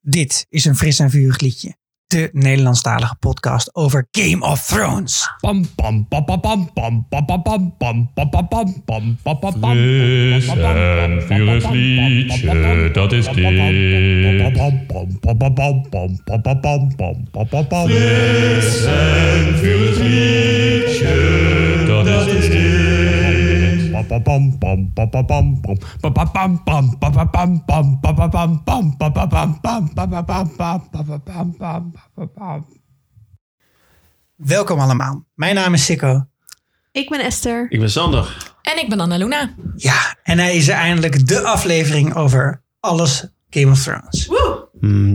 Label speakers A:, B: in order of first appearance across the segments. A: Dit is een fris en vurig liedje. De Nederlandstalige podcast over Game of Thrones.
B: Pam pam pam pam pam pam pam pam pam pam pam pam pam pam pam pam pam.
C: Fris en vurig liedje, dat is dit. Fris en vurig liedje, dat is dit.
A: Welkom allemaal. Mijn naam is Sikko.
D: Ik ben Esther.
E: Ik ben Sander.
F: En ik ben Anna Luna.
A: Ja, en hij is er eindelijk de aflevering over alles Game of Thrones.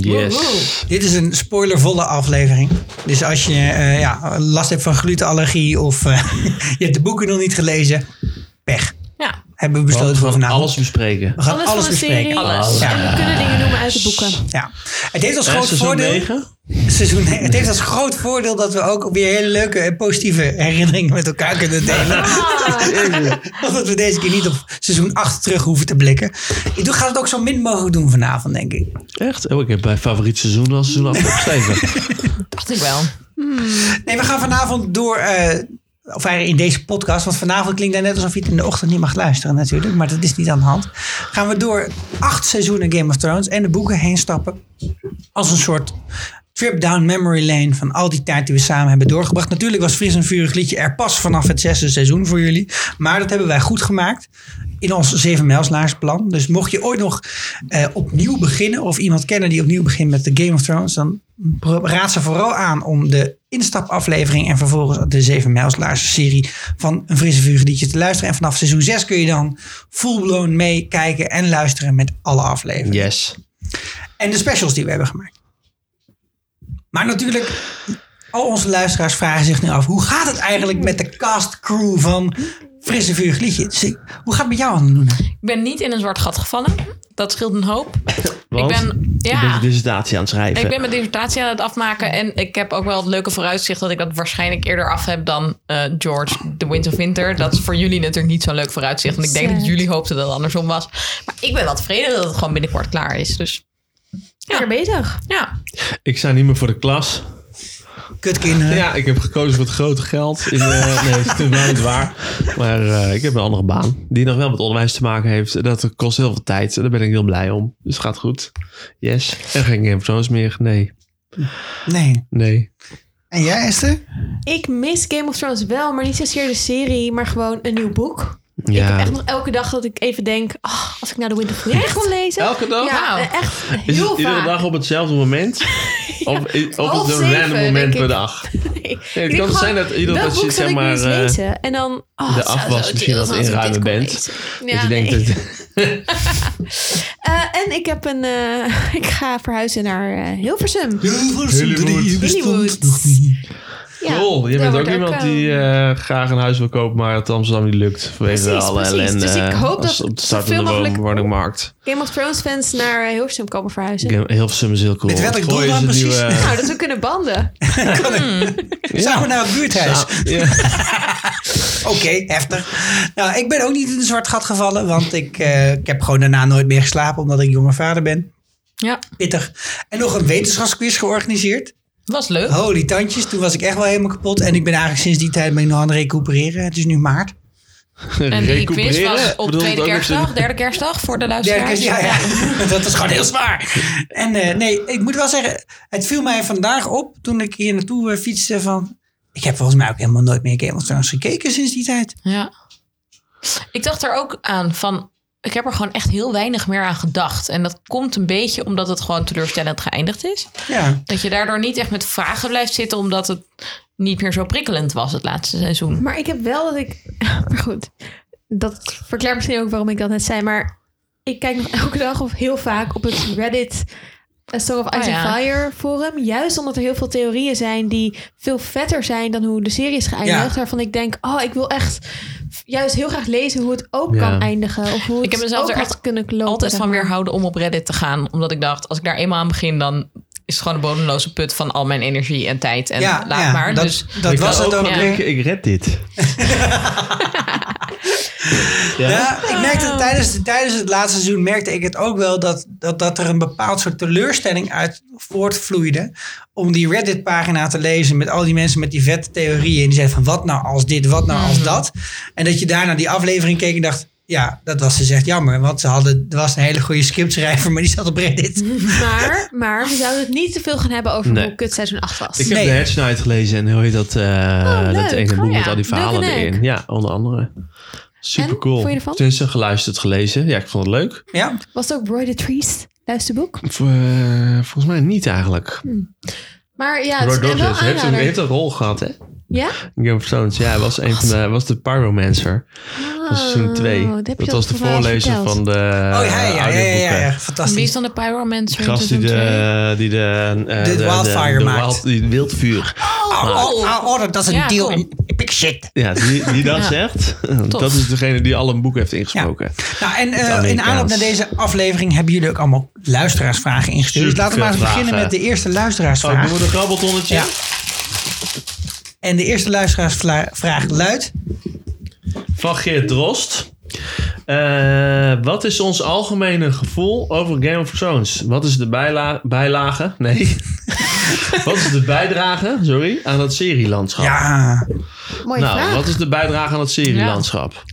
E: yes.
A: Dit is een spoilervolle aflevering. Dus als je eh, ja, last hebt van glutenallergie of eh, je hebt de boeken nog niet gelezen, pech.
F: Ja,
A: Hebben we besloten
E: We
A: voor
E: gaan
A: vanavond.
E: alles bespreken.
A: we gaan alles,
D: Alles van een
A: bespreken.
D: serie.
F: Alles.
A: Ja.
D: En we kunnen dingen noemen uit de boeken.
A: Ja. Het heeft als
E: Eh,
A: groot
E: Seizoen
A: voordeel.
E: 9?
A: seizoen. Het heeft als groot voordeel dat we ook weer hele leuke en positieve herinneringen met elkaar kunnen delen. Omdat we deze keer niet op seizoen 8 terug hoeven te blikken. Ik doe, ga het ook zo min mogelijk doen vanavond, denk ik.
E: Echt? Oh, ik heb mijn favoriet seizoen al seizoen afgeschreven.
F: dacht ik wel.
A: Nee, we gaan vanavond door. eh, of eigenlijk in deze podcast, want vanavond klinkt het net alsof je het in de ochtend niet mag luisteren natuurlijk. Maar dat is niet aan de hand. Gaan we door acht seizoenen Game of Thrones en de boeken heen stappen. Als een soort trip down memory lane van al die tijd die we samen hebben doorgebracht. Natuurlijk was Fris en Vurig Liedje er pas vanaf het zesde seizoen voor jullie. Maar dat hebben wij goed gemaakt in ons zevenmijlslaarsplan. Dus mocht je ooit nog eh, opnieuw beginnen of iemand kennen die opnieuw begint met de Game of Thrones, dan raad ze vooral aan om de instapaflevering en vervolgens de zevenmijlslaars serie van een frisse vuur liedje te luisteren. En vanaf seizoen 6 kun je dan full-blown meekijken en luisteren met alle afleveringen.
E: Yes.
A: En de specials die we hebben gemaakt. Maar natuurlijk, al onze luisteraars vragen zich nu af: hoe gaat het eigenlijk met de cast crew van Frisse Vuur Liedje? Dus, Hoe gaat het met jou aan doen?
F: Ik ben niet in een zwart gat gevallen. Dat scheelt een hoop.
E: Want
F: ik ben,
E: je bent
F: ja,
E: je dissertatie aan het schrijven.
F: ik ben mijn dissertatie aan het afmaken. En ik heb ook wel het leuke vooruitzicht dat ik dat waarschijnlijk eerder af heb dan eh, George, The Wind of Winter. Dat is voor jullie natuurlijk niet zo'n leuk vooruitzicht. Want ik denk dat
D: Sad.
F: jullie hoopten dat het andersom was. Maar ik ben wel tevreden dat het gewoon binnenkort klaar is. Dus
D: Lekker bezig.
F: ja,
E: Ik sta niet meer voor de klas.
A: Kutkinderen.
E: Ja, ik heb gekozen voor het grote geld. In, eh, nee, dat is natuurlijk wel niet waar. Maar eh, ik heb een andere baan. Die nog wel met onderwijs te maken heeft. En Dat kost heel veel tijd. En daar ben ik heel blij om. Dus het gaat goed. Yes. En geen Game of Thrones meer. Nee.
A: Nee.
E: Nee.
A: En jij, Esther?
D: Ik mis Game of Thrones wel, maar niet zozeer de serie, maar gewoon een nieuw boek. Ik heb echt nog elke dag dat ik even denk, ah, als ik nou de Winter of Winter kon lezen.
E: Elke dag?
D: Ja,
F: Wauw.
D: eh, echt
E: Is
D: heel
E: het iedere
D: vaak.
E: dag op hetzelfde moment? Of, i- of
D: half
E: op een
D: zeven,
E: random
D: denk
E: moment
D: ik.
E: per dag?
D: Nee, ik
E: het
D: denk
E: kan
D: gewoon,
E: zijn dat iedere
D: welk
E: dag
D: boek
E: je, zeg
D: zal ik nu
E: maar,
D: eens
E: eh,
D: lezen? En dan, oh, het zou
E: afwas
D: zo
E: misschien
D: chill
E: dat
D: zijn als ik dit
E: inruimen
D: kon
E: bent.
D: lezen.
E: dat
D: Ja,
E: je denkt,
D: nee.
E: dat-
D: Eh, en ik heb een, eh, ik ga verhuizen naar eh, Hilversum. Hollywood. Ja,
E: Cool, je
D: daar
E: bent ook
D: wordt
E: iemand
D: eh,
E: die eh, graag een huis wil kopen, maar het Amsterdam niet lukt. Vanwege
D: Precies,
E: alle
D: precies.
E: ellende eh,
D: Dus ik hoop
E: als
D: dat
E: op de start van de
D: zoveel mogelijk-
E: woonmarkt.
D: Game of Thrones fans naar eh, Hilversum komen verhuizen.
E: Hilversum is heel cool.
A: Met welk
E: Gooi
A: doel
E: is
A: dan
E: een
A: precies?
E: nieuwe-
D: Nou, dat we kunnen banden.
A: Samen naar het buurthuis.
E: eh, Ja.
A: Oké, heftig. Nou, ik ben ook niet in een zwart gat gevallen, want ik, eh, ik heb gewoon daarna nooit meer geslapen omdat ik jonge vader ben.
F: ja,
A: Pittig. En nog een wetenschapsquiz georganiseerd.
F: was leuk.
E: Oh,
A: Holy Oh, tandjes, toen was ik echt wel helemaal kapot. En ik ben eigenlijk sinds die tijd ben ik nog aan het recupereren. Het is nu maart.
F: En die quiz
E: Recupereren?
F: was op
E: Bedoel,
F: tweede
E: ook nog zo'n-
F: kerstdag, derde kerstdag voor de
A: Derde
F: luisteraars.
A: keer, ja, ja. Dat is gewoon heel zwaar. En eh, nee, ik moet wel zeggen, het viel mij vandaag op toen ik hier naartoe eh, fietste van... Ik heb volgens mij ook helemaal nooit meer Game of Thrones gekeken sinds die tijd.
F: Ja. Ik dacht er ook aan van. Ik heb er gewoon echt heel weinig meer aan gedacht. En dat komt een beetje omdat het gewoon teleurstellend geëindigd is.
A: Ja,
F: Dat je daardoor niet echt met vragen blijft zitten, omdat het niet meer zo prikkelend was het laatste seizoen.
D: Maar ik heb wel dat ik... Maar goed, dat verklaart misschien ook waarom ik dat net zei. Maar ik kijk nog elke dag of heel vaak op het Reddit... eh, Song of Ice
F: Oh ja.
D: and Fire forum. Juist omdat er heel veel theorieën zijn die veel vetter zijn dan hoe de serie is geëindigd.
A: Ja.
D: Waarvan ik denk, oh, ik wil echt juist heel graag lezen hoe het ook
E: Ja.
D: kan eindigen. Of hoe het
F: Ik heb mezelf
D: ook
F: er
D: had
F: echt
D: kunnen lopen.
F: Altijd
D: zeg
F: van
D: maar.
F: weerhouden om op Reddit te gaan, omdat ik dacht, als ik daar eenmaal aan begin, dan is het gewoon een bodemloze put van al mijn energie en tijd. En
A: ja,
F: laat
A: ja,
F: maar.
A: dat,
F: dus
A: dat was
F: kan
A: het ook
F: ja.
A: weer.
E: Ik, ik red dit.
A: Ja, ik merkte tijdens, tijdens het laatste seizoen merkte ik het ook wel dat, dat, dat er een bepaald soort teleurstelling uit voortvloeide. Om die Reddit pagina te lezen met al die mensen met die vette theorieën. En die zeiden van wat nou als dit, wat nou als dat. En dat je daarna die aflevering keek en dacht. Ja, dat was dus echt jammer. Want ze hadden, er was een hele goede scriptschrijver, maar die zat op Reddit.
D: Maar, maar we zouden het niet te veel gaan hebben over
E: Nee.
D: hoe kut seizoen 8 was.
E: Ik heb
A: Nee.
E: de Hedge Knight gelezen en hoe heet dat, eh, dat
D: leuk.
E: ene boek
D: Oh ja,
E: met al die verhalen
D: leuk en leuk.
E: erin. Ja, onder andere. Super
D: En,
E: cool.
D: vond je ervan?
E: Tussen geluisterd, gelezen. Ja, ik vond het leuk.
A: Ja,
D: Was het ook Roy the Trees? Luisterboek.
E: V- eh, volgens mij niet eigenlijk.
D: Maar ja, het
E: Roy
D: is wel
E: Rogers heeft, een-
D: aanrader.
E: heeft een rol gehad, hè?
D: Ja?
E: In Game of Thrones. Ja, hij was, een van de, was de pyromancer. Dat was seizoen 2.
D: Oh, dat heb je
E: was de
D: ook voor mij
E: voorlezer
D: verteld.
E: van de
A: oh ja, ja, ja, ja, ja, ja.
F: Wie is
A: fantastisch.
F: dan de pyromancer?
E: Die gast die de, die de, eh,
A: De wildfire maakt.
E: wild- die wildvuur.
A: Oh, oh, oh, dat is een
F: Ja,
A: deal
F: cool.
A: in epic shit.
E: Ja, die, die dat
F: Ja.
E: zegt. Dat is degene die al een boek heeft ingesproken.
A: Nou, en eh, in
E: Amerikaans.
A: aanloop naar deze aflevering hebben jullie ook allemaal luisteraarsvragen ingestuurd. Dus laten we maar eens
E: Supervragen.
A: beginnen met de eerste
E: Oh, doen
A: luisteraarsvraag.
E: we een grabbeltonnetje?
A: Ja. En de eerste luisteraarsvraag luidt.
E: Van Geert Drost. Eh, wat is ons algemene gevoel over Game of Thrones? Wat is de bijla bijlage? Nee. wat is de bijdrage, sorry, aan het serielandschap?
A: Ja,
D: Mooie
E: nou,
D: vraag.
E: wat is de bijdrage aan het serielandschap?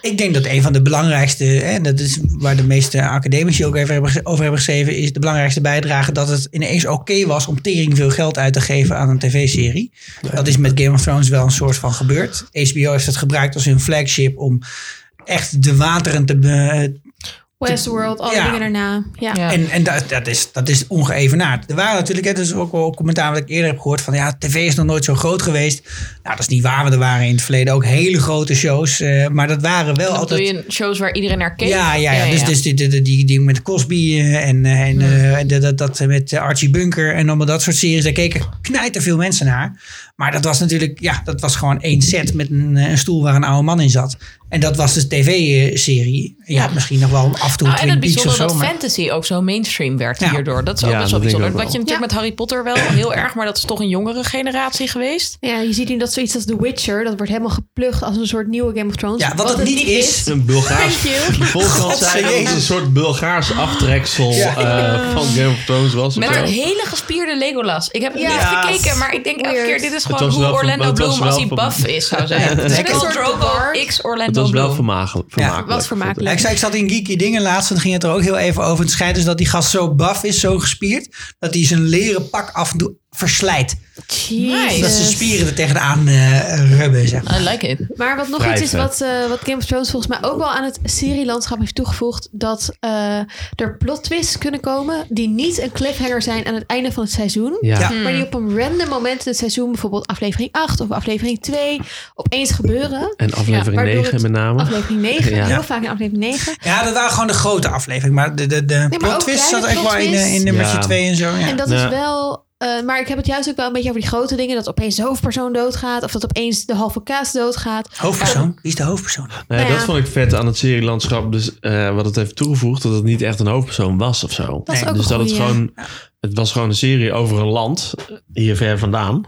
A: ik denk dat een van de belangrijkste, en dat is waar de meeste academici ook even hebben, over hebben geschreven, is de belangrijkste bijdrage dat het ineens oké was om tering veel geld uit te geven aan een tv-serie. Dat is met Game of Thrones wel een soort van gebeurd. HBO heeft het gebruikt als hun flagship om echt de wateren te, be-
D: Westworld, alle
A: Ja.
D: dingen daarna. Ja.
F: Ja.
A: En, en dat, dat, is, dat is ongeëvenaard. Er waren natuurlijk, hè, dat is ook wel commentaar wat ik eerder heb gehoord, van ja, tv is nog nooit zo groot geweest. Nou, dat is niet waar, want er waren in het verleden ook hele grote shows. eh, maar dat waren wel
F: Dat doe
A: altijd...
F: je shows waar iedereen naar keek.
A: Ja, ja, ja. Dus, dus die, die, die, die met Cosby eh, en, eh, en eh, en dat, dat, dat met eh, Archie Bunker en allemaal dat soort series. Daar keken knijter veel mensen naar. Maar dat was natuurlijk, ja, dat was gewoon één set met een, eh, een stoel waar een oude man in zat. En dat was de tv-serie. Ja, misschien nog wel af en toe
F: Ah, en
A: Twin
F: het
A: Peaks of
F: bijzondere
A: zo.
F: dat
A: maar-
F: fantasy ook zo mainstream werd
A: Ja.
F: hierdoor. Dat is ook
E: Ja,
F: best
E: dat denk ik
F: wel bijzonder.
E: ook
F: Wat je
E: wel.
F: natuurlijk met Harry Potter wel heel erg, maar dat is toch een jongere generatie geweest.
D: Ja, je ziet nu dat zoiets als The Witcher, dat wordt helemaal geplukt als een soort nieuwe Game of Thrones.
A: Ja, wat het niet is.
E: Een Bulgaars.
D: Thank you.
E: De volkant zei dat het een soort Bulgaars aftreksel
A: Ja.
E: eh, van Game of Thrones was. of
F: Met
E: zo.
F: een hele gespierde Legolas. Ik heb het
D: Ja.
A: Ja.
F: niet gekeken, maar ik denk elke
D: Weird.
F: keer... dit is
E: Het
F: gewoon
E: was
F: hoe
E: wel ver-
F: Orlando
E: het was
F: Bloom
E: wel
F: als hij
E: ver-
F: buff is zou zijn. Het is
A: Lekker.
F: wel
D: Een soort
F: Drogo
D: bard.
F: x
E: Het
F: Orlando
E: was wel
F: Bloem.
E: vermagelijk. vermakelijk.
D: was vermakelijk.
A: Ja, ik, zei, ik zat in Geeky Dingen laatst en dan ging het er ook heel even over. Het schijnt dus dat die gast zo baf is, zo gespierd, dat hij zijn leren pak af en toe verslijt.
D: Jezus.
A: Dat zijn spieren er tegenaan eh rubben, zeg maar.
F: I like it.
D: Maar wat nog iets is
E: Wrijven.
D: wat, eh, wat Game of Thrones volgens mij ook wel aan het serielandschap heeft toegevoegd. Dat eh, er plot twists kunnen komen die niet een cliffhanger zijn aan het einde van het seizoen.
E: Ja.
A: Ja.
D: Maar die op een random moment in het seizoen, bijvoorbeeld aflevering 8 of aflevering 2, opeens gebeuren.
E: En aflevering
D: waardoor
E: 9
D: het-
E: met name.
D: Aflevering 9,
E: Ja.
D: heel vaak in aflevering 9.
A: Ja, dat waren gewoon de grote aflevering. Maar de, de, de plot
D: ook
A: twist zat
D: kleine
A: echt wel in, eh, in
D: plot
A: nummertje
E: twists.
A: 2 en zo. Ja.
D: En dat
E: Ja.
D: is wel. eh, maar ik heb het juist ook wel een beetje over die grote dingen. Dat opeens de hoofdpersoon doodgaat. Of dat opeens de halve kaas doodgaat.
A: hoofdpersoon? Wie is de hoofdpersoon?
E: Nee,
D: Nou
E: dat
D: ja.
E: vond ik vet aan het serielandschap. Dus eh, wat het heeft toegevoegd, dat het niet echt een hoofdpersoon was of zo.
D: Dat is ook
E: dus
D: een
E: dat het
D: goeie.
E: gewoon, het was gewoon een serie over een land, hier ver vandaan.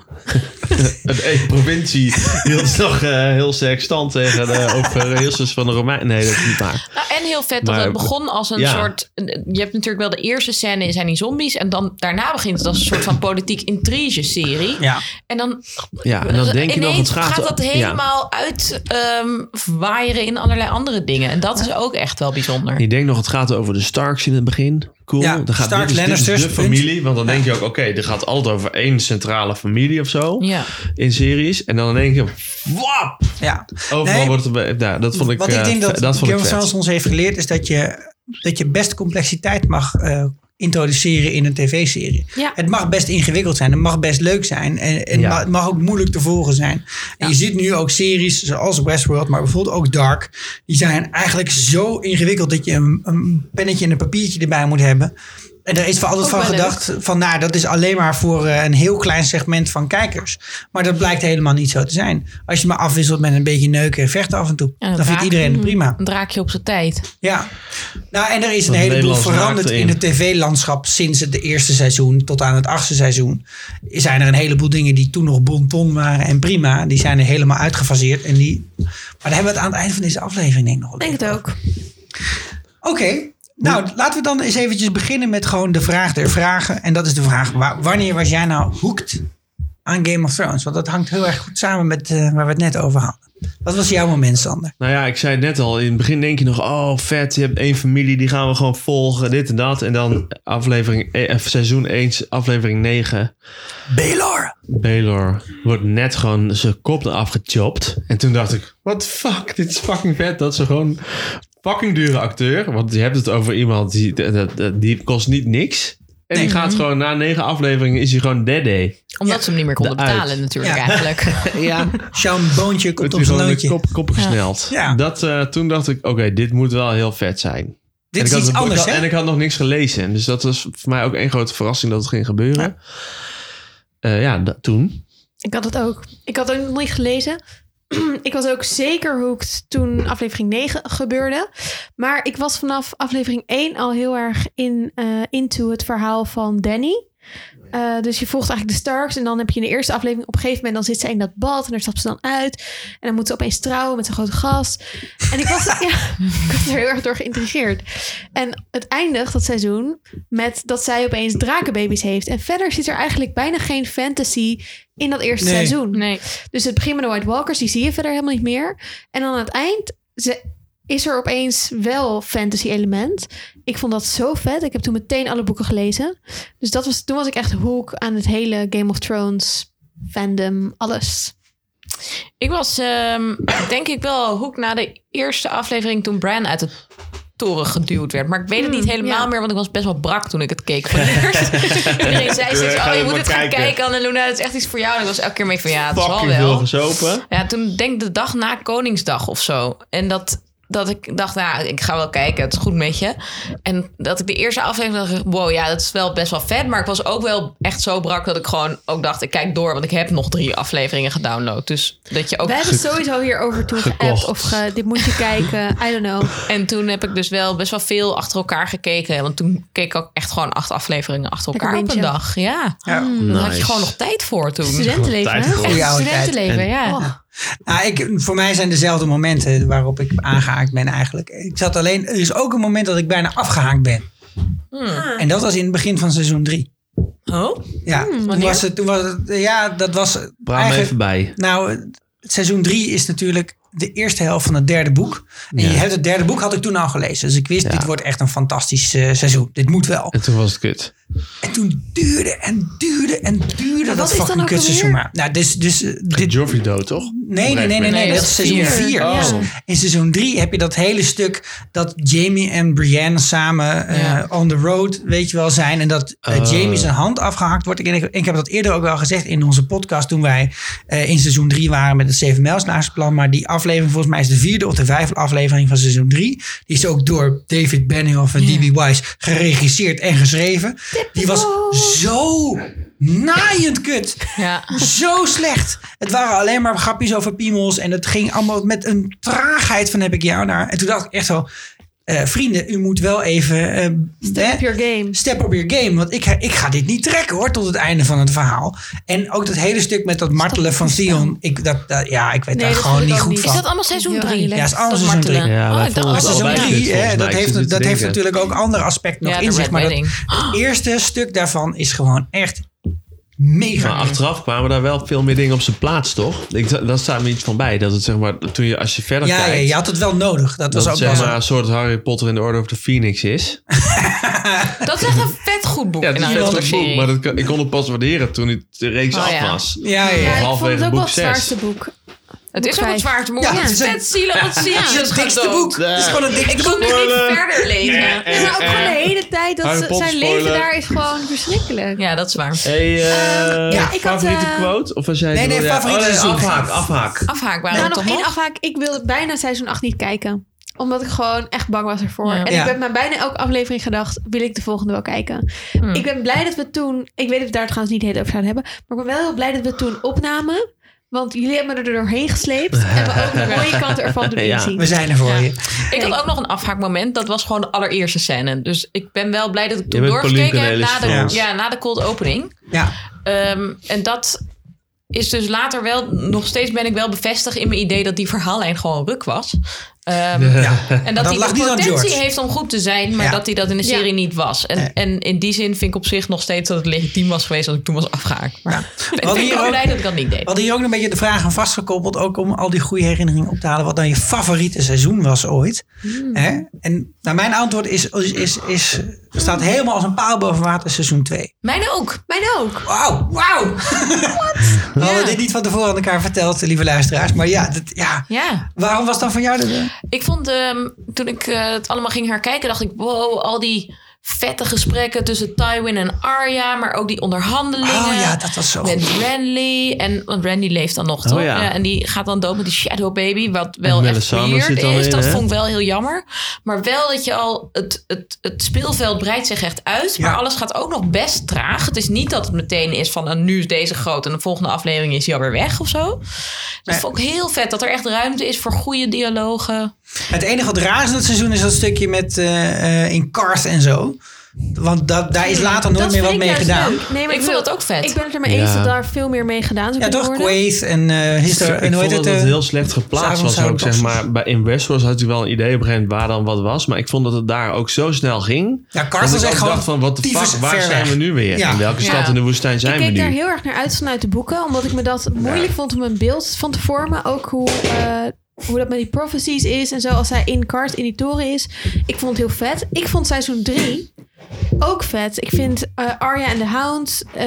E: Een één provincie hield het nog eh, heel sterk stand tegen de overheersers van de Romeinen. Nee, dat is niet waar.
F: Nou, en heel vet dat
E: Maar-
F: het begon als een
E: ja.
F: soort... Je hebt natuurlijk wel de eerste scène zijn die zombies. En dan daarna begint het als een soort van politiek intrige-serie.
A: Ja.
F: En dan,
E: Ja, en dan denk je nog, het
F: Dus ineens
E: gaat...
F: dat
E: ja.
F: helemaal uit ehm, waaieren in allerlei andere dingen. En dat is ook echt wel bijzonder.
E: Ik denk nog, het gaat over de Starks in het begin. Cool.
A: Ja,
E: dan gaat
A: Stark,
E: dit, is- dit is
A: Lannisters,
E: de
A: punt.
E: familie. Want dan denk je ook, oké, er gaat altijd over één centrale familie of zo.
F: Ja.
E: In series. En dan in één keer, wap,
A: Ja.
E: Overal
A: Nee,
E: wordt het... be- Ja, dat vond ik,
A: Wat ik
E: eh,
A: denk
E: vet-
A: dat,
E: dat vond ik
A: Game of
E: vet.
A: Thrones ons heeft geleerd is dat je, dat je best complexiteit mag eh, introduceren in een tv-serie.
D: Ja.
A: Het mag best ingewikkeld zijn, het mag best leuk zijn en, en
E: Ja.
A: ma- het mag ook moeilijk te volgen zijn. En je ziet nu ook series zoals Westworld, maar bijvoorbeeld ook Dark, die zijn eigenlijk zo ingewikkeld dat je een, een pennetje en een papiertje erbij moet hebben. En er is wel altijd
D: Ook
A: van
D: wel
A: gedacht van, nou, dat is alleen maar voor eh, een heel klein segment van kijkers. Maar dat blijkt helemaal niet zo te zijn. Als je maar afwisselt met een beetje neuken en vechten af en toe,
F: Ja,
A: dan
F: raak-
A: vindt iedereen het prima.
F: Een draakje op zijn tijd.
A: Ja. Nou, en er is een
E: Dat
A: heleboel
E: Nederlands
A: veranderd
E: raakte
A: in
E: in.
A: het tv-landschap sinds het eerste seizoen tot aan het achtste seizoen. Zijn er een heleboel dingen die toen nog bon ton waren en prima. Die zijn er helemaal uitgefaseerd. En die... Maar daar hebben we het aan het eind van deze aflevering denk ik nog wel
D: Ik denk het ook.
A: Oké. Nou, laten we dan eens eventjes beginnen met gewoon de vraag der vragen. En dat is de vraag, wa- wanneer was jij nou hooked aan Game of Thrones? Want dat hangt heel erg goed samen met eh, waar we het net over hadden. Wat was jouw moment, Sander?
E: Nou ja, ik zei het net al. In het begin denk je nog, oh vet, je hebt één familie, die gaan we gewoon volgen, dit en dat. En dan aflevering, eh, seizoen 1, aflevering 9.
A: Baylor.
E: Baylor wordt net gewoon zijn kop eraf gechopt. En toen dacht ik, what the fuck, dit is fucking vet. Dat ze gewoon fucking dure acteur. Want je hebt het over iemand die, dat- dat- dat- die kost niet niks. En die gaat gewoon, na negen afleveringen is hij gewoon dead day.
F: Omdat ze hem niet meer konden
E: De uit.
F: betalen natuurlijk
A: Ja.
F: eigenlijk.
E: Ja.
A: Sean Boontje komt
E: Wordt
A: op zijn
E: hij gewoon de
A: loodje.
E: kop, koppen gesneld.
A: Ja.
E: Dat, eh, toen dacht ik, oké, dit moet wel heel vet zijn.
A: Dit is
E: En ik had
A: iets
E: het boek
A: anders,
E: al-
A: hè?
E: En ik had nog niks gelezen. Dus dat was voor mij ook één grote verrassing dat het ging gebeuren. Ja, ja da- toen.
D: Ik had het ook. Ik had het ook nog niet gelezen. ik was ook zeker hooked toen aflevering 9 gebeurde. Maar ik was vanaf aflevering 1 al heel erg in, eh, into het verhaal van Danny. Eh, dus je volgt eigenlijk de Starks en dan heb je in de eerste aflevering op een gegeven moment dan zit ze in dat bad en daar stapt ze dan uit en dan moet ze opeens trouwen met zo'n grote gast. En ik was, ja, ik was er heel erg door geïntrigeerd. En het eindigt dat seizoen met dat zij opeens drakenbabies heeft en verder zit er eigenlijk bijna geen fantasy in dat eerste
A: Nee.
D: seizoen.
F: Nee.
D: Dus het begin met de White Walkers, die zie je verder helemaal niet meer. En dan aan het eind ze- is er opeens wel fantasy element. Ik vond dat zo vet. Ik heb toen meteen alle boeken gelezen. Dus dat was, toen was ik echt hoek aan het hele Game of Thrones fandom, alles.
F: Ik was ehm, denk ik wel hoek na de eerste aflevering toen Bran uit de toren geduwd werd. Maar ik weet het
E: Hmm,
F: niet helemaal
D: ja.
F: meer, want ik was best wel brak toen ik het keek voor het eerst. Iedereen zei steeds,
E: Ga
F: oh
E: dit
F: je moet
E: maar
F: het gaan
E: kijken.
F: kijken Anneluna, het is echt iets voor jou. En ik was elke keer mee van, ja het zal
E: Fucking veel
F: wel.
E: gezopen.
F: Ja, toen denk ik de dag na Koningsdag of zo. En dat, dat ik dacht, nou, ik ga wel kijken, het is goed met je. En dat ik de eerste aflevering dacht, wow, ja, dat is wel best wel vet. Maar ik was ook wel echt zo brak dat ik gewoon ook dacht, ik kijk door. Want ik heb nog drie afleveringen gedownload. Dus dat je ook...
D: We hebben sowieso hierover toen geappt.
E: gekocht.
D: Of ge- dit moet je kijken, I don't know.
F: En toen heb ik dus wel best wel veel achter elkaar gekeken. Want toen keek ik ook echt gewoon acht afleveringen achter
D: Lekker
F: elkaar op een
D: bintje.
F: dag. Ja,
A: Ja.
F: daar had je
E: Nice.
F: gewoon nog tijd voor toen.
D: Studentenleven,
E: Tijd
D: hè?
E: voor.
D: Echt
A: Ja, tijd.
D: studentenleven,
E: En-
D: ja. Oh,
A: Nou, ik, voor mij zijn dezelfde momenten waarop ik aangehaakt ben eigenlijk. Ik zat alleen, er is ook een moment dat ik bijna afgehaakt ben. En dat was in het begin van seizoen drie.
F: Oh?
A: Ja, toen
F: wanneer?
A: was het, toen was het, ja dat was
E: Praat me
A: eigenlijk-
E: even bij.
A: Nou, het seizoen 3 is natuurlijk de eerste helft van het derde boek. En
E: Ja.
A: je hebt het derde boek had ik toen al gelezen. Dus ik wist,
E: Ja.
A: dit wordt echt een fantastisch eh, seizoen. Dit moet wel.
E: En toen was het kut.
A: En toen duurde en duurde en duurde
D: wat
A: dat
D: is dan
A: fucking
D: ook
A: kutseizoen
D: alweer?
A: maar. Nou, dus, dus eh, dit,
E: Joffrey dood, toch?
A: nee, nee, nee, nee,
F: Nee,
A: nee, dat
F: dat
A: is
F: is
A: seizoen
F: vier.
A: 4.
D: Ja.
A: In seizoen 3 heb je dat hele stuk dat Jamie en Brienne samen eh,
F: Ja.
A: on the road, weet je wel, zijn. En dat eh,
E: Oh.
A: Jamie zijn hand afgehakt wordt. Ik, ik, ik heb dat eerder ook wel gezegd in onze podcast toen wij eh, in seizoen 3 waren met het 7 mijlslaarsplan. Maar die aflevering, volgens mij is de vierde of de vijfde aflevering van seizoen 3. Die is ook door David Benioff en D.B. Wise geregisseerd en geschreven. Die was zo naaiend kut
F: Ja.
D: Oh.
A: zo slecht. Het waren alleen maar grapjes over piemels. En het ging allemaal met een traagheid van heb ik jou naar. En toen dacht ik echt zo... eh, vrienden, u moet wel even... eh,
D: step
A: hè,
D: up your game.
A: step up your game. Want ik, ik ga dit niet trekken hoor, tot het einde van het verhaal. En ook dat hele stuk met dat martelen van Sion. Ik, dat, dat- ja, ik weet
D: Nee,
A: daar
D: dat
A: gewoon
D: vond ik
A: niet
D: ook
A: goed
D: niet.
A: van.
F: Is dat allemaal seizoen
D: Heel
F: drie?
D: relaxed.
A: Ja, is allemaal
F: Dat
A: seizoen drie.
F: martelen.
E: Ja,
F: Oh,
E: wij
F: ik dacht
E: vonden het
F: dat was
A: Seizoen
E: allebei
F: seizoen
E: kut.
A: 3,
E: volgens mij.
A: dat
E: Ik
A: heeft,
E: zit
A: dat
E: te
A: heeft
E: denken.
A: natuurlijk ook ander aspect nog
F: Ja, de
A: in zich.
F: Red
A: Maar dat
F: Wedding.
D: Ah.
A: eerste stuk daarvan is gewoon echt mega.
E: Maar achteraf kwamen daar wel veel meer dingen op zijn plaats, toch? Ik, daar staat me iets van bij. Dat het zeg maar, toen je, als je verder
A: ja, ja,
E: kijkt...
A: je had het wel nodig. Dat, was
E: dat het
A: ook wel
E: zeg
A: zo.
E: maar een soort Harry Potter in de Order of the Phoenix is.
F: Dat is echt een vet goed boek. Nou,
E: Ja, het
F: in
E: is
F: een
E: vet
F: andere
E: goed boek,
F: serie.
E: maar dat, kan- ik kon het pas waarderen toen het de reeks
F: Oh,
E: af
F: ja.
E: was.
A: Ja, ja, ja.
D: Ja, ik vond het
E: halverwege
D: ook
E: boek
D: wel het
E: zes.
D: zwaarste boek.
F: Het is ook het zwaarste boek.
A: Ja,
F: Ja, het is
A: het is-
F: vet zielig. want Sion
A: Het is het
F: is
A: dikste
F: gedood.
A: boek. Het is gewoon het dikste
F: Ik kon
A: boek.
F: nu niet verder lezen.
D: Ja, maar ook gewoon de hele tijd. Dat
E: Eh, Harry
D: ze-
E: Potter
D: zijn leven
E: spoiler.
D: daar is gewoon verschrikkelijk.
F: Ja, dat is waar.
E: Hey, eh,
A: Ehm, ja,
D: ik had,
E: favoriete
D: eh,
E: quote? Of was jij
A: nee, nee,
E: ja,
A: favoriete
E: oh,
A: seizoen.
E: Afhaak, afhaak.
F: Afhaak
D: Nou,
F: waren we
D: nog
F: toch
D: één
F: nog?
D: afhaak. Ik wil bijna seizoen 8 niet kijken. Omdat ik gewoon echt bang was ervoor.
F: Ja.
D: En
A: Ja.
D: ik ben maar bijna elke aflevering gedacht... wil ik de volgende wel kijken.
F: Hmm.
D: Ik ben blij dat we toen... Ik weet dat we daar trouwens niet heel over zouden hebben... maar ik ben wel heel blij dat we toen opnamen... Want jullie hebben me er doorheen gesleept. En we ook de mooie kant ervan doen
E: Ja.
D: inzien.
A: We zijn er voor
F: Ja.
A: je.
F: Ik
D: Nee.
F: had ook nog een afhaakmoment. Dat was gewoon de allereerste scène. Dus ik ben wel blij dat ik toen
E: bent
F: doorgekeken
E: Pauline
F: heb na
E: Cornelis
F: de,
A: voor
F: ja.
E: ons.
F: na de cold opening.
A: Ja,
F: Ehm, en dat is dus later wel... Nog steeds ben ik wel bevestigd in mijn idee dat die verhaallijn gewoon ruk was. Ehm,
A: ja.
F: En
A: Dat
F: dat, hij
A: lag niet
F: de
A: aan
F: potentie
A: George.
F: heeft om goed te zijn, maar
A: Ja.
F: dat hij dat in de
D: Ja.
F: serie niet was. En,
A: Nee.
F: en in die zin vind ik op zich nog steeds dat het legitiem was geweest als ik toen was afgehaakt. Maar
A: Ja.
F: ik
A: Wat
F: ben
A: hier
F: wel
A: ook-
F: blij dat ik dat niet
A: We
F: deed.
A: hadden hier ook een beetje de vraag aan vastgekoppeld. Ook om al die goede herinneringen op te halen. Wat dan je favoriete seizoen was ooit. Hè? En nou, mijn antwoord is, is, is, is, staat helemaal als een paal boven water seizoen 2.
F: Mijn ook.
D: Mijn ook.
A: Wauw. Wauw. We hadden
F: Ja.
A: dit niet van tevoren aan elkaar verteld, lieve luisteraars. Maar ja, dat, ja.
F: Ja,
A: waarom was dan voor jou de...
F: ik vond ehm, toen ik eh, het allemaal ging herkijken, dacht ik: wow, al die vette gesprekken tussen Tywin en Arya, maar ook die onderhandelingen.
A: Oh ja, dat was zo
F: Met
A: goed.
F: Renly. En, want Randy leeft dan nog, toch?
E: Oh ja.
F: Ja, en die gaat dan dood met die Shadow Baby. Wat wel echt
E: Melisandre
F: weird
E: zit dan
F: is.
E: in,
F: dat
E: hè?
F: vond ik wel heel jammer. Maar wel dat je al... Het, het, het speelveld breidt zich echt uit. Maar
A: Ja.
F: alles gaat ook nog best traag. Het is niet dat het meteen is van... nou, nu is deze groot en de volgende aflevering is hij alweer weg of zo. Dat
A: Nee.
F: vond ik heel vet. Dat er echt ruimte is voor goede dialogen.
A: Het enige wat raar is in dat seizoen is dat stukje met eh, eh, in Karth en zo. Want dat, daar is later nooit
D: Dat
A: meer
D: vind
A: wat
D: ik
A: mee
D: juist
A: gedaan.
D: leuk. Nee, maar
F: Ik vond
D: wil-
F: dat ook vet.
D: Ik ben het er mee eens
E: Ja.
D: dat daar veel meer mee gedaan zou
A: Ja,
D: kunnen
A: toch?
D: worden.
A: Quaid en eh Hister.
E: Ik
A: En hoe
E: vond
A: heet
E: dat
A: het? eh,
E: het heel slecht geplaatst
A: s'avonds
E: was ook,
A: zouden
E: zeg
A: pas-
E: maar. Bij, in Westeros had u wel een idee op een gegeven moment waar dan wat was. Maar ik vond dat het daar ook zo snel ging.
A: Ja, Karst
E: dat
A: was
E: ik
A: echt
E: ook
A: gewoon
E: dacht van, wat de
A: tyfus
E: fuck, waar
A: ver
E: zijn
A: weg.
E: we nu weer?
A: Ja.
E: In welke
F: Ja.
E: stad in de woestijn zijn
D: ik
E: we
D: keek
E: nu?
D: daar heel erg naar uit vanuit de boeken. Omdat ik me dat moeilijk vond om een beeld van te vormen. Ook hoe, eh, hoe dat met die prophecies is. En zo als hij in Kart in die toren is. Ik vond het heel vet. Ik vond seizoen 3 ook vet. Ik vind eh, Arya en de Hound. eh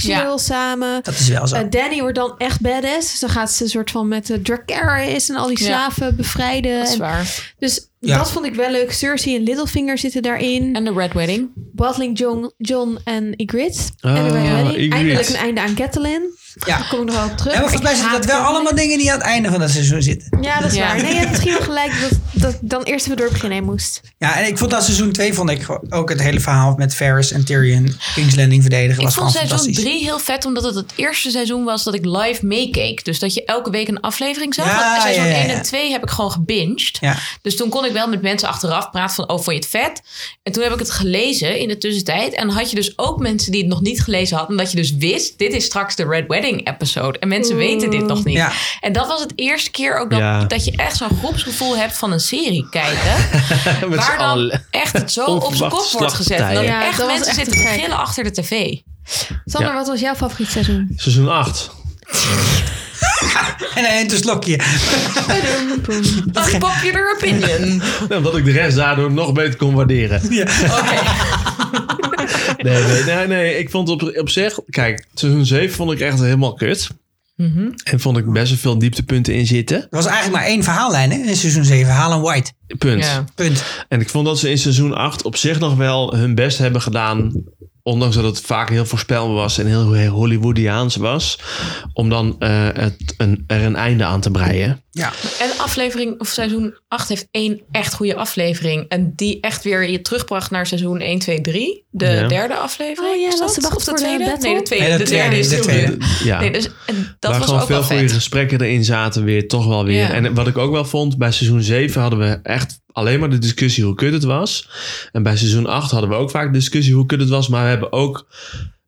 D: Jill
F: Ja.
D: samen.
A: Dat is wel zo.
D: Eh, Danny wordt dan echt badass. Dus dan gaat ze een soort van met de Dracarys en al die
F: Ja.
D: slaven bevrijden.
F: Dat is
D: En-
F: waar.
D: Dus
A: Ja.
D: dat vond ik wel leuk. Cersei en Littlefinger zitten daarin.
F: En de Red Wedding.
D: Bottling John, John en Ygritte.
E: Ah,
D: en we waren ready.
E: Ygritte.
D: Eindelijk een einde aan Catelyn.
A: Ja.
D: Daar kom ik nog wel op terug.
A: en
D: maar
A: volgens mij
D: ik
A: zitten dat wel
D: haat Catelyn.
A: allemaal dingen die aan het einde van het seizoen zitten.
D: Ja, dat is
F: Ja.
D: waar. Nee, je hebt misschien wel gelijk dat, dat ik dan eerst even door het begin heen moest.
A: Ja, en ik vond dat seizoen 2 vond ik gewoon- ook het hele verhaal met Ferris en Tyrion King's Landing verdedigen.
F: Ik
A: was
F: vond
A: gewoon
F: seizoen
A: fantastisch.
F: 3 heel vet, omdat het het eerste seizoen was dat ik live meekeek. Dus dat je elke week een aflevering zag.
A: Ja,
F: Want seizoen
A: ja, ja,
F: 1
A: ja.
F: en 2 heb ik gewoon gebinged.
A: Ja.
F: Dus toen kon ik wel met mensen achteraf praten van, oh, vond je het vet? En toen heb ik het gelezen in de tussentijd. En had je dus ook mensen die het nog niet gelezen hadden. Omdat je dus wist, dit is straks de Red Wedding episode. En mensen weten dit nog niet.
A: Ja.
F: En dat was het eerste keer ook dat,
E: Ja.
F: dat je echt zo'n groepsgevoel hebt van een serie kijken.
E: Met z'n
F: waar dan
E: allen.
F: echt het zo op zijn kop
E: Onverwachte
F: wordt gezet. En dat
E: slagpartijen.
D: Ja,
F: echt
D: dat was
F: mensen
D: echt
F: zitten
D: te
F: te
D: gek.
F: gillen achter de tv.
D: Sander,
E: Ja.
D: wat was jouw favoriet seizoen?
E: Seizoen 8.
A: En een interslokje.
F: Unpopular opinion.
E: Nou, Omdat ik de rest daardoor nog beter kon waarderen. nee, nee, nee, nee. Ik vond op, op zich... Kijk, seizoen 7 vond ik echt helemaal kut.
A: Mhm.
E: En vond ik best wel veel dieptepunten in zitten.
A: Er was eigenlijk maar één verhaallijn hè, in seizoen 7. Haal en White.
E: Punt.
F: Ja.
A: Punt.
E: En ik vond dat ze in seizoen 8 op zich nog wel hun best hebben gedaan. Ondanks dat het vaak heel voorspelbaar was en heel Hollywoodiaans was. Om dan eh, het, een, er een einde aan te breien.
A: Ja.
F: En aflevering, of seizoen 8 heeft één echt goede aflevering. En die echt weer je terugbracht naar seizoen 1, 2, 3. De
E: Ja.
F: derde aflevering.
D: Oh ja,
F: is
D: dat ze wachten
F: Of de
D: voor de
F: tweede?
D: battle?
F: nee, de tweede.
A: Nee,
F: de,
A: de
F: derde is
A: tweede, de
F: toen weer.
A: tweede.
E: Ja.
F: Nee, dus, en dat
E: Waar
F: was
E: gewoon
F: ook
E: veel
F: wel
E: goede
F: vet.
E: gesprekken erin zaten weer, toch wel weer.
F: Ja.
E: En wat ik ook wel vond, bij seizoen 7 hadden we echt alleen maar de discussie hoe kut het was. En bij seizoen 8 hadden we ook vaak de discussie hoe kut het was. Maar we hebben ook,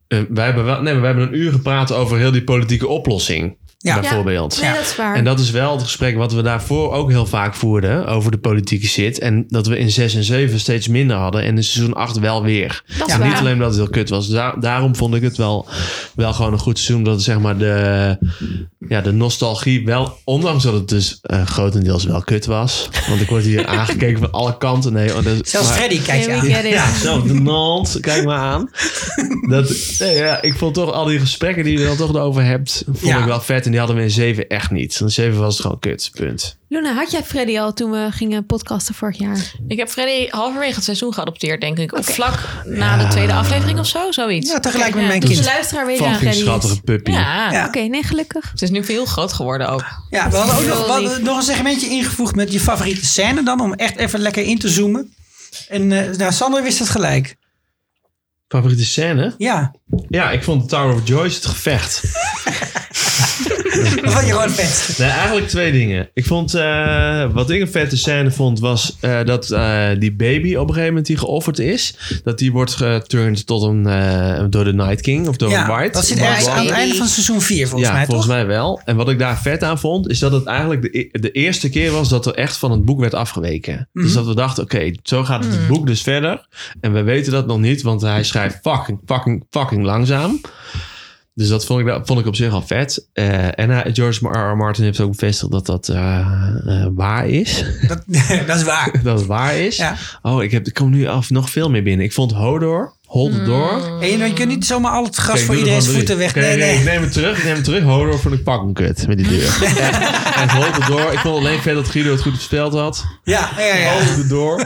E: eh, wij hebben wel, nee, maar we hebben een uur gepraat over heel die politieke oplossing.
A: Ja.
E: Bijvoorbeeld.
D: Nee, dat is waar.
E: En dat is wel het gesprek wat we daarvoor ook heel vaak voerden over de politieke shit. En dat we in 6 en 7 steeds minder hadden en in seizoen 8 wel weer.
D: Dat is
E: En
D: waar.
E: niet alleen omdat het heel kut was. Da- daarom vond ik het wel, wel gewoon een goed seizoen. Dat zeg maar de, ja, de nostalgie wel, ondanks dat het dus eh, grotendeels wel kut was. Want ik word hier aangekeken van alle kanten. Nee, oh, dat is-
A: Zelfs
E: maar-
A: Freddy kijkt je
D: Nee,
A: aan.
D: we get it.
A: Ja.
E: zelf de nant, kijk maar aan. Dat, nee, ja, ik vond toch al die gesprekken die je er dan toch over hebt, vond
A: Ja.
E: ik wel vet. En die hadden we in 7 echt niet. In 7 was het gewoon kut, punt.
D: Luna, had jij Freddy al toen we gingen podcasten vorig jaar?
F: Ik heb Freddy halverwege het seizoen geadopteerd, denk ik. Of vlak na de tweede aflevering of zo, zoiets.
A: Ja, tegelijk met
D: Ja,
A: mijn
D: dus
A: kind.
D: de luisteraar weet waar
E: Fucking
D: Freddy is.
E: schattige puppy.
F: Ja.
A: Ja.
D: Oké, nee, gelukkig.
F: Het is nu veel groot geworden ook.
A: Ja, we hadden ook nog, we
D: Heel
A: hadden nog een segmentje ingevoegd met je favoriete scène dan. Om echt even lekker in te zoomen. En eh nou, Sander wist het gelijk.
E: Favoriete scène?
A: Ja,
E: Ja, ik vond Tower of Joyce het gevecht.
A: dat vond je gewoon vet.
E: Nee, eigenlijk twee dingen. Ik vond, eh, wat ik een vette scène vond, was eh, dat eh, die baby op een gegeven moment die geofferd is, dat die wordt geturnd tot een, eh, door de Night King of door een
A: Ja,
E: White.
A: dat zit
E: White
A: ergens
E: Walker.
A: aan het einde van seizoen 4 volgens
E: ja,
A: mij,
E: volgens
A: toch?
E: mij wel. En wat ik daar vet aan vond, is dat het eigenlijk de, e- de eerste keer was dat er echt van het boek werd afgeweken.
A: Mhm.
E: Dus dat we dachten, oké, zo gaat het boek dus verder. En we weten dat nog niet, want hij schrijft fucking, fucking, fucking langzaam. Dus dat vond ik, dat vond ik op zich al vet. Eh, en hij- George R. R. Martin heeft ook bevestigd dat dat eh, eh, waar is.
A: Dat, dat is waar.
E: dat het waar is.
A: Ja.
E: Oh, ik, heb, ik kom nu af nog veel meer binnen. Ik vond Hodor, Holdor...
A: En je, je kunt niet zomaar al het gras
E: Kijk,
A: voor
E: doe er
A: iedereen's
E: gewoon
A: voeten
E: drie.
A: weg.
E: Oké,
A: Nee, nee.
E: Ik neem het terug, ik neem het terug. Hodor vond ik pak een kut met die deur. en het holt het door. Ik vond alleen vet dat Guido het goed gespeeld had.
A: Ja, ja, ja.
E: Holt het door.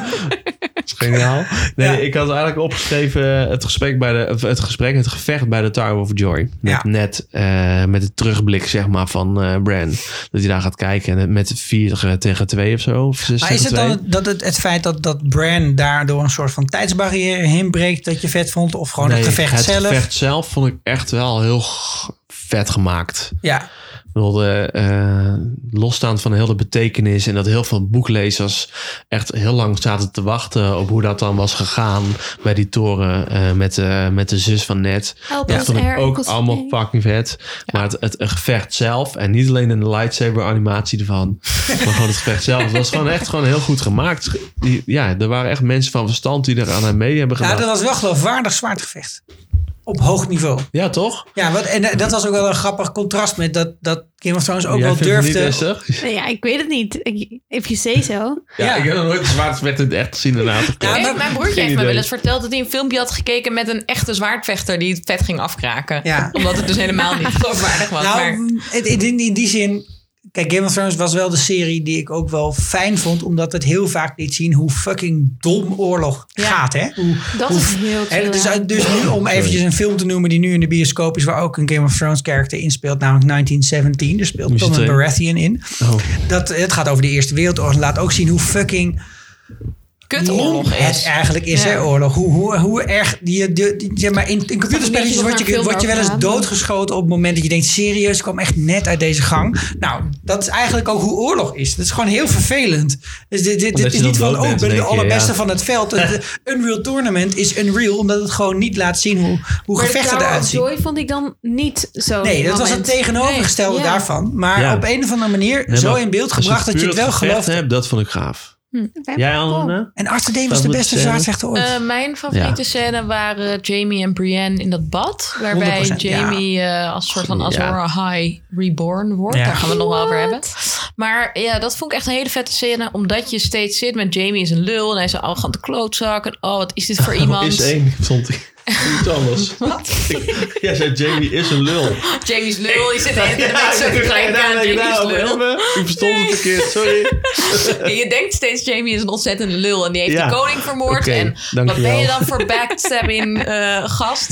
E: Dat is geniaal. Nee,
A: Ja.
E: ik had eigenlijk opgeschreven het gesprek, bij de, of het gesprek, het gevecht bij de Tower of Joy. Met
A: Ja.
E: net, eh, met het terugblik zeg maar van eh Bran. Dat hij daar gaat kijken en het met vier tegen twee of zo. Of zes
A: Maar is het
E: tegen
A: dan
E: twee.
A: het- dat het, het feit dat, dat Bran daardoor een soort van tijdsbarrière heen breekt dat je vet vond? Of gewoon het
E: Nee,
A: gevecht
E: het
A: zelf?
E: gevecht zelf vond ik echt wel heel g- vet gemaakt.
A: Ja,
E: Ik bedoel, de, eh, losstaand van heel de betekenis en dat heel veel boeklezers echt heel lang zaten te wachten op hoe dat dan was gegaan bij die toren eh, met, de, met de zus van Ned.
D: Help
E: Dat
D: ons,
E: vond ik
D: Air,
E: ook
D: enkels-
E: allemaal
D: nee.
E: fucking vet. Maar het, het gevecht zelf en niet alleen in de lightsaber animatie ervan, maar gewoon het gevecht zelf. Het was gewoon echt gewoon heel goed gemaakt. Die- ja, er waren echt mensen van verstand die er aan en mee hebben
A: ja
E: gedaan.
A: dat was wel geloofwaardig zwaardgevecht. Op hoog niveau.
E: Ja, toch?
A: Ja, wat, en eh, dat was ook wel een grappig contrast met dat, dat Game of Thrones ook
E: Jij
A: wel
E: vindt het niet
A: durfde.
E: lastig?
D: Nee, ja, ik weet het niet. Ik, if you say so.
E: Ja,
A: Ja.
E: ik heb nog nooit een zwaardgevecht in het echt gezien inderdaad.
A: Ja,
F: Hey,
A: dat-
F: mijn broertje
E: geen
F: heeft me
E: idee.
F: wel eens verteld dat hij een filmpje had gekeken met een echte zwaardvechter die het vet ging afkraken.
A: Ja.
F: Omdat het dus helemaal niet geloofwaardig was.
A: Nou,
F: maar
A: het- het- in, in die zin. Kijk, Game of Thrones was wel de serie die ik ook wel fijn vond. Omdat het heel vaak liet zien hoe fucking dom oorlog gaat. Hè? Hoe,
D: Dat
A: hoe-
D: is heel
A: hè,
D: chill,
A: dus,
D: ja.
A: dus nu om eventjes een film te noemen die nu in de bioscoop is. Waar ook een Game of Thrones character in speelt. Namelijk 1917. Daar speelt
E: Moest je
A: Tom
E: twee-
A: Baratheon in.
E: Oh.
A: Dat, het gaat over de Eerste Wereldoorlog. Laat ook zien hoe fucking
F: kutoorlog
A: het
F: is.
A: eigenlijk is,
F: Ja.
A: hè, oorlog. Hoe, hoe, hoe erg, die, eh, die, die- zeg maar, in, in computerspelletjes
D: Daar
A: word
D: veel
A: je, word je
D: meer
A: wel eens
D: over na.
A: doodgeschoten op het moment dat je denkt, serieus, ik kwam echt net uit deze gang. Nou, dat is eigenlijk ook hoe oorlog is. Dat is gewoon heel vervelend. Dus dit, dit,
E: Omdat
A: dit
E: je
A: is
E: dan
A: niet van,
E: dood
A: oh, ik
E: bent
A: ben
E: in
A: de
E: één keer,
A: allerbeste
E: ja.
A: van het veld. Het het eh, Unreal Tournament is Unreal, omdat het gewoon niet laat zien hoe, hoe
D: Maar de
A: gevechten
D: Tower
A: eruit
D: of
A: zien.
D: Joy vond ik dan niet zo.
A: Nee, dat was het
D: moment.
A: tegenovergestelde
D: Nee, ja.
A: daarvan. Maar
E: Ja.
A: op een of andere manier
E: Nee,
A: zo
E: maar
A: in beeld
E: als
A: gebracht dat je het
E: puur
A: wel
E: gevecht
A: gelooft.
E: hebt, dat vond ik gaaf.
D: Wij-
E: Jij,
D: Oh.
E: Anne?
A: En Arthur D. was
E: Dat
A: de
E: moet ik
A: beste
E: zeggen.
A: zwaardvechter ooit.
F: Eh, mijn favoriete scène waren Jamie en Brienne in dat bad. Waarbij
A: 100%, ja.
F: Jamie eh, als soort van Azor High reborn wordt.
A: Ja.
F: Daar gaan we het nog wel over hebben. Maar ja, dat vond ik echt een hele vette scène. Omdat je steeds zit met Jamie is een lul. En hij is een arrogante klootzak. En oh, wat is dit voor iemand?
E: Is één, stond ik. Iets anders. Ik- Jij zei Jamie is een lul.
F: Jamie is lul. Je zit de hele tijd
E: Ja,
F: met zo'n
E: ik
F: klein
E: dacht, daar
F: aan.
E: denk ik
F: Jamie is
E: nou over
F: lul.
E: hebben. Ik verstond het verkeerd, sorry.
F: En je denkt steeds Jamie is een ontzettende lul. En die heeft
E: Ja.
F: de koning vermoord.
E: Oké,
F: en wat
E: dankjewel.
F: ben je dan voor backstabbing eh, gast?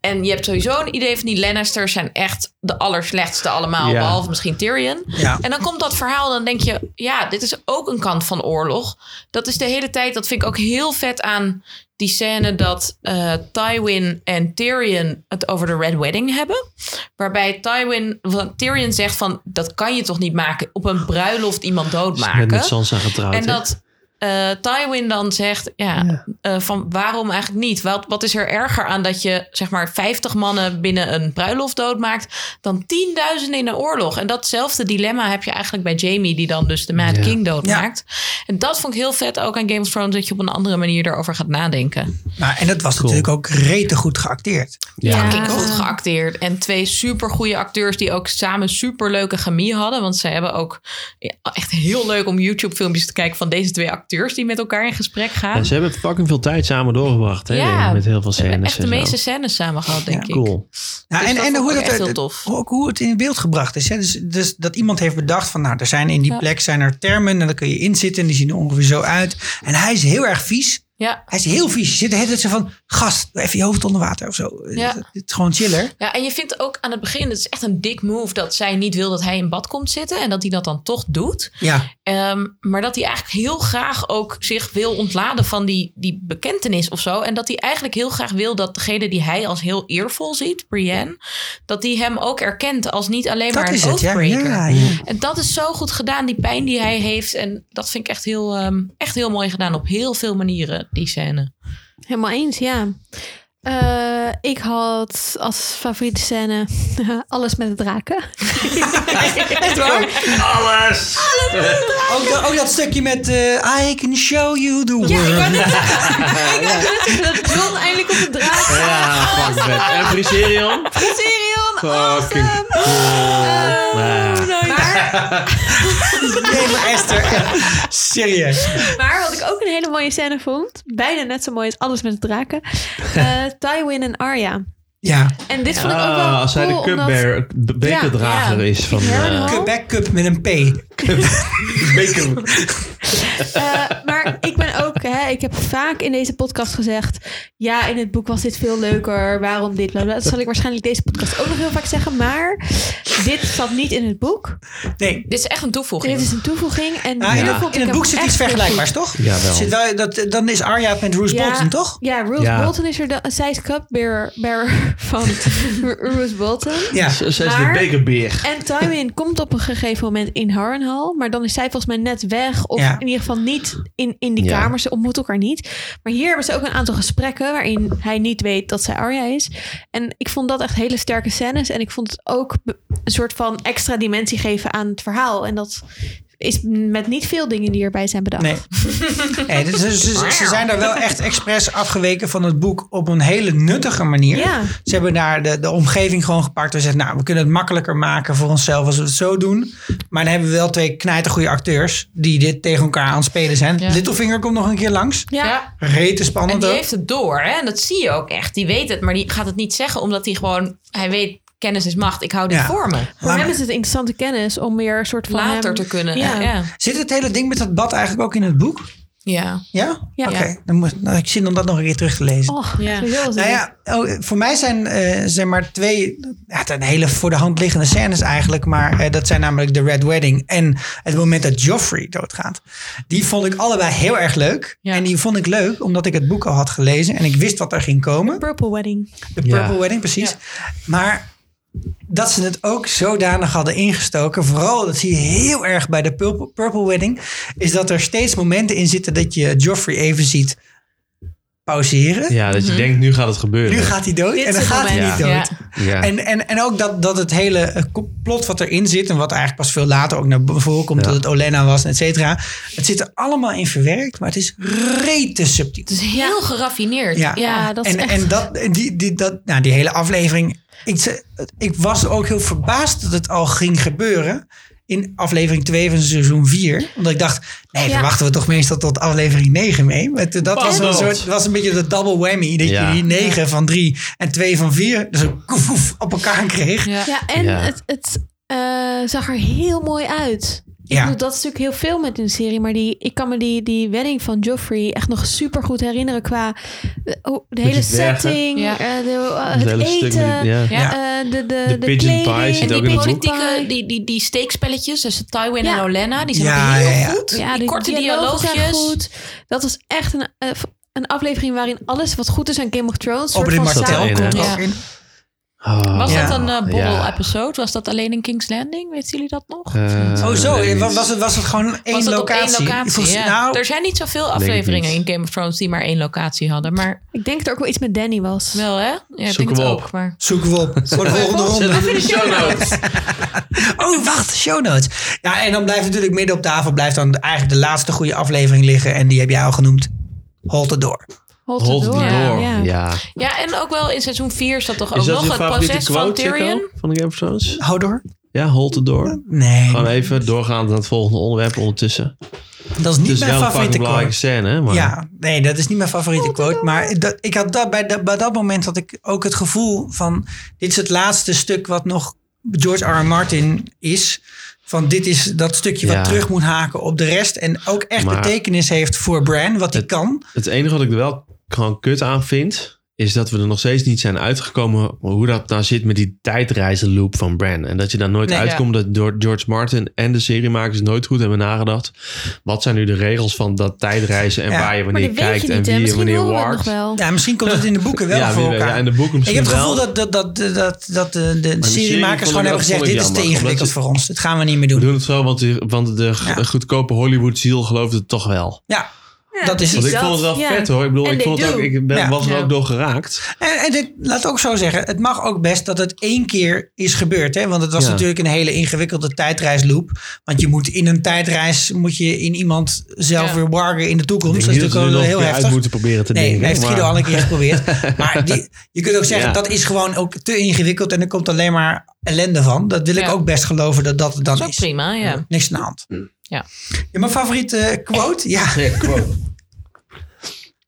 F: En je hebt sowieso een idee van die Lannisters zijn echt de allerslechtste allemaal.
E: Ja.
F: Behalve misschien Tyrion.
A: Ja.
F: En dan komt dat verhaal dan denk je... Ja, dit is ook een kant van oorlog. Dat is de hele tijd... Dat vind ik ook heel vet aan die scène dat eh, Tywin en Tyrion het over de Red Wedding hebben. Waarbij Tywin, want Tyrion zegt van... Dat kan je toch niet maken? Op een bruiloft iemand doodmaken.
E: Met met Sansa getrouwd.
F: En
E: hè?
F: dat eh, Tywin dan zegt, ja, eh, van waarom eigenlijk niet? Wat, wat is er erger aan dat je zeg maar 50 mannen binnen een bruiloft doodmaakt dan 10.000 in een oorlog? En datzelfde dilemma heb je eigenlijk bij Jamie, die dan dus de Mad
E: Ja.
F: King doodmaakt. En dat vond ik heel vet ook aan Game of Thrones, dat je op een andere manier erover gaat nadenken.
A: Nou, en dat was
E: Cool.
A: natuurlijk ook rete goed geacteerd.
D: Ja.
F: Fucking goed geacteerd. En twee supergoeie acteurs die ook samen superleuke chemie hadden. Want ze hebben ook ja, echt heel leuk om YouTube filmpjes te kijken van deze twee ac- acteurs die met elkaar in gesprek gaan.
E: En ze hebben fucking veel tijd samen doorgebracht. Hè?
F: Ja.
E: Met heel veel
F: We hebben
E: scènes.
F: echt de
E: en zo.
F: meeste scènes samen gehad, denk ik.
E: Cool.
A: Nou,
F: Dus
A: en
F: dat
A: en
F: vond
A: hoe,
F: ik
A: dat,
F: echt heel
A: dat-
F: tof.
A: Ook hoe het in beeld gebracht is. Hè? Dus, dus dat iemand heeft bedacht van, nou, er zijn in die
F: Ja.
A: plek zijn er termen en dan kun je inzitten en die zien er ongeveer zo uit. En hij is heel erg vies.
F: Ja.
A: Hij is heel vies. Je zit de hele tijd zo van, gast, doe even je hoofd onder water of zo.
F: Ja.
A: Het, het is gewoon chiller.
F: ja, en je vindt ook aan het begin, het is echt een dik move... dat zij niet wil dat hij in bad komt zitten en dat hij dat dan toch doet.
A: Ja,
F: Ehm, maar dat hij eigenlijk heel graag ook zich wil ontladen van die, die bekentenis of zo. En dat hij eigenlijk heel graag wil dat degene die hij als heel eervol ziet, Brienne... dat die hem ook erkent als niet alleen
A: dat
F: maar
A: is
F: een
A: het. Ja,
F: oathbreaker.
A: ja, ja.
F: En dat is zo goed gedaan, die pijn die hij heeft. En dat vind ik echt heel, ehm, echt heel mooi gedaan op heel veel manieren, die scène.
D: Helemaal eens, ja. Eh, ik had als favoriete scène alles met de draken.
A: Ook, dat- ook dat stukje met eh I can show you the world.
D: Ja, ik wou net zeggen. Ik wou net zeggen dat John eindelijk op de draak gaat.
E: Ja, fuck vet. En Friserion?
D: Tyrion,
E: Fucking
D: awesome. Eh,
E: cool. Nou,
D: Maar,
A: Nee, maar Esther, eh, serieus.
D: maar wat ik ook een hele mooie scène vond, bijna net zo mooi als alles met de draken, eh, Tywin en Arya.
A: Ja,
D: En dit vond ik ook wel
E: Ah, als hij de
D: cool, omdat...
E: cupbearer, de bekerdrager
F: Ja, ja.
E: is van...
D: Ja,
E: eh,
F: Oh.
D: nou.
A: cup back cup met een P.
E: beker.
D: Eh, maar ik ben ook, hè, ik heb vaak in deze podcast gezegd. Ja, in het boek was dit veel leuker. Waarom dit? Bla bla. Dat zal ik waarschijnlijk deze podcast ook nog heel vaak zeggen. Maar dit zat niet in het boek.
A: Nee,
F: Dit is echt een toevoeging.
D: Dit is dus een toevoeging. En
A: Nou,
D: die
A: in, het-
D: vond
A: in het
D: ik hem
A: boek zit
D: echt
A: iets
D: heel goed.
A: vergelijkbaars, toch?
E: Jawel.
A: Zit wel, dat, dan is Arya met Roose
D: Ja.
A: Bolton, toch?
D: Ja, Rose
E: Ja.
D: Bolton is er. da- Zij is cupbearer bearer van Rose Bolton.
A: Ja.
E: Ze ze is de
D: Maar-
E: bekerbeer.
D: En Tywin komt op een gegeven moment in Harrenhal. Maar dan is zij volgens mij net weg. Of
A: Ja.
D: in ieder geval niet in, in die
E: Ja.
D: kamer. Ze ontmoeten elkaar niet. Maar hier hebben ze ook een aantal gesprekken... waarin hij niet weet dat zij Arya is. En ik vond dat echt hele sterke scènes. En ik vond het ook be- een soort van extra dimensie geven aan het verhaal. En dat is met niet veel dingen die erbij zijn bedacht.
A: Nee. nee dus, ze- ze, ze zijn daar wel echt expres afgeweken van het boek op een hele nuttige manier.
D: Ja.
A: Ze hebben daar de, de omgeving gewoon gepakt. We zeggen, nou, we kunnen het makkelijker maken voor onszelf als we het zo doen. Maar dan hebben we wel twee knijtergoeie acteurs die dit tegen elkaar aan het spelen zijn.
F: Ja.
A: Littlefinger komt nog een keer langs.
D: Ja.
F: Ja.
A: Rete
F: En
A: spannend
F: die
A: ook.
F: heeft het door, hè? En dat zie je ook echt. Die weet het, maar die gaat het niet zeggen, omdat hij gewoon, hij weet, kennis is macht. Ik hou dit
A: Ja.
F: voor me.
D: Voor hem is het interessante kennis om meer een soort van...
F: Later
D: hem-
F: te kunnen. Ja.
D: Ja.
F: ja.
A: Zit het hele ding met dat bad eigenlijk ook in het boek?
F: ja.
A: Ja?
D: Ja.
A: Oké, dan moet, nou, ik zin om dat nog een keer terug te lezen.
D: Oh,
F: Ja.
D: sowieso was het
A: Nou ja, oh, voor mij zijn, eh, zijn maar twee ja, het zijn hele voor de hand liggende scènes eigenlijk. Maar eh, dat zijn namelijk de Red Wedding en het moment dat Joffrey doodgaat. Die vond ik allebei heel erg leuk.
F: Ja.
A: En die vond ik leuk omdat ik het boek al had gelezen. En ik wist wat er ging komen.
D: Purple Wedding.
A: De Purple
E: Ja.
A: Wedding, precies. Maar dat ze het ook zodanig hadden ingestoken. Vooral, dat zie je heel erg bij de Purple, Purple Wedding. Is dat er steeds momenten in zitten dat je Joffrey even ziet pauzeren.
E: Ja,
F: Mhm.
E: dat je denkt, nu gaat het gebeuren.
A: Nu gaat hij dood
D: Dit
A: en dan
D: is het
A: gaat hij
D: moment.
A: niet dood.
F: Ja.
E: ja.
A: En, en, en ook dat, dat het hele eh, complot wat erin zit... en wat eigenlijk pas veel later ook naar voren komt...
E: Ja.
A: dat het Olena was, et cetera. Het zit er allemaal in verwerkt, maar het is rete subtiel.
F: Het is heel geraffineerd.
A: Ja.
D: Ja, dat is
A: en
D: echt...
A: en dat, en die, die, dat, nou, die hele aflevering... Ik, ze- ik was ook heel verbaasd dat het al ging gebeuren... in aflevering 2 van seizoen 4. Omdat ik dacht, nee,
D: Ja.
A: daar wachten we toch meestal tot aflevering 9 mee. Maar toen- dat was een,
E: Baldood.
A: soort, was een beetje de double whammy... dat
E: Ja.
A: je die 9 van 3 en 2 van 4 dus een koef, koef, op elkaar kreeg.
F: Ja.
D: Ja, en
E: Ja.
D: het, het eh, zag er heel mooi uit. Ik
A: Ja.
D: bedoel, dat is natuurlijk heel veel met een serie, maar die, ik kan me die, die wedding van Joffrey echt nog super goed herinneren qua eh, oh, de hele
E: dwergen.
D: setting,
F: Ja.
D: eh, de, eh,
E: Het
D: het,
E: hele stuk met die-
D: eten,
E: ja.
F: Ja.
D: eh, de, de,
E: De
D: de,
E: pigeon pie
D: kleding.
E: zit
F: En die
E: ook in het boek.
F: politieke, die, die, die steekspelletjes tussen Tywin en
D: Ja.
F: Olenna, die zijn
A: Ja,
F: ook heel
A: ja, ja.
F: goed.
D: Ja,
F: die
D: de
F: korte
D: dialogen zijn
F: dialoogjes.
D: goed. Dat was echt een, eh, een aflevering waarin alles wat goed is aan Game of Thrones soort
A: Op dit
D: van
E: Martel.
D: samen-
A: martel komt
E: samen-
F: Ja.
A: ook in.
E: Oh.
F: Was
A: Ja.
F: dat een eh
E: Ja.
F: borrel-episode? Was dat alleen in King's Landing? Weten jullie dat nog?
E: Eh,
A: Oh zo,
E: nee,
A: was
E: niet.
A: was het, was het gewoon één
F: was dat
A: locatie?
F: op één locatie?
A: Volgens-
F: ja.
A: nou,
F: er zijn niet zoveel
E: ik
F: afleveringen
E: niet.
F: in Game of Thrones die maar één locatie hadden. Maar
D: Ik denk dat er ook wel iets met Danny was.
F: wel, hè? Ja, ik
E: Zoek
F: denk
E: hem
F: het
E: op.
F: ook. Maar...
A: zoeken we op voor de volgende ronde. Oh, wacht, show notes. Ja, en dan blijft natuurlijk midden op tafel blijft dan eigenlijk de laatste goede aflevering liggen. En die heb jij al genoemd. Hold the door.
D: Hold,
E: Hold
D: the
E: the
D: door.
E: door.
D: Ja.
E: Ja.
F: Ja, en ook wel in seizoen 4 is dat toch ook
E: Is dat
F: nog
E: je
F: het
E: favoriete
F: proces van
E: quote,
F: Tyrion?
E: Jacco, van Game of Thrones?
A: Hold door?
E: Ja, hold the door.
A: Nee.
E: Oh, Gewoon even doorgaan naar het volgende onderwerp ondertussen.
A: Dat is niet
E: Dus
A: mijn
E: wel een fucking
A: favoriete quote.
E: belangrijke scène, hè? Maar
A: Ja, nee, dat is niet mijn favoriete quote. Maar dat, ik had dat, bij, dat, bij dat moment had ik ook het gevoel van... dit is het laatste stuk wat nog George R. R. Martin is. Van dit is dat stukje
E: Ja.
A: wat terug moet haken op de rest. En ook echt
E: Maar-
A: betekenis heeft voor Bran, wat hij
E: Het-
A: kan.
E: Het enige wat ik er wel gewoon kut aan vind, is dat we er nog steeds niet zijn uitgekomen hoe dat nou zit met die tijdreizen loop van Bran. En dat je daar nooit
A: Nee,
E: uitkomt dat door George Martin en de seriemakers nooit goed hebben nagedacht. Wat zijn nu de regels van dat tijdreizen en
A: Ja.
E: waar je
D: Maar
E: wanneer
D: die weet
E: kijkt
D: je niet, hè?
E: en wie je
D: Misschien
E: wanneer
D: horen we het nog
E: wart.
D: wel.
A: Ja, misschien komt het in de boeken wel
E: Ja,
A: voor
E: wie weet,
A: elkaar.
E: ja, en de
A: ik
E: boeken misschien
A: heb het gevoel
E: wel.
A: dat, dat, dat, dat, dat eh, de, de
E: serie vond ik
A: seriemakers gewoon
E: dat-
A: hebben gezegd...
E: vond ik
A: dit is te
E: jammer, omdat
A: ingewikkeld
E: je-
A: voor ons. Dit gaan we niet meer
E: We
A: doen.
E: doen het zo, want de, want de g-
A: Ja.
E: goedkope Hollywood-ziel gelooft het toch wel.
A: Ja, dat is
E: Want
A: het.
E: ik vond het wel
D: ja.
E: vet hoor. Ik bedoel,
D: En
E: ik,
D: they
E: vond het
D: do.
E: ook, ik ben,
A: Ja. Dus
E: was er
F: Ja.
E: ook door geraakt.
A: En, en dit, laat ik ook zo zeggen, het mag ook best dat het één keer is gebeurd. Hè? Want het was
E: Ja.
A: natuurlijk een hele ingewikkelde tijdreisloop. Want je moet in een tijdreis moet je in iemand zelf
F: Ja.
A: weer wargen in de toekomst.
E: Ik
A: Dat
E: denk
A: is
E: niet dat we
A: natuurlijk wel
E: nu nog
A: heel
E: weer uit
A: heftig.
E: moeten proberen te
A: Nee,
E: denken.
A: hij heeft
E: maar-
A: Guido al een keer geprobeerd. Maar die, je kunt ook zeggen,
E: Ja.
A: dat is gewoon ook te ingewikkeld. En er komt alleen maar ellende van. Dat wil ik
F: Ja.
A: ook best geloven dat dat het dan
F: Dat is ook
A: is.
F: prima, ja.
A: Niks aan de hand.
E: Hm.
F: Ja.
A: Ja, mijn favoriete eh, quote? Ja,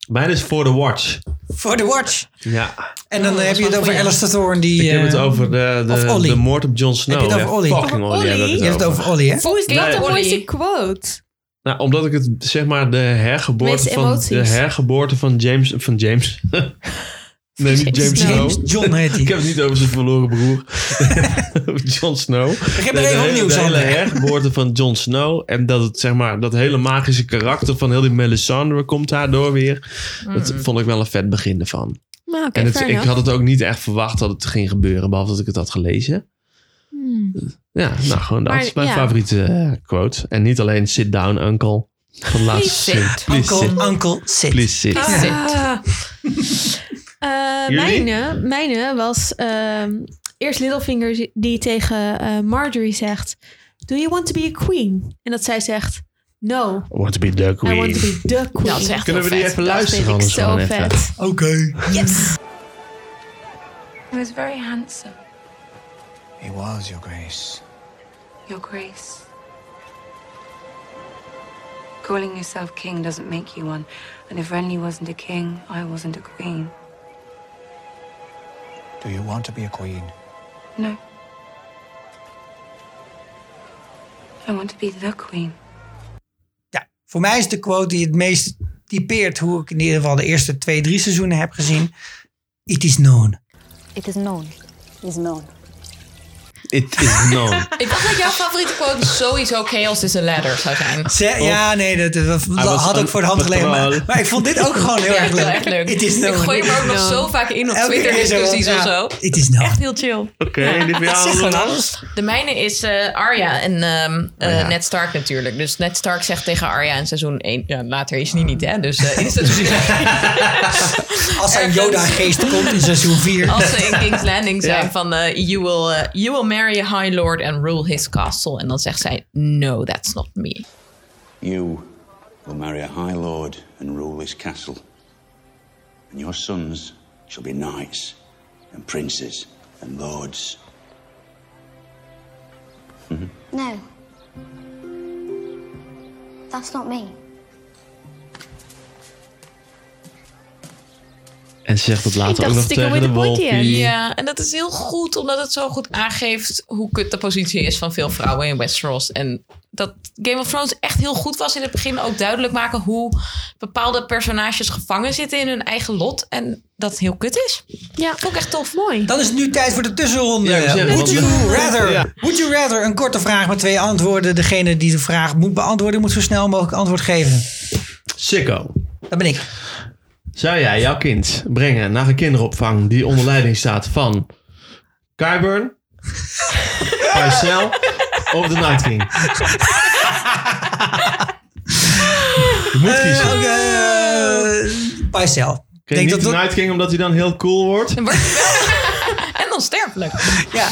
E: Mijn is For the Watch.
A: for the watch.
E: Ja.
A: En dan
F: Oh,
A: eh,
F: dat
A: heb
F: is
A: je het
F: wel
A: over
F: een goeie.
A: Alistair Thorne. Die,
E: Ik heb het
A: eh,
E: over de,
A: of
E: de,
A: Ollie.
E: de moord op Jon Snow.
A: Heb je het over
E: Ja,
A: Ollie?
E: Fucking Ollie. heb ik
D: Ollie?
A: Je hebt het over Ollie, hè?
D: Hoe is dat
E: Nee.
D: de mooiste
F: Ollie.
D: quote?
E: Nou, omdat ik het zeg maar de hergeboorte
D: Met
E: van de
D: emoties.
E: hergeboorte van James van James. nee, niet James
D: Snow.
E: Snow.
A: James John heet
E: Ik
A: hij.
E: heb het niet over zijn verloren broer. Jon Snow.
A: Ik heb
E: De,
A: er
E: de,
A: even
E: hele,
A: opnieuw
E: de hele
A: Sander.
E: hergeboorte van Jon Snow. En dat het zeg maar dat hele magische karakter van heel die Melisandre komt daardoor weer. Dat vond ik wel een vet begin ervan.
D: Nou, oké,
E: En het,
D: fair
E: ik
D: enough.
E: had het ook niet echt verwacht dat het ging gebeuren, behalve dat ik het had gelezen. Ja, nou gewoon dat.
D: Maar,
E: is mijn
D: ja.
E: favoriete eh, quote. En niet alleen sit down, uncle. Van
F: Please
E: laatste
F: sit.
E: zin. Please
A: Uncle,
E: sit.
A: uncle, sit.
E: Please sit.
F: Ah.
D: Ah. Eh,
E: Jullie?
D: mijne, mijne was ehm, eerst Littlefinger die tegen eh, Marjorie zegt... Do you want to be a queen? En dat zij zegt... No,
E: I want to be the
D: I want to
E: queen.
D: be the queen.
F: Dat is echt
E: Kunnen we
F: heel
E: die
F: vet.
E: even
D: Dat
E: luisteren?
D: vind ik
E: anders
D: zo
E: gewoon even?
D: vet.
A: Oké.
G: He was very handsome,
H: He was, Your Grace.
G: Your Grace. Calling yourself king doesn't make you one, and if Renly wasn't a king, I wasn't a queen.
H: Do you want to be a queen?
G: No. I want to be the queen.
A: Ja, voor mij is de quote die het meest typeert hoe ik in ieder geval de eerste twee, drie seizoenen heb gezien. It is known.
I: It is known. It is known.
E: It is known.
F: Ik dacht dat jouw favoriete quote sowieso Chaos is a Ladder zou zijn.
A: Ze- ja, nee, dat, dat- dat
E: was
A: had
E: on
A: ook voor de hand gelegen. Maar,
E: patrol.
A: maar ik vond dit ook gewoon heel
F: Ja,
A: erg
F: ik
A: leuk.
F: vind het echt leuk.
A: It is known.
F: Ik gooi hem ook nog zo vaak in op
A: Elke keer zo,
F: Twitter-discussies
A: ja,
F: of zo.
A: It is known.
F: Echt heel chill.
E: Oké, die van jou
A: Gewoon
E: allemaal?
A: alles.
F: De mijne is eh Arya en ehm, eh,
E: ja.
F: Ned Stark natuurlijk. Dus Ned Stark zegt tegen Arya in seizoen 1... Ja, later is hij niet, hè? Dus eh, in seizoen 1...
A: Als er een
F: Ergens.
A: Yoda-geest komt in seizoen 4.
F: Als ze in King's Landing zijn
E: Ja.
F: van... eh, you, will, eh, you will marry a high lord and rule his castle. En dan zegt zij... No, that's not me.
J: You will marry a High Lord and rule this castle. And your sons shall be knights and princes and lords.
I: No. That's not me.
E: En ze zegt dat later
D: dacht
E: ook nog
D: Stick
E: tegen
D: with
E: de
D: the pointy
E: wolfie.
D: end.
F: Ja, en dat is heel goed, omdat het zo goed aangeeft hoe kut de positie is van veel vrouwen in Westeros. En dat Game of Thrones echt heel goed was in het begin ook duidelijk maken hoe bepaalde personages gevangen zitten in hun eigen lot. En dat het heel kut is.
D: Ja,
F: Ook echt tof.
D: mooi.
A: Dan is het nu tijd voor de tussenronde.
E: Ja, ik zeg,
A: would,
E: want-
A: you rather,
E: Ja.
A: would you rather? Een korte vraag met twee antwoorden. Degene die de vraag moet beantwoorden, moet zo snel mogelijk antwoord geven.
E: Sicko.
A: Dat ben ik.
E: Zou jij jouw kind brengen naar een kinderopvang die onder leiding staat van Kyburn, Marcel of de Night King? Je moet kiezen.
A: Ook, eh, Pycel.
E: Ik denk niet
A: dat
E: de Night King omdat hij dan heel cool wordt.
F: En wordt je wel- en onsterfelijk.
A: Ja.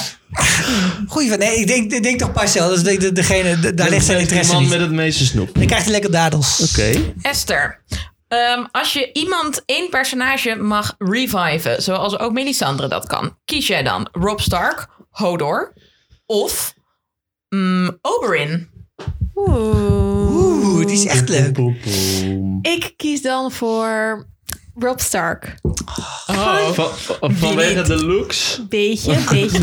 A: Goeie van. Nee, ik denk, ik denk toch Parcel. Dat is de- de- degene, de- daar ligt zijn interesse
E: De
A: in.
E: man met het meeste snoep. Oké.
A: Dan krijgt hij lekker dadels.
F: Esther. ehm, als je iemand één personage mag reviven, zoals ook Melisandre dat kan, kies jij dan Rob Stark, Hodor of mm, Oberyn?
D: Oeh.
A: Oeh, die is echt leuk.
D: Ik kies dan voor Rob Stark.
E: Van- van- Oh, vanwege de looks.
D: Beetje, beetje.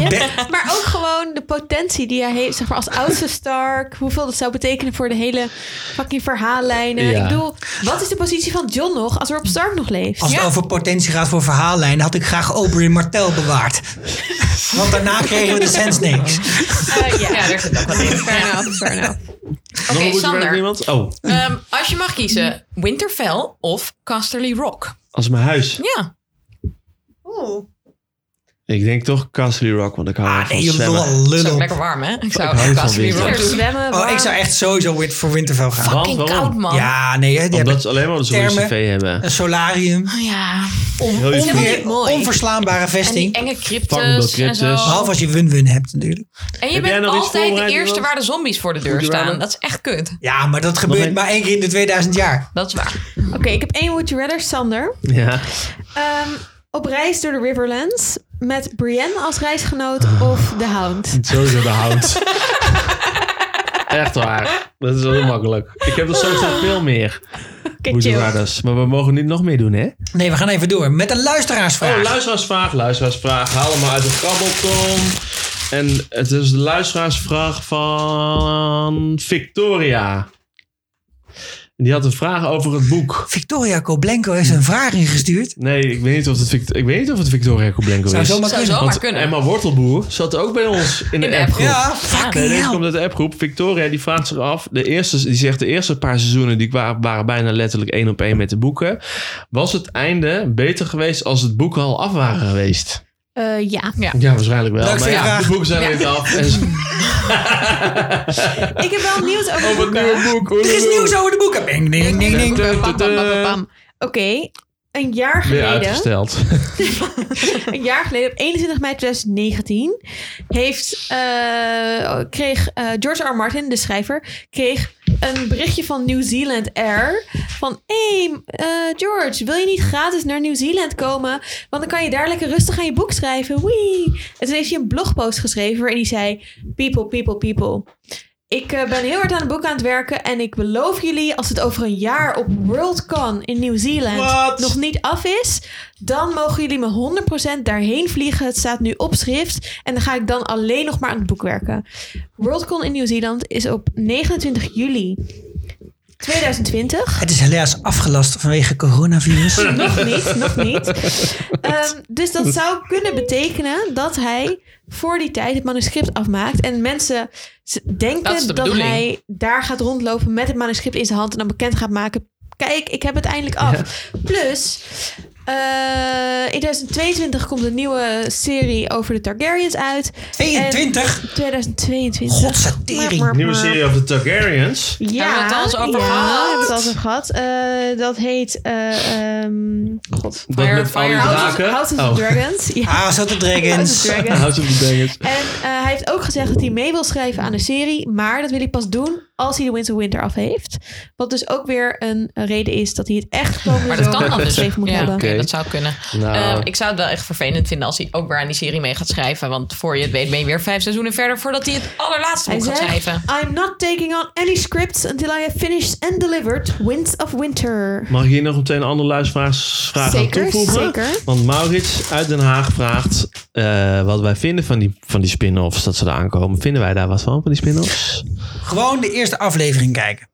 D: maar ook gewoon de potentie die hij heeft, zeg maar als oudste Stark. Hoeveel dat zou betekenen voor de hele fucking verhaallijnen.
E: Ja.
D: Ik bedoel, wat is de positie van John nog als Rob Stark nog leeft?
A: Als het over potentie gaat voor verhaallijnen, had ik graag Aubrey Martel bewaard. Want daarna kregen we de Sand Snakes.
D: Eh, ja.
F: Ja, daar zit ook wat in. Fair enough, fair enough. Oké,
E: Nog een woordje bij
F: Sander.
E: iemand? Oh,
F: ehm, als je mag kiezen, Winterfell of Casterly Rock?
E: als mijn huis.
F: Ja.
E: Ik denk toch Castle Rock, want ik hou
A: Ah
E: van
A: nee, je
E: zwemmen.
A: lul
F: Is ook
A: lul op.
F: lekker warm, hè? Ik
E: Ik hou
F: zou
E: van
F: Casterly
E: winter.
F: Rock
D: Lekker
F: doen.
D: zwemmen,
A: Oh, ik
D: warm.
A: zou echt sowieso wit- voor Winterfell gaan.
F: Fucking
E: Want, waarom?
F: koud, man.
A: Ja, nee, hè, die
E: Omdat
A: hebben
E: ze alleen maar de zo'n
A: termen.
E: cv hebben.
A: een solarium.
F: Oh, Ja.
E: Heel
A: Onweer-
E: uniek.
F: mooi.
A: onverslaanbare
F: En die
A: vesting.
F: enge
E: Fucking
F: cryptes
E: dat
F: en zo.
E: cryptes.
A: Behalve als je win-win hebt natuurlijk.
F: En je
E: Heb jij
F: bent
E: nog iets
F: altijd de
E: voorbereid,
F: eerste
E: Jonas?
F: waar de zombies voor de deur
E: Moet je
F: staan.
E: raden?
F: Dat is echt kut.
A: Ja, maar dat gebeurt
E: een-
A: maar één keer in de 2000 jaar.
F: Dat is waar.
D: Oké, ik heb één Would You Rather, Sander.
E: Ja.
D: Ehm, op reis door de Riverlands met Brienne als reisgenoot of The Hound.
E: Sowieso de hout. Echt waar. Dat is wel heel makkelijk. Ik heb er soms nog veel meer.
D: Oké,
E: Woody
D: chill.
E: Riders. dus. Maar we mogen niet nog meer doen, hè?
A: Nee, we gaan even door met een luisteraarsvraag.
E: Oh, luisteraarsvraag, luisteraarsvraag. Haal hem maar uit de krabbelton. En het is de luisteraarsvraag van Victoria. En Die had een vraag over het boek.
A: Victoria Koblenko heeft een vraag ingestuurd.
E: Nee, ik weet niet of het, Vict- ik weet niet of het Victoria Koblenko
A: Zou
E: is.
A: zomaar
F: Zou
A: kunnen.
F: zomaar
E: Want
F: kunnen.
E: Emma Wortelboer zat ook bij ons in, de,
F: de
E: appgroep.
F: appgroep.
A: Ja,
E: Nee,
A: fucking
E: deze
A: hell.
E: komt uit de appgroep. Victoria die vraagt zich af. De eerste, die zegt de eerste paar seizoenen die waren, waren bijna letterlijk één op één met de boeken. Was het einde beter geweest als het boek al af waren geweest?
D: Eh, ja.
E: Ja, waarschijnlijk wel.
A: Leuk,
E: maar
A: vind ik
E: ja,
A: graag.
E: de boeken zijn er
F: Ja.
E: niet af. En ze-
D: Ik heb wel nieuws over de
E: oh, wat
D: boeken.
E: nieuw boek.
A: Er is nieuws over de boeken. Ding, ding, ding, ding.
E: Tudu.
D: Bam, bam, bam, bam, bam. Oké, een jaar
E: Weer
D: geleden...
E: uitgesteld.
D: een jaar geleden, op 21 mei 2019, heeft, eh, kreeg eh, George R. R. Martin, de schrijver, kreeg een berichtje van New Zealand Air. Van, hé hey, eh, George, wil je niet gratis naar New Zealand komen? Want dan kan je daar lekker rustig aan je boek schrijven. Wee! En toen heeft hij een blogpost geschreven waarin hij zei, people, people, people. Ik eh, ben heel hard aan het boek aan het werken en ik beloof jullie als het over een jaar op Worldcon in Nieuw-Zeeland
E: Wat?
D: nog niet af is, dan mogen jullie me 100% daarheen vliegen. Het staat nu op schrift. En dan ga ik dan alleen nog maar aan het boek werken. Worldcon in Nieuw-Zeeland is op 29 juli 2020.
A: Het is helaas afgelast vanwege coronavirus.
D: Nog niet, nog niet. Ehm, dus dat zou kunnen betekenen dat hij voor die tijd het manuscript afmaakt. En mensen z-
F: Dat is
D: denken
F: de
D: dat,
F: bedoeling.
D: hij daar gaat rondlopen met het manuscript in zijn hand. En dan bekend gaat maken. Kijk, ik heb het eindelijk af. Plus, eh, in 2022 komt een nieuwe serie over de Targaryens uit.
A: 22?
D: En 2022.
A: Godsatering.
D: Maar- maar-
E: Nieuwe serie over de Targaryens.
D: ja,
F: Hebben we het al eens over
D: ja,
F: gehad?
D: hebben we het al eens over gehad. Eh, dat heet... eh, ehm, God.
E: Dat met al die
F: Fire-
D: House of,
E: draken.
D: House of
E: Oh,
D: Dragons. Ja.
A: House of the Dragons.
D: House of Dragons.
E: House of the Dragons.
D: En eh, hij heeft ook gezegd dat hij mee wil schrijven aan de serie. Maar dat wil hij pas doen als hij de Winter Winter af heeft. Wat dus ook weer een eh, reden is dat hij het echt komende
F: Maar dat kan
D: zomer
F: dan dus. Ja,
D: geschreven moet
F: oké,
D: hebben.
E: Oké.
F: dat zou kunnen.
E: Nou.
F: Ehm, ik zou het wel echt vervelend vinden als hij ook weer aan die serie mee gaat schrijven. Want voor je het weet ben je weer vijf seizoenen verder voordat hij het allerlaatste
D: Hij
F: boek gaat
D: zegt,
E: Nou,
F: schrijven.
D: I'm not taking on any scripts until I have finished and delivered Winds of Winter.
E: Mag ik hier nog meteen een andere luisteraarsvraag aan
D: Zeker,
E: toevoegen?
D: zeker.
E: Want Maurits uit Den Haag vraagt eh, wat wij vinden van die, van die spin-offs, dat ze eraan komen. Vinden wij daar wat van, van die spin-offs?
A: Gewoon de eerste aflevering kijken.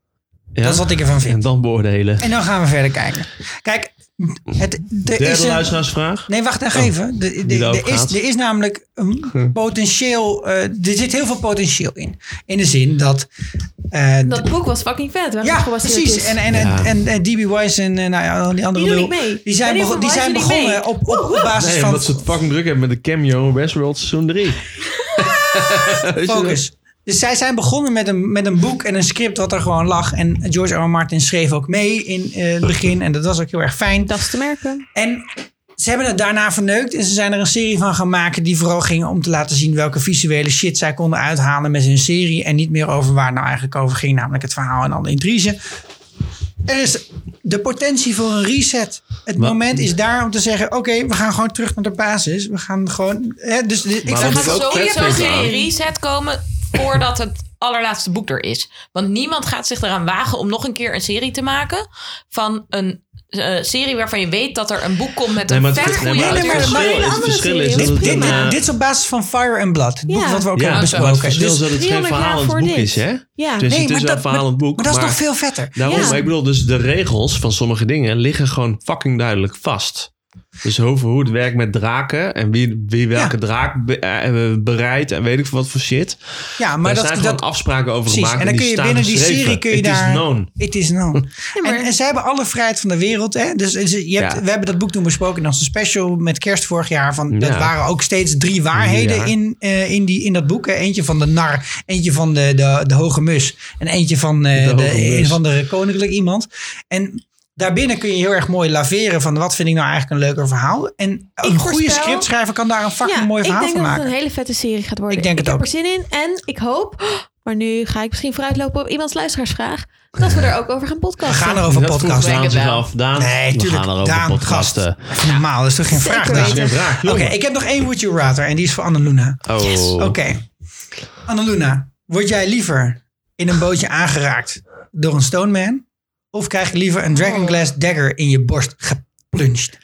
E: Ja?
A: Dat is wat ik ervan
E: En
A: vind.
E: dan beoordelen.
A: En dan gaan we verder kijken. Kijk, het, er is
E: Derde
A: een...
E: luisteraarsvraag.
A: Nee, wacht
E: Oh.
A: nog even. De- de-
E: daarop
A: Er is,
E: gaat. Hm.
A: er is namelijk een potentieel... eh, er zit heel veel potentieel in. In de zin dat... eh,
D: Dat boek was fucking vet. Waarom
A: ja,
D: gebaseerd
A: precies.
D: Is.
A: En, en,
E: Ja.
A: en, en, en DB Wise en eh, nou ja, al die andere
D: Die doen
A: lul,
D: niet mee.
A: Die zijn,
D: Bij
A: begon- die
D: Wise
A: zijn
D: doen niet mee.
A: begonnen op, op, op basis
E: Nee,
A: van
E: omdat ze het fucking druk hebben met de cameo Westworld seizoen 3.
A: Focus. Dus zij zijn begonnen met een, met een boek en een script wat er gewoon lag. En George R. R. Martin schreef ook mee in eh, het begin. En dat was ook heel erg fijn.
D: Dat is te merken.
A: En ze hebben het daarna verneukt. En ze zijn er een serie van gaan maken die vooral ging om te laten zien welke visuele shit zij konden uithalen met hun serie. En niet meer over waar het nou eigenlijk over ging. Namelijk het verhaal en alle intrige. Er is de potentie voor een reset. Het
E: Maar-
A: moment is daar om te zeggen: oké, we gaan gewoon terug naar de basis. We gaan gewoon. Hè, dus, dus ik
E: Maar
A: zeg
E: wat
F: Er
E: ik
F: gaat
E: ook vet
F: sowieso
E: vind
F: geen
E: aan-
F: reset komen voordat het allerlaatste boek er is. Want niemand gaat zich eraan wagen om nog een keer een serie te maken van een eh, serie waarvan je weet dat er een boek komt met een vet goede
A: nee, maar-
F: auteur.
A: maar-
E: het verschil is dat
A: Dit,
E: het
A: dit,
E: een, eh,
A: dit is op basis van Fire and Blood. Het boek
D: Ja.
A: wat we ook
E: ja,
A: hebben
E: maar het
A: besproken. Dus-
E: verschil is dat het geen
D: 300 jaar
E: verhalend
D: voor
E: boek
D: dit.
E: is, hè?
D: Ja.
E: Dus
A: Nee,
E: het is
A: maar
E: wel een
A: dat-
E: verhalend boek.
A: maar dat is nog veel vetter.
E: Daarom,
D: Ja.
E: maar ik bedoel, dus de regels van sommige dingen liggen gewoon fucking duidelijk vast. Dus over hoe het werkt met draken en wie, wie welke
A: Ja.
E: draak be- eh, bereidt en weet ik veel wat voor shit.
A: Ja, maar
E: Maar daar
A: dat,
E: zijn
A: dat,
E: gewoon afspraken over
A: Precies,
E: gemaakt.
A: en dan kun je
E: staan
A: binnen die
E: geschreven.
A: serie kun je
E: It is
A: daar-
E: known.
A: It is known. en, en ze hebben alle vrijheid van de wereld. Hè? Dus, dus je hebt,
E: Ja.
A: we hebben dat boek toen besproken in onze special met kerst vorig jaar. Van, Dat
E: Ja.
A: waren ook steeds drie waarheden
E: Ja.
A: in, eh, in, die, in dat boek. Hè? Eentje van de nar, eentje van de, de, de hoge mus. En eentje van eh,
E: De
A: de,
E: hoge mus.
A: een van de koninklijk iemand. En daarbinnen kun je heel erg mooi laveren van wat vind ik nou eigenlijk een leuker verhaal. En een goede
D: voorspel-
A: scriptschrijver kan daar een fucking mooi verhaal
D: ik
A: van
D: denk dat het
A: maken.
D: een hele vette serie gaat worden.
A: Ik denk het
D: heb
A: ook.
D: er zin in en ik hoop, maar nu ga ik misschien vooruitlopen op iemands luisteraarsvraag, dat we er ook over gaan
A: We
D: podcasten.
A: gaan erover
E: dat vroeg
A: podcasten.
E: Daan
F: het
E: zich
F: wel.
E: af. Daan,
A: Nee,
E: we
A: tuurlijk.
E: gaan erover
A: Daan, gast.
E: podcasten.
A: Even normaal, dat is toch geen
D: Zeker
A: vraag, Daan?
D: weten.
E: Geen vraag,
A: Oké,
E: jongen.
A: ik heb nog één Would You Rather en die is voor Anneluna.
E: Oh.
A: Oké. Anneluna, word jij liever in een bootje aangeraakt door een stone man? Of krijg je liever een
F: Oh.
A: dragon glass dagger in je borst geplunged?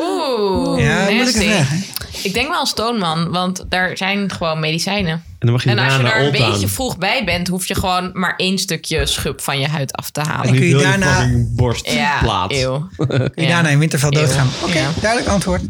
F: Oeh,
A: Ja, moeilijke
F: nasty.
A: vraag. hè?
F: Ik denk wel een stoneman, want daar zijn gewoon medicijnen.
E: En dan mag je
F: En als
E: daarna
F: je
E: naar
F: daar een
E: Old
F: beetje
E: Town.
F: vroeg bij bent, hoef je gewoon maar één stukje schub van je huid af te halen.
A: En kun je
E: Heel
A: daarna-
E: fucking borst
F: Ja,
E: plaat.
F: eeuw.
A: Kun je daarna in Winterfell
F: Eeuw.
A: doodgaan? Oké,
F: Ja.
A: duidelijk antwoord.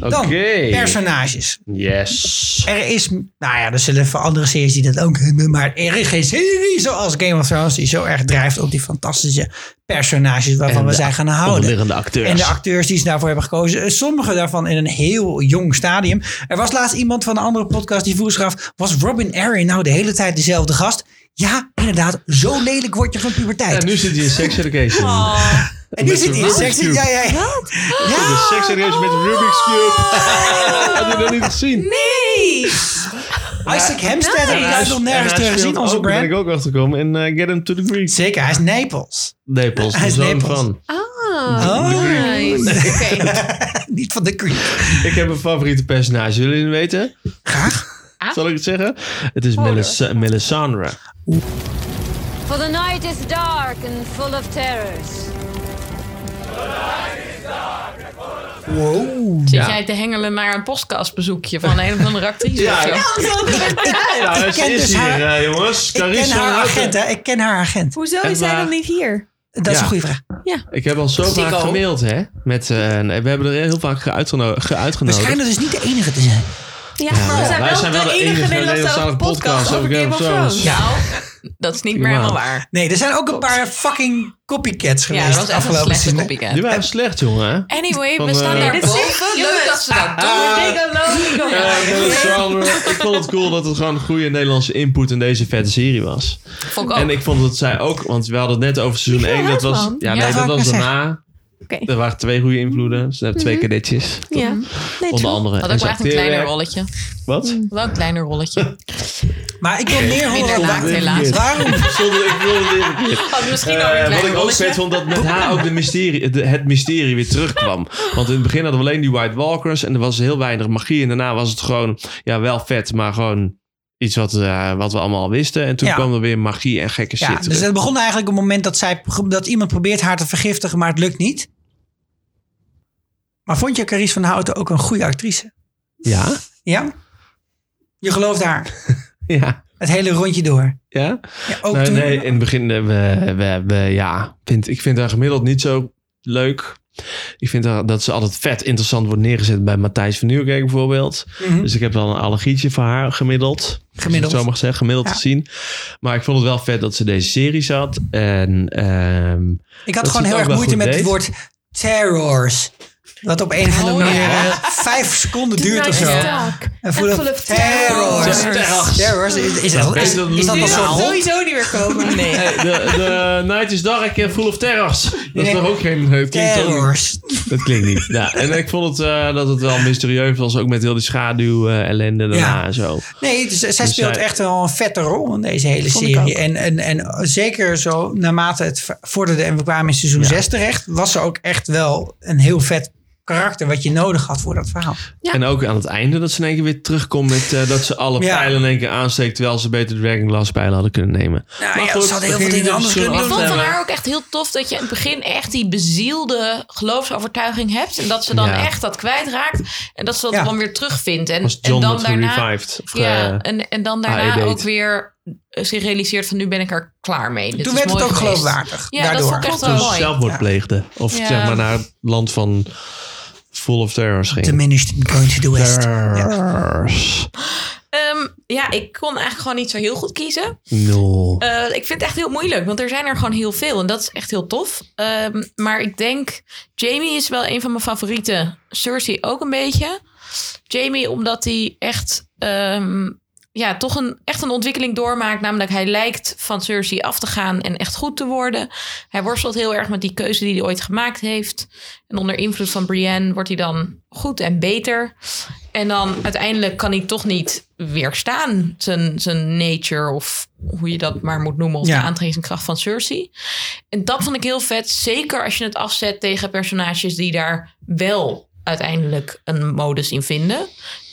E: Oké.
A: Dan, personages.
E: Yes.
A: Er is, nou ja, er zullen voor andere series die dat ook hebben, maar er is geen serie zoals Game of Thrones die zo erg drijft op die fantastische personages waarvan
E: En
A: we
E: de
A: zijn gaan houden.
E: Onderliggende acteurs.
A: En de acteurs die ze daarvoor hebben gekozen. eh, Sommige daarvan in een heel jong stadium. Er was laatst iemand van een andere podcast die vroeg zich af... was Robin Arryn nou de hele tijd dezelfde gast? Ja, inderdaad. Zo lelijk word je van puberteit.
E: En nu zit hij in Sex Education.
A: Oh. en nu
E: met
A: zit
E: de
A: hij in
E: Rubik's
A: sexy.
E: Cube.
A: Ja, ja, ja.
E: De Sex Education met Rubik's Cube. Had je dat niet gezien?
F: Nee! Oh,
A: Isaac Hempstead heb ik
E: En hij
A: daar nog
E: sp- en
A: nergens
E: hij
A: terug
E: speelt
A: gezien. Onze
E: ook, ben ik
A: brand.
E: ook achter gekomen. En eh, Get Him to the Greek.
A: Zeker, hij is Naples.
E: Naples,
A: Hij
E: de
A: is
E: zoon
A: Naples.
E: van.
A: Oh,
D: Ah, nice.
F: Oké.
A: Niet van de Creek.
E: Ik heb een favoriete personage. Jullie het weten?
A: Graag.
E: Zal ik het zeggen? Het
A: Oh.
E: is Melis- Melisandre.
A: Ah,
I: For the night is dark and full of terrors.
A: Wow.
F: Zit
E: Ja.
F: jij te hengelen naar een podcastbezoekje van een of andere actrice?
E: Ja,
F: of zo?
E: ja. Ja,
A: Ik
E: ze
A: ken
E: is
A: dus
E: hier,
A: haar-
E: eh, jongens.
A: Ik
E: Carissa
A: ken haar
E: Houten.
A: agent, hè. Ik ken haar agent.
D: Hoezo
E: Echt
D: is hij
E: waar?
D: dan niet hier?
A: Dat is
E: Ja.
A: een goede vraag.
E: Ik heb al zo vaak
F: Zico.
E: gemaild, hè? Met, eh, we hebben er heel vaak geuitgeno-
A: We
E: geuitgenodigd.
A: schijnen dus niet de enige te zijn.
D: Ja, maar we zijn
E: wij
D: wel
E: zijn wel
D: de
E: de
D: enige
E: enige Nederlandse
D: Nederlandse podcast
E: podcast
D: over
E: over
D: Game of
E: Game of
D: Thrones.
E: Thrones.
F: Nou, dat is niet meer helemaal waar.
A: Nee, er zijn ook een paar fucking copycats
F: Ja,
A: geweest
F: dat was echt een
A: afgelopen
F: slechte
A: seizoen.
E: Die
F: copycat.
E: waren slecht, jongen. hè?
F: Anyway,
E: Van,
F: we
E: eh,
F: staan
E: Ja,
F: daar
E: dit
D: is
F: boven. Leuk dat ze dat doen.
D: Ah.
E: Eh, Melisandre. Ik vond het cool dat het gewoon een goede Nederlandse input in deze vette serie was.
F: Vond ik ook.
E: En ik vond dat zij ook, want we hadden het net over seizoen
D: Michiel
E: 1. Dat was,
D: Huisman.
E: ja,
F: Ja,
E: nee,
A: wou
E: dat
A: ik
E: was
A: net
E: daarna.
D: Oké.
E: Er waren twee goede invloeden. Ze hebben twee kadetjes.
D: Ja. Nee,
E: Onder
D: true.
E: andere.
F: Had
E: En ze
F: ook Mhm. wel echt een Mm.
E: acteerwerk.
F: kleiner rolletje.
E: Wat?
F: Wel een kleiner rolletje.
A: Maar ik wil meer horen
F: Minder laag,
A: waar-
F: helaas.
A: waarom.
E: Zonder, ik wilde het even-
F: Had misschien
E: Eh,
F: ook Nou, een
E: wat
F: kleiner
E: ik ook
F: rolletje.
E: vet vond, dat met haar ook de mysterie, de- het mysterie weer terugkwam. Want in het begin hadden we alleen die White Walkers en er was heel weinig magie. En daarna was het gewoon, ja, wel vet, maar gewoon iets wat, eh, wat we allemaal al wisten. En toen
A: Ja.
E: kwam er weer magie en gekke
A: Ja,
E: shit.
A: dus het begon eigenlijk op het moment dat, zij, dat iemand probeert haar te vergiftigen, maar het lukt niet. Maar vond je Carice van Houten ook een goede actrice?
E: Ja?
A: Ja? Je gelooft haar.
E: Ja?
A: Het hele rondje door.
E: Ja?
A: Ja, ook
E: nee,
A: toen.
E: nee, in het begin, eh, we, we, we, ja, vind, ik vind haar gemiddeld niet zo leuk. Ik vind haar, dat ze altijd vet interessant wordt neergezet bij Matthijs van Nieuwkerk bijvoorbeeld.
A: Mhm.
E: Dus ik heb dan een allergietje voor haar gemiddeld.
A: Gemiddeld.
E: Als ik het zo mag zeggen, gemiddeld
A: Ja.
E: gezien. Maar ik vond het wel vet dat ze deze serie zat. En ehm,
A: Ik had
E: dat
A: gewoon heel
E: ze het
A: erg
E: ook wel
A: moeite
E: goed
A: met het
E: deed.
A: woord terrors. Wat op een of andere
F: Oh, ja.
A: manier eh, vijf seconden duurt of zo.
D: Ja.
A: En full
D: full
A: of
D: of terrors.
A: terrors. Terrors. Is, is, dat- is, is dat een soort
E: Nou.
F: zal
A: hond?
F: sowieso niet meer komen. Nee.
E: hey, de, de Night is Dark en Full of Terrors. Dat is
A: Nee.
E: toch ook geen... Het klinkt ook-
A: Terrors.
E: dat klinkt niet. Ja, en ik vond het, eh, dat het wel mysterieus was. Ook met heel die schaduw eh, ellende daarna
A: Ja.
E: en zo.
A: Nee, z- zij speelt
E: zij-
A: echt wel een vette rol in deze hele
D: Vond ik
A: serie.
D: ook.
A: En, en, en zeker zo naarmate het v- vorderde en we kwamen in seizoen 6 terecht, was ze ook echt wel een heel vet karakter wat je nodig had voor dat verhaal.
D: Ja.
E: En ook aan het einde dat ze in één keer weer terugkomt met eh, dat ze alle
A: Ja.
E: pijlen in één keer aansteekt. Terwijl ze beter Dragon Glass pijlen hadden kunnen nemen.
A: Nou, ja,
E: goed,
A: ze hadden heel
E: we
A: veel
E: gingen
A: dingen anders kunnen
E: seizoen
F: Ik
A: doen.
E: acht
F: vond van
E: hebben.
F: haar ook echt heel tof dat je in het begin echt die bezielde geloofsovertuiging hebt. En dat ze dan
E: Ja.
F: echt dat kwijtraakt. En dat ze dat
A: Ja.
F: dan weer terugvindt. En,
E: Als
F: en
E: John
F: dan
E: dat
F: daarna.
E: revived. Of,
F: Ja,
E: eh,
F: en, en dan
E: AE
F: daarna
E: deed.
F: ook weer zich realiseert van nu ben ik er klaar mee. Dit
A: Toen
F: is
A: werd het
F: mooi
A: ook
F: geweest.
A: geloofwaardig.
F: Ja,
A: daardoor.
F: dat vond ik echt wel
E: toen ze
F: mooi.
E: zelfmoord
A: Ja.
E: pleegde. Of
F: Ja.
E: zeg maar naar het land van Full of Terrors ging.
A: Diminished and going to the west.
E: Terrors.
F: Ehm, ja, ik kon eigenlijk gewoon niet zo heel goed kiezen.
E: Nul.
F: Eh, ik vind het echt heel moeilijk, want er zijn er gewoon heel veel. En dat is echt heel tof. Ehm, maar ik denk, Jamie is wel een van mijn favorieten. Cersei ook een beetje. Jamie, omdat hij echt, ehm, ja, toch een, echt een ontwikkeling doormaakt. Namelijk, hij lijkt van Cersei af te gaan en echt goed te worden. Hij worstelt heel erg met die keuze die hij ooit gemaakt heeft. En onder invloed van Brienne wordt hij dan goed en beter. En dan uiteindelijk kan hij toch niet weerstaan. Zijn, zijn nature of hoe je dat maar moet noemen. Of
A: Ja.
F: de aantrekkingskracht van Cersei. En dat vond ik heel vet. Zeker als je het afzet tegen personages die daar wel uiteindelijk een modus in vinden.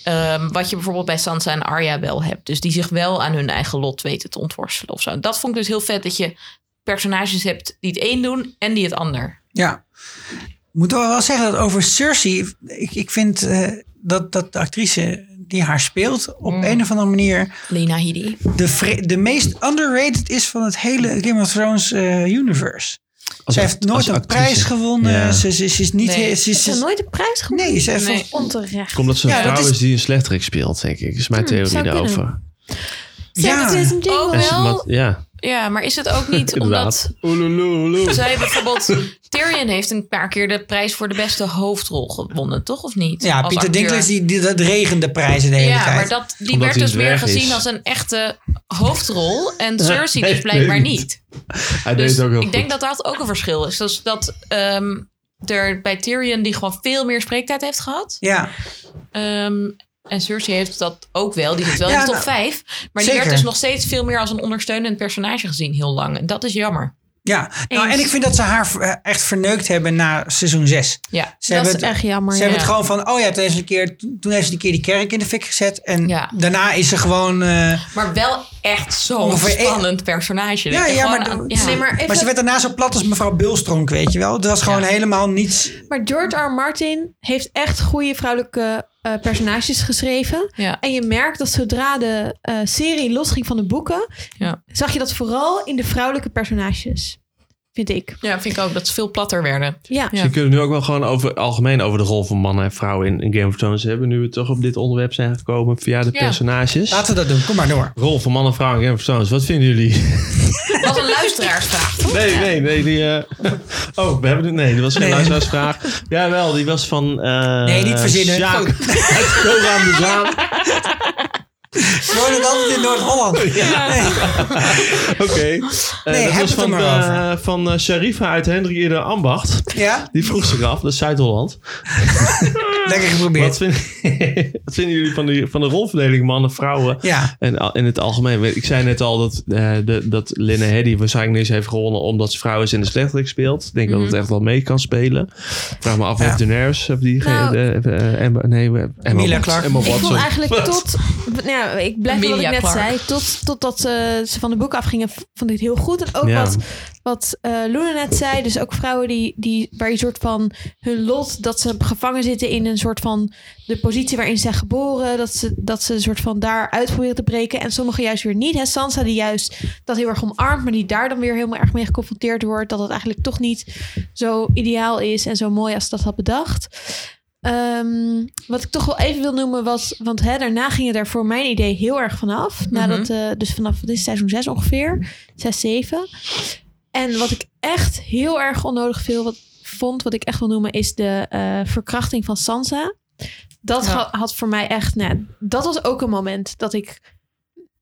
F: Ehm, wat je bijvoorbeeld bij Sansa en Arya wel hebt. Dus die zich wel aan hun eigen lot weten te ontworstelen of zo. Dat vond ik dus heel vet dat je personages hebt die het een doen en die het ander.
A: Ja. Ik moet wel wel zeggen dat over Cersei... Ik, ik vind eh, dat, dat de actrice die haar speelt... op
D: Mm.
A: een of andere manier
F: Lena Headey.
A: de, vre- de meest underrated is... van het hele Game of Thrones eh, universe.
E: Als
A: Ze
E: act-
A: heeft nooit
E: als
A: een
E: actrice.
A: prijs gewonnen.
E: Ja.
A: Ze, ze, ze is niet...
F: Nee.
A: heel- Ze,
D: Ze
A: ze,
D: hebben nooit de prijs gewonnen.
A: nee, ze heeft
F: Nee.
D: Onterecht.
E: Komt dat ze een
A: Ja, dat
E: vrouw
A: is- Hmm,
E: is die een slechterik speelt, denk ik. Is mijn theorie
D: zou kunnen.
E: daarover.
A: Ja.
D: Zeg, het is een jingle.
F: Oh,
E: Als je
F: Wel-
E: iemand- Ja,
F: Ja, maar is het ook niet omdat
E: inderdaad. Oelululu.
F: zij bijvoorbeeld... Tyrion heeft een paar keer de prijs voor de beste hoofdrol gewonnen, toch? Of niet?
A: Ja,
F: Als
A: Pieter
F: acteur.
A: Dinklage, die, die, dat regende prijzen de hele
F: Ja,
A: tijd.
F: maar dat, die
E: Omdat
F: werd
E: hij
F: dus
E: een
F: meer
E: dwerg is.
F: gezien als een echte hoofdrol. En Cersei
E: nee,
F: dus blijkbaar
E: nee,
F: niet.
E: Hij deed
F: Dus
E: het ook heel
F: ik denk
E: goed.
F: dat dat ook een verschil is. Dus dat ehm, er bij Tyrion die gewoon veel meer spreektijd heeft gehad.
A: ja.
F: Ehm, en Cersei heeft dat ook wel. Die zit wel
A: Ja,
F: in de top
A: nou,
F: 5. Maar die
A: zeker.
F: werd dus nog steeds veel meer als een ondersteunend personage gezien heel lang. En dat is jammer.
A: Ja, nou,
D: Eens.
A: en ik vind dat ze haar eh, echt verneukt hebben na seizoen 6.
F: Ja.
A: Ze
D: Dat
A: hebben
D: is
A: het,
D: echt jammer.
A: ze
D: ja.
A: hebben het gewoon van, oh ja, toen heeft ze een keer, toen heeft ze een keer die kerk in de fik gezet. En
F: Ja.
A: daarna is ze gewoon... eh,
F: Maar wel echt zo'n
A: Ongeveer één-
F: spannend personage.
A: ja,
F: Dat je
A: ja,
F: gewoon
A: maar,
F: aan- ja.
D: Nee, maar even-
A: maar ze werd daarna zo plat als mevrouw Bulstronk, weet je wel. Dat was gewoon
F: Ja.
A: helemaal niets...
D: Maar George R. R. Martin heeft echt goede vrouwelijke eh, personages geschreven.
F: Ja.
D: En je merkt dat zodra de eh, serie losging van de boeken,
F: Ja.
D: zag je dat vooral in de vrouwelijke personages. Vind ik.
F: ja, vind ik ook dat ze veel platter werden.
D: Ja.
F: Ja.
E: Ze kunnen nu ook wel gewoon over, algemeen over de rol van mannen en vrouwen in, in Game of Thrones hebben. Nu we toch op dit onderwerp zijn gekomen via de
F: Ja.
E: personages.
A: Laten we dat doen, kom maar door.
E: Rol van mannen en vrouwen in Game of Thrones. Wat vinden jullie?
F: Wat een luisteraarsvraag. toch?
E: Nee, nee, nee. Die, eh, Oh, we hebben het. Nee, dat was geen
A: Nee.
E: luisteraarsvraag. Jawel, die was van. eh,
A: Nee, niet verzinnen.
E: Sjaak
A: Goed.
E: uit Koran de Zaan.
A: Ze wonen altijd in Noord-Holland. Nee.
E: Oké. Eh,
A: Nee,
E: dat
A: heb
E: was
A: het er
E: van,
A: maar over.
E: eh, van eh, Sharifa uit Hendrik Ieder Ambacht.
A: Ja,
E: Die vroeg zich af, dat is Zuid-Holland.
A: lekker
E: Wat,
A: geprobeerd.
E: vind- wat vinden jullie van, die, van de rolverdeling mannen, vrouwen
A: Ja.
E: en al- in het algemeen? Ik zei net al dat, eh de, dat Linne Heddy waarschijnlijk niet eens heeft gewonnen omdat ze vrouw is en de slechterik speelt. Ik denk dat
D: Mhm.
E: het echt wel mee kan spelen. Ik Vraag me af
A: Ja.
E: of Daenerys, of die...
D: Nou,
E: eh, eh, Emma- nee, we- Emma
A: Emilia
E: Watson-
A: Clarke.
E: Emma
A: Ik
D: Ik vond
E: Watson.
D: eigenlijk tot, nou, ja, ik blijf bij wat ik
F: Emilia
D: net
F: Clarke.
D: zei, tot, totdat eh, ze van de boek afgingen, v- vond ik het heel goed. En ook
E: Ja.
D: wat, wat eh, Luna net zei, dus ook vrouwen die, die, waar je soort van hun lot, dat ze gevangen zitten in een soort van de positie waarin ze zijn geboren, dat ze, dat ze een soort van daaruit proberen te breken. En sommigen juist weer niet. Hè? Sansa die juist dat heel erg omarmt, maar die daar dan weer heel erg mee geconfronteerd wordt, dat het eigenlijk toch niet zo ideaal is en zo mooi als ze dat had bedacht. Ehm, wat ik toch wel even wil noemen was... Want hè, daarna ging het er voor mijn idee heel erg vanaf. Nadat,
F: Mhm.
D: eh, dus vanaf wat is het, seizoen 6 ongeveer. 6, 7. En wat ik echt heel erg onnodig veel wat, vond... Wat ik echt wil noemen is de eh, verkrachting van Sansa. Dat
F: Ja.
D: ha- had voor mij echt... Nou, dat was ook een moment dat ik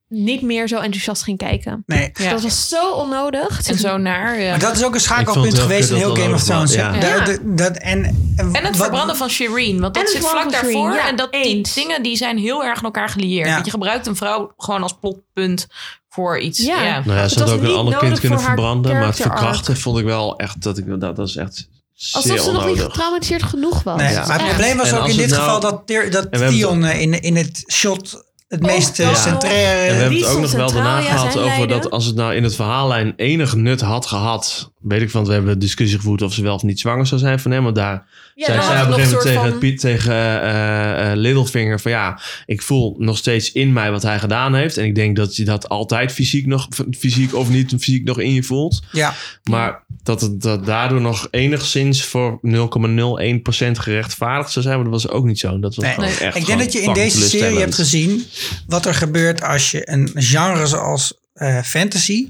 D: niet meer zo enthousiast ging kijken.
A: Nee.
F: Ja.
D: Dat was zo onnodig.
F: En zo naar. ja.
A: Maar dat is ook een
E: Ik
A: schakelpunt
E: vond het wel
A: geweest in
E: kut
A: heel
E: dat
A: Game of
E: dat
A: Thrones.
E: nodig was,
A: hè. Dat-
F: ja.
A: dat- dat- en, en,
F: En het
A: wat-
F: verbranden van Shireen. Want
D: En
F: dat
D: het
F: zit vlak
D: verbranden van
F: daarvoor.
D: Shireen, ja,
F: en dat,
D: eens.
F: die dingen die zijn heel erg aan elkaar gelieerd.
A: Ja.
F: Want je gebruikt een vrouw gewoon als plotpunt voor iets.
D: Ja.
E: Nou
F: Ja.
E: ja, ze
D: Het
E: had
D: was
E: ook een
D: niet
E: ander
D: nodig
E: kind kunnen
D: voor haar
E: verbranden. Maar het
D: character arc.
E: verkrachten vond ik wel echt dat ik dat, dat is echt
D: Alsof
E: zeer
D: ze nog niet
E: onnodig.
D: getraumatiseerd genoeg was.
A: Nee,
D: Dus
A: maar het
D: echt.
A: probleem was
E: En
A: ook
E: als
A: in
E: het
A: dit
E: nou-
A: geval dat, Tyr- dat
E: En we hebben
A: Theon eh, in, in het shot
F: Oh,
A: het meest eh,
D: ja.
E: En we
A: centraire...
E: hebben
D: Die
E: het ook nog
D: stond
E: wel
D: centraal,
E: daarna
D: ja,
E: gehad
D: zijn
E: over
D: lijden.
E: dat als het nou in het verhaallijn enig nut had gehad. Weet ik, want we hebben discussie gevoerd of ze wel of niet zwanger zou zijn van hem. Want daar
F: Ja,
E: zei
F: dan
E: zij
F: had
E: op
F: het
E: een
F: nog een
E: gegeven
F: soort
E: moment tegen,
F: van...
E: Piet, tegen eh, eh, Littlefinger van ja, ik voel nog steeds in mij wat hij gedaan heeft. En ik denk dat je dat altijd fysiek nog, fysiek of niet fysiek nog in je voelt.
A: Ja,
E: Maar dat het dat daardoor nog enigszins voor 0,01% gerechtvaardigd zou zijn. Maar dat was ook niet zo. Dat was
A: nee.
E: gewoon echt
A: ik
E: gewoon
A: denk dat je in
E: fucking
A: deze serie hebt
E: teleurstellend.
A: gezien wat er gebeurt als je een genre zoals eh, fantasy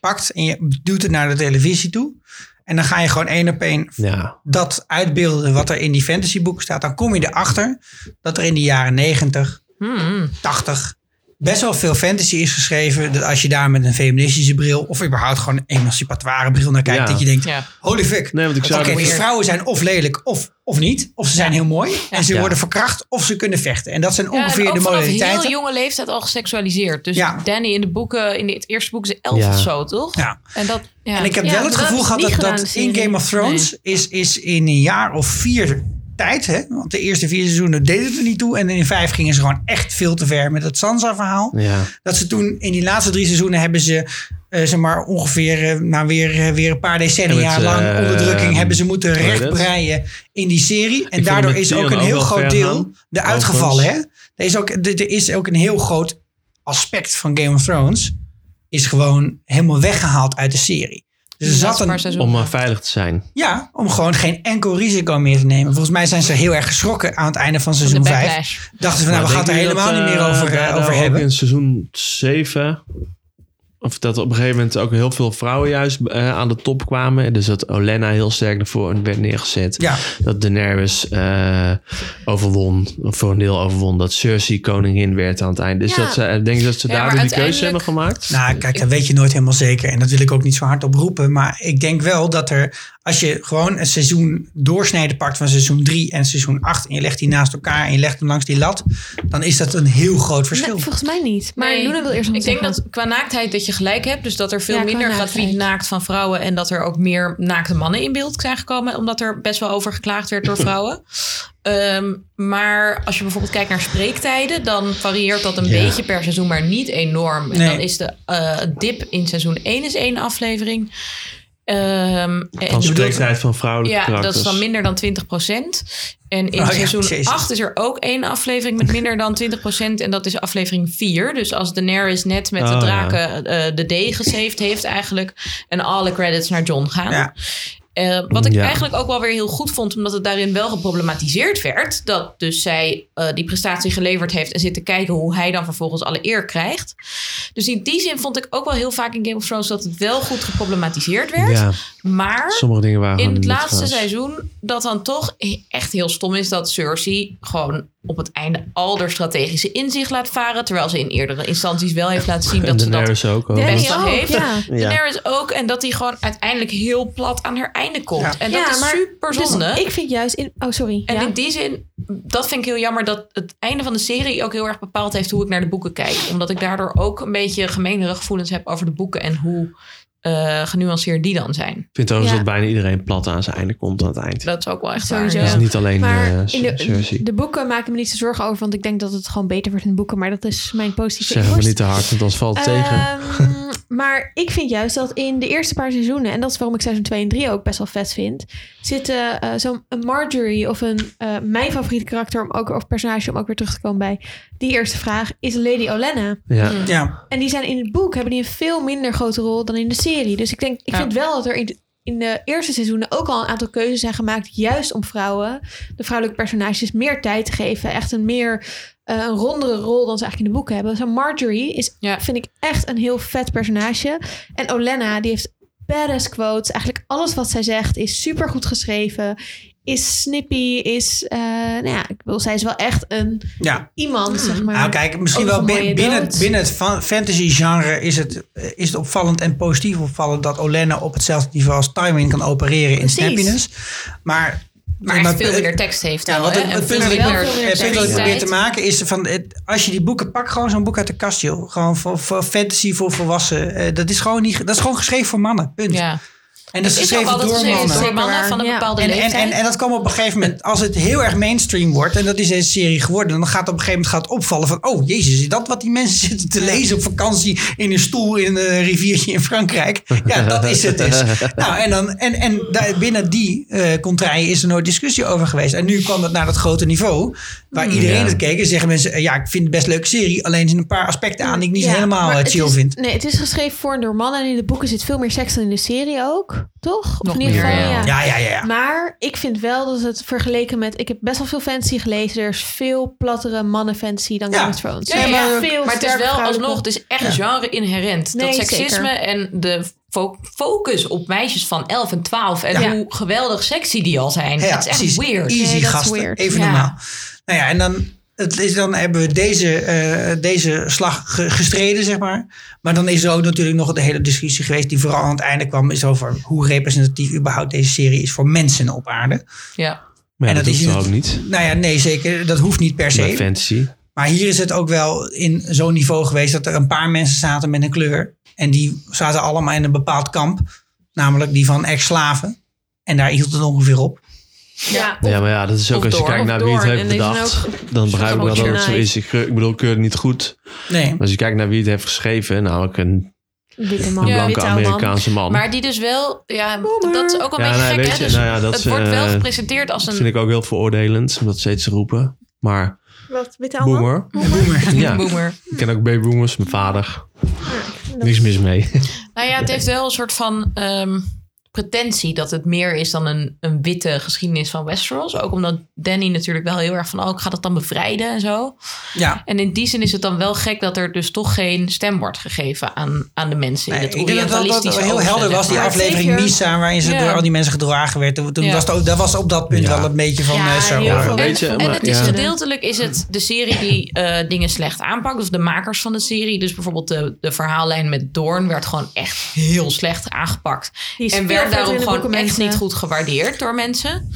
A: pakt en je duwt het naar de televisie toe. En dan ga je gewoon één op één
E: Ja,
A: dat uitbeelden wat er in die fantasyboeken staat, dan kom je erachter dat er in de jaren 90,
F: Hmm.
A: 80 best wel veel fantasy is geschreven. Dat als je daar met een feministische bril of überhaupt gewoon een emancipatoire bril naar kijkt,
E: Ja.
A: dat je denkt,
F: Ja.
A: holy fuck.
E: Nee, want ik
A: Oké,
E: zou
A: die vrouwen zijn of lelijk of, of niet. Of ze zijn heel mooi en ze
E: Ja.
A: worden verkracht of ze kunnen vechten. En dat zijn
F: Ja, en
A: ongeveer
F: ook
A: de
F: vanaf heel
A: modaliteiten.
F: jonge leeftijd al geseksualiseerd. Dus
A: Ja.
F: Danny in de boeken, in het eerste boek is elf
E: Ja.
F: of zo, toch?
A: Ja.
F: En, dat, ja.
A: En ik heb
D: Ja,
A: wel het
D: dat
A: gevoel
D: hebben
A: gehad
D: ze
A: dat,
D: niet
A: dat
D: gedaan, de
A: in
D: serie.
A: Game of Thrones is, is in een jaar of vier tijd, hè? want de eerste vier seizoenen deden het er niet toe. En in vijf gingen ze gewoon echt veel te ver met het Sansa-verhaal.
E: ja.
A: Dat ze toen in die laatste drie seizoenen hebben ze, eh, zeg maar, ongeveer eh, nou, weer, eh, weer een paar decennia
E: En met,
A: lang
E: eh,
A: onderdrukking hebben ze moeten
E: hoe heet het?
A: rechtbreien in die serie. En
E: het
A: daardoor
E: met
A: is
E: Theon
A: ook een
E: ook
A: heel
E: wel
A: groot
E: ver
A: deel
E: gaan,
A: eruit gevallen. Hè? Er, is ook, er er is ook een heel groot aspect van Game of Thrones, is gewoon helemaal weggehaald uit de serie. Dus er
F: Dat
A: zat
F: is maar
A: een,
F: seizoen.
E: Om maar veilig te zijn.
A: ja, om gewoon geen enkel risico meer te nemen. Volgens mij zijn ze heel erg geschrokken aan het einde van
F: de
A: seizoen 5.
F: backlash.
A: Dachten ze van, nou, we gaan het er helemaal niet meer over, eh, over hebben.
E: in seizoen 7. Of dat op een gegeven moment ook heel veel vrouwen juist eh, aan de top kwamen. Dus dat Olenna heel sterk ervoor werd neergezet.
A: Ja.
E: Dat Daenerys eh, overwon, of voor een deel overwon. Dat Cersei koningin werd aan het einde. Dus
F: Ja.
E: dat ze, ik denk dat ze
F: Ja,
E: daardoor
F: maar
E: die keuze hebben
F: uiteindelijk-
E: gemaakt.
A: Nou, kijk, dat weet je nooit helemaal zeker. En dat wil ik ook niet zo hard op roepen. Maar ik denk wel dat er, als je gewoon een seizoen doorsnede pakt van seizoen 3 en seizoen 8. en je legt die naast elkaar en je legt hem langs die lat. dan is dat een heel groot verschil.
D: Nee, volgens mij niet. Maar
F: Nee,
D: Luna wil eerst nog
F: Ik denk
D: zeggen.
F: dat qua naaktheid dat je gelijk hebt. Dus dat er veel
D: Ja, qua
F: minder gratuit
D: naaktheid.
F: naakt van vrouwen. En dat er ook meer naakte mannen in beeld zijn gekomen. Omdat er best wel over geklaagd werd door vrouwen. Ehm, maar als je bijvoorbeeld kijkt naar spreektijden. Dan varieert dat een
E: Ja.
F: beetje per seizoen. Maar niet enorm. En
A: Nee.
F: dan is de eh, dip in seizoen 1 is één aflevering. Ehm en
E: Van spreektijd van vrouwelijke
F: ja, dat is
E: karakters.
F: dan minder dan 20 En in
A: Oh ja,
F: seizoen
A: jezus.
F: 8 is er ook één aflevering met minder dan 20 En dat is aflevering 4. Dus als Daenerys net met
E: Oh,
F: de
E: ja.
F: draken eh, de D gesaved heeft eigenlijk. En alle credits naar John gaan.
A: Ja.
F: Eh, wat ik
E: Ja.
F: eigenlijk ook wel weer heel goed vond, omdat het daarin wel geproblematiseerd werd. Dat dus zij eh, die prestatie geleverd heeft en zit te kijken hoe hij dan vervolgens alle eer krijgt. Dus in die zin vond ik ook wel heel vaak in Game of Thrones dat het wel goed geproblematiseerd werd.
E: Ja,
F: Maar
E: sommige dingen waren
F: in
E: gewoon
F: het
E: niet
F: laatste
E: waar.
F: seizoen dat dan toch echt heel stom is dat Cersei gewoon op het einde al haar strategische inzicht laat varen. Terwijl ze in eerdere instanties wel heeft laten zien
E: En
F: dat ze dat
E: Daenerys ook.
D: Danny
F: best wel
D: ook,
F: heeft.
D: ja.
E: Ja.
F: Daenerys ook. En dat die gewoon uiteindelijk heel plat aan haar einde komt.
A: Ja.
F: En dat is super
D: dus
F: zonde.
D: ik vind juist in. Oh, sorry.
F: en
D: Ja?
F: in die zin, dat vind ik heel jammer dat het einde van de serie ook heel erg bepaald heeft hoe ik naar de boeken kijk. Omdat ik daardoor ook een beetje gemeenere gevoelens heb over de boeken en hoe eh, genuanceerd die dan zijn.
E: Ik vind overigens
D: Ja.
E: dat bijna iedereen plat aan zijn einde komt aan het eind.
F: Dat is ook wel echt
D: Sowieso.
F: waar.
E: Dat
F: ja.
E: is niet alleen
D: Maar
E: eh,
D: in de,
E: Cersei.
D: de boeken maak ik me niet zo zorgen over, want ik denk dat het gewoon beter wordt in de boeken. Maar dat is mijn positieve
E: Zeggen we
D: inborst.
E: niet te hard, want dat valt
F: Eh,
E: het tegen.
D: Ehm, maar ik vind juist dat in de eerste paar seizoenen, en dat is waarom ik seizoen 2 en 3 ook best wel vet vind, zitten eh zo'n een Marjorie of een, eh, mijn favoriete karakter om ook, of personage om ook weer terug te komen bij die eerste vraag, is Lady Olenna.
E: Ja.
F: mm.
A: Ja,
D: En die zijn in het boek, hebben die een veel minder grote rol dan in de serie. Dus ik denk, ik
F: Ja.
D: vind wel dat er in de, in de eerste seizoenen ook al een aantal keuzes zijn gemaakt, juist om vrouwen, de vrouwelijke personages, meer tijd te geven. Echt een meer, eh, een rondere rol dan ze eigenlijk in de boeken hebben. Zo Marjorie is,
F: Ja.
D: vind ik echt een heel vet personage. En Olenna, die heeft badass quotes. Eigenlijk alles wat zij zegt is super goed geschreven. Is snippy, is, eh, nou ja, ik wil, zij is wel echt een
A: ja.
D: iemand,
F: Ah.
D: zeg maar.
A: Nou, kijk, misschien
D: Ook
A: wel
D: een
A: bin-
D: mooie
A: binnen,
D: dood.
A: binnen het fan- fantasy-genre is het, eh, is het opvallend en positief opvallend dat Olenna op hetzelfde niveau als Tywin kan opereren in
D: Precies.
A: snappiness. Maar,
F: Maar, echt veel minder tekst heeft.
A: Ja,
F: wel,
A: wat
F: hè?
A: het,
F: En
A: het
F: veel
A: punt dat ik,
F: minder
A: het punt dat ik
F: seksualiteit.
A: probeer te maken is van het, als je die boeken pakt, gewoon zo'n boek uit de kast, joh. Gewoon voor, voor fantasy voor volwassenen. Eh, dat is gewoon niet, ge- dat is gewoon geschreven voor mannen. Punt.
F: Ja.
A: En dat is
F: Het is ook
A: geschreven
F: altijd
A: door
F: gezegd,
A: mannen.
F: door mannen van een
D: Ja.
F: bepaalde
A: En, en, en,
F: leeftijd.
A: en dat kwam op een gegeven moment, als het heel erg mainstream wordt, en dat is deze serie geworden, dan gaat op een gegeven moment gaat opvallen van, oh jezus, is dat wat die mensen zitten te lezen op vakantie in een stoel in een eh, riviertje in Frankrijk? Ja, dat is het dus. Nou, en, dan, en, en daar, binnen die eh contraille is er nooit discussie over geweest. En nu kwam het naar dat grote niveau, waar
D: Hmm.
A: iedereen
E: Ja.
A: het keek en zeggen mensen, eh, ja, ik vind het best een leuke serie, alleen er zijn een paar aspecten aan die ik niet
D: Ja,
A: zo helemaal
D: maar
A: eh,
D: het
A: chill
D: is-
A: vind.
D: Nee, het is geschreven voor en door mannen. En in de boeken zit veel meer seks dan in de serie ook. Toch? Of
F: Nog
D: in ieder
F: meer,
D: geval,
F: ja.
D: ja.
A: Ja, ja, ja. ja.
D: Maar ik vind wel dat het vergeleken met... Ik heb best wel veel fantasy gelezen. Er is veel plattere mannenfantasy dan
A: Ja.
D: Game of Thrones.
A: Nee,
D: Er zijn
A: maar-
D: veel
F: Maar het is
D: sterke
F: wel
D: vrouwelijke-
F: alsnog, het is echt genre-inherent.
D: Nee,
F: dat seksisme
D: zeker.
F: en de fo- focus op meisjes van 11 en 12 en
D: Ja.
F: hoe geweldig sexy die al zijn.
A: Ja,
F: het is echt
A: precies.
F: weird.
A: Easy
D: Nee, dat is
A: gasten,
D: weird.
A: even
F: Ja.
A: normaal. Nou ja, en dan, het is, dan hebben we deze, eh, deze slag ge- gestreden, zeg maar. Maar dan is er ook natuurlijk nog de hele discussie geweest... die vooral aan het einde kwam, is over hoe representatief überhaupt deze serie is voor mensen op aarde.
F: Ja.
E: Maar
A: En
E: ja,
A: dat
E: dat,
A: is
E: is
A: het-
E: ook niet.
A: Nou ja, nee, zeker. Dat hoeft niet per
E: Bij
A: se.
E: fantasy.
A: Maar hier is het ook wel in zo'n niveau geweest... dat er een paar mensen zaten met een kleur. En die zaten allemaal in een bepaald kamp. Namelijk die van ex-slaven. En daar hield het ongeveer op.
D: Ja.
E: Ja, maar ja, dat is ook
F: Of
E: als je
F: door,
E: kijkt
F: of
E: naar wie het
F: door.
E: heeft
F: En deze
E: bedacht.
F: zijn
E: Dan begrijp ik wel dat het zo is. Ik, ik bedoel, ik keur het niet goed.
A: Nee.
E: Maar als je kijkt naar wie het heeft geschreven, namelijk een,
D: Witte
E: een
D: man.
F: Ja,
E: blanke
D: witte oude man.
E: Amerikaanse man.
F: Maar die dus wel, ja, dat is ook een
E: Ja,
F: beetje
E: nou,
F: gek.
E: weet
F: Hè?
E: je,
F: Dus
E: nou ja, dat
F: het
E: is,
F: wordt wel
E: eh,
F: gepresenteerd als
E: Dat
F: een
E: vind ik ook heel veroordelend, om dat steeds te roepen. Maar
D: Wat, witte oude man?
E: boomer. Ja,
F: boomer.
E: ik ken ook baby boomers, mijn vader. Niks mis mee.
F: Nou ja, het heeft wel een soort van ehm, pretentie dat het meer is dan een, een witte geschiedenis van Westeros. Ook omdat Danny natuurlijk wel heel erg van, oh, ik ga dat dan bevrijden en zo.
A: Ja.
F: En in die zin is het dan wel gek dat er dus toch geen stem wordt gegeven aan, aan de mensen in
A: Nee,
F: het
A: ik denk dat dat- dat,
F: orientalistische
A: heel
F: oosten,
A: helder
F: zeg
A: was, die
F: maar.
A: aflevering
D: Zeker.
A: Misa, waarin ze
F: Ja.
A: door al die mensen gedragen werd. Toen toen
F: Ja.
A: was, dat, dat was op dat punt
E: Ja.
A: wel een beetje van
D: Ja,
A: eh, zo.
D: heel
E: Ja,
D: veel
E: weet je,
D: mensen-
E: maar-
F: En het is
E: ja.
F: gedeeltelijk is het de serie die eh, dingen slecht aanpakt. Of de makers van de serie. Dus bijvoorbeeld de, de verhaallijn met Doorn werd gewoon echt heel slecht aangepakt.
D: Die is
F: en
D: veel
F: werd daarom
D: verder in de
F: gewoon
D: boeken,
F: echt
D: mensen.
F: niet goed gewaardeerd door mensen.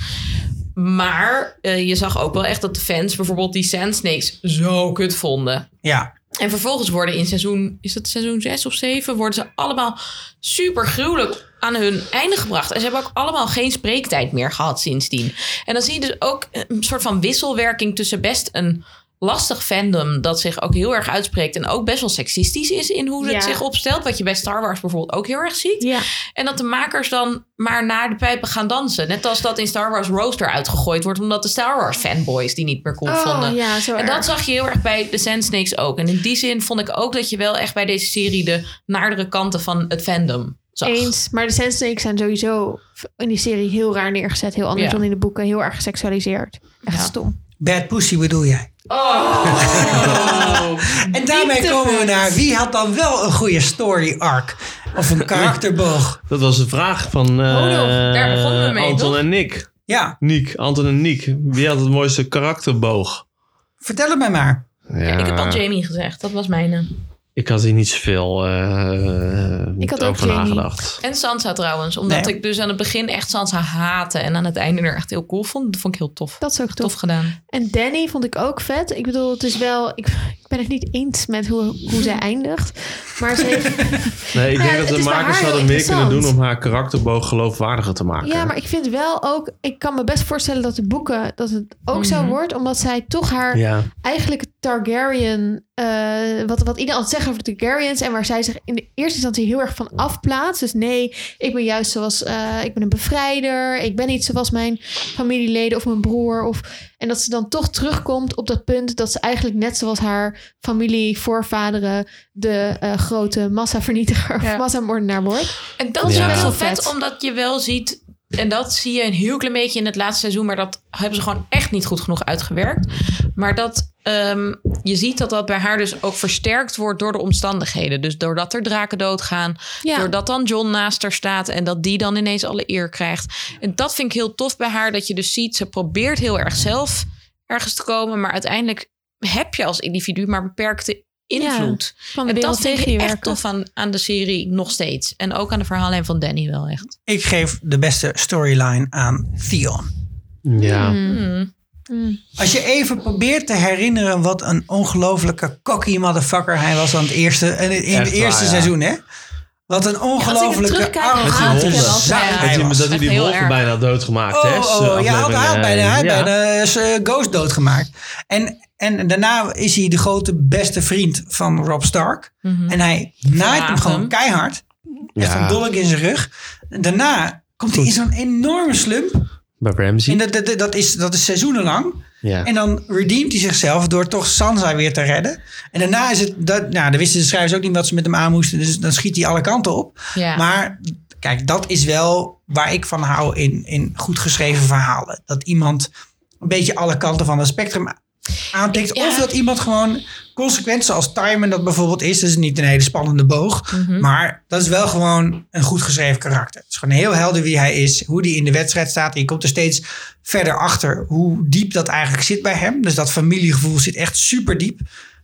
F: Maar eh, je zag ook wel echt dat de fans bijvoorbeeld die Sand Snakes zo kut vonden.
A: Ja.
F: En vervolgens worden in seizoen, is dat seizoen 6 of 7, worden ze allemaal super gruwelijk aan hun einde gebracht. En ze hebben ook allemaal geen spreektijd meer gehad sindsdien. En dan zie je dus ook een soort van wisselwerking tussen best een lastig fandom dat zich ook heel erg uitspreekt en ook best wel seksistisch is in hoe het
D: Ja.
F: zich opstelt, wat je bij Star Wars bijvoorbeeld ook heel erg ziet.
D: Ja.
F: En dat de makers dan maar naar de pijpen gaan dansen. Net als dat in Star Wars Roaster uitgegooid wordt omdat de Star Wars fanboys die niet meer cool
D: Oh,
F: vonden.
D: ja, zo
F: eh, En
D: erg.
F: dat zag je heel erg bij de Sand Snakes ook. En in die zin vond ik ook dat je wel echt bij deze serie de naardere kanten van het fandom zag.
D: Eens, maar de Sand Snakes zijn sowieso in die serie heel raar neergezet. Heel anders
F: Ja.
D: dan in de boeken. Heel erg geseksualiseerd. Echt
F: Ja.
D: stom.
A: Bad Pussy bedoel jij.
D: Oh.
A: en daarmee komen we naar wie had dan wel een goede story arc? Of een karakterboog?
E: Dat was de vraag van eh,
F: nog, Oh, daar begonnen we mee,
E: Anton
F: toch?
E: en Nick.
A: Ja,
E: Niek, Anton en Niek. Wie had het mooiste karakterboog?
A: vertel het mij maar.
E: Ja,
F: Ja, ik heb al Jamie gezegd. Dat was mijn. eh.
E: ik had hier niet zoveel eh
D: Ik had ook
E: over
D: Jamie.
E: nagedacht.
F: En Sansa trouwens. Omdat
A: Nee.
F: ik dus aan het begin echt Sansa haatte. En aan het einde er echt heel cool vond. Dat vond ik heel tof.
D: Dat is ook tof.
F: Tof gedaan.
D: En Danny vond ik ook vet. Ik bedoel, het is wel... Ik, ik ben het niet eens met hoe, hoe zij eindigt. Maar ze heeft-
E: Nee, ik
D: Ja,
E: denk
D: het
E: dat de
D: is bij
E: makers
D: haar
E: hadden
D: heel
E: meer kunnen doen
D: interessant.
E: om haar karakterboog geloofwaardiger te maken.
D: ja, maar ik vind wel ook... Ik kan me best voorstellen dat de boeken... Dat het ook zo wordt. Omdat zij toch haar
E: Ja.
D: eigenlijk het Targaryen, eh, wat, wat iedereen altijd zegt over de Targaryens en waar zij zich in de eerste instantie heel erg van afplaatst. Dus nee, ik ben juist zoals, eh, ik ben een bevrijder, ik ben niet zoals mijn familieleden of mijn broer. Of, en dat ze dan toch terugkomt op dat punt dat ze eigenlijk net zoals haar familie, voorvaderen, de eh, grote massavernietiger of
F: Ja.
D: massamoordenaar wordt.
F: En dat
E: Ja.
F: is best wel
D: Heel vet.
F: vet. Omdat je wel ziet. En dat zie je een heel klein beetje in het laatste seizoen. Maar dat hebben ze gewoon echt niet goed genoeg uitgewerkt. Maar dat. ehm, je ziet dat dat bij haar dus ook versterkt wordt door de omstandigheden. Dus doordat er draken doodgaan.
D: Ja.
F: Doordat dan John naast haar staat en dat die dan ineens alle eer krijgt. En dat vind ik heel tof bij haar, dat je dus ziet, ze probeert heel erg zelf ergens te komen, maar uiteindelijk heb je als individu maar beperkte invloed.
D: Van de
F: en dat
D: wereld
F: vind
D: tegen je
F: ik echt
D: werken.
F: tof aan, aan de serie nog steeds. En ook aan de verhaallijn van Danny wel echt.
A: Ik geef de beste storyline aan Theon.
E: Ja.
A: Als je even probeert te herinneren wat een ongelofelijke cocky motherfucker hij was aan het eerste, in, in
E: Echt
A: het eerste
E: waar, ja.
A: seizoen, hè? Wat een
D: Ja, als ik
A: ongelofelijke
D: het terugkijk, haat
A: arrogante
D: ik hem wel.
A: zak
D: Ja.
E: Dat
A: hij
E: hij,
A: was.
E: dat hij die
F: echt heel
E: wolven
F: erg.
E: bijna had doodgemaakt, hè?
A: Oh, oh, ja, want hij had bijna, hij had
E: Ja.
A: bijna eh, z- Ghost doodgemaakt. En, en daarna is hij de grote beste vriend van Rob Stark.
D: Mhm.
A: En hij naait hem
F: Verlaat
A: gewoon
F: hem.
A: keihard. Echt
E: Ja.
A: een dolk in zijn rug. En daarna komt hij in zo'n enorme slump.
E: Bij
A: En
E: Ramsey.
A: dat, dat, dat, is, dat is seizoenenlang.
E: Ja.
A: En dan redeemt hij zichzelf door toch Sansa weer te redden. En daarna is het... Dat, nou, dan wisten de schrijvers ook niet wat ze met hem aan moesten. Dus dan schiet hij alle kanten op.
F: Ja.
A: Maar kijk, dat is wel waar ik van hou in, in goed geschreven verhalen. Dat iemand een beetje alle kanten van het spectrum aantikt.
F: Ja.
A: Of dat iemand gewoon consequent, zoals Timon dat bijvoorbeeld is. Dat is niet een hele spannende boog.
F: Mhm.
A: Maar dat is wel gewoon een goed geschreven karakter. Het is gewoon heel helder wie hij is. Hoe die in de wedstrijd staat. En je komt er steeds verder achter hoe diep dat eigenlijk zit bij hem. Dus dat familiegevoel zit echt super diep.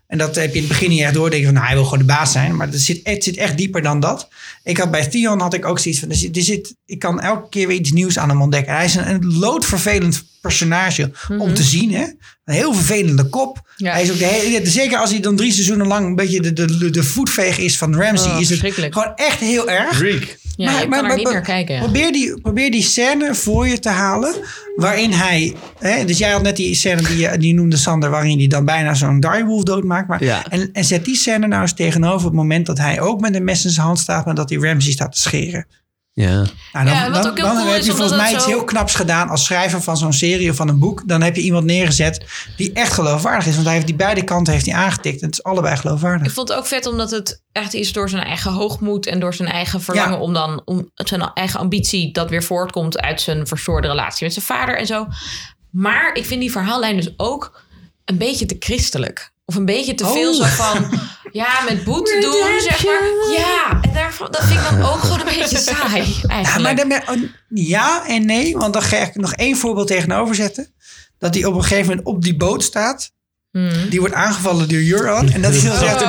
A: En dat heb je in het begin niet echt door. Denk je van, nou, hij wil gewoon de baas zijn. Maar het zit, het zit echt dieper dan dat. Ik had bij Theon had ik ook zoiets van, er zit, er zit, ik kan elke keer weer iets nieuws aan hem ontdekken. Hij is een, een loodvervelend personage om te zien. Hè? Een heel vervelende kop.
F: Mhm. Ja.
A: Hij is ook de hele, zeker als hij dan drie seizoenen lang een beetje de, de, de, de voetveeg is van Ramsey.
F: Oh,
A: is het
F: verschrikkelijk.
A: gewoon echt heel erg.
E: Greek.
F: Ja, je kan er niet naar kijken. ja.
A: Probeer die, probeer die scène voor je te halen. Waarin hij. Hè, dus jij had net die scène die, je- die noemde Sander. waarin hij dan bijna zo'n direwolf doodmaakt. Maar,
E: Ja.
A: en, en zet die scène nou eens tegenover het moment dat hij ook met een mes in zijn hand staat. maar dat hij Ramsey staat te scheren.
E: Ja.
A: Nou, dan
F: Ja, wat
A: dan,
F: ook heel
A: dan
F: cool
A: heb
F: is,
A: je
F: omdat
A: volgens
F: het
A: mij iets
F: zo-
A: heel knaps gedaan. als schrijver van zo'n serie of van een boek. Dan heb je iemand neergezet die echt geloofwaardig is. Want hij heeft die beide kanten heeft hij aangetikt. En het is allebei
F: Ik
A: geloofwaardig.
F: vond het ook vet omdat het echt is door zijn eigen hoogmoed en door zijn eigen verlangen
A: Ja.
F: om dan om zijn eigen ambitie dat weer voortkomt uit zijn verstoorde relatie met zijn vader en zo. Maar ik vind die verhaallijn dus ook een beetje te christelijk. Of een beetje te
D: Oh.
F: veel zo van, ja, met boete doen, zeg maar. Ja, en daarvan, dat vind ik dan ook gewoon een beetje saai,
A: Ja, maar
F: eigenlijk.
A: dan, ben- oh, ja en nee, want dan ga ik nog één voorbeeld tegenover zetten. Dat hij op een gegeven moment op die boot staat.
F: Hmm.
A: Die wordt aangevallen door Euron. En dat is dan zegt...
E: een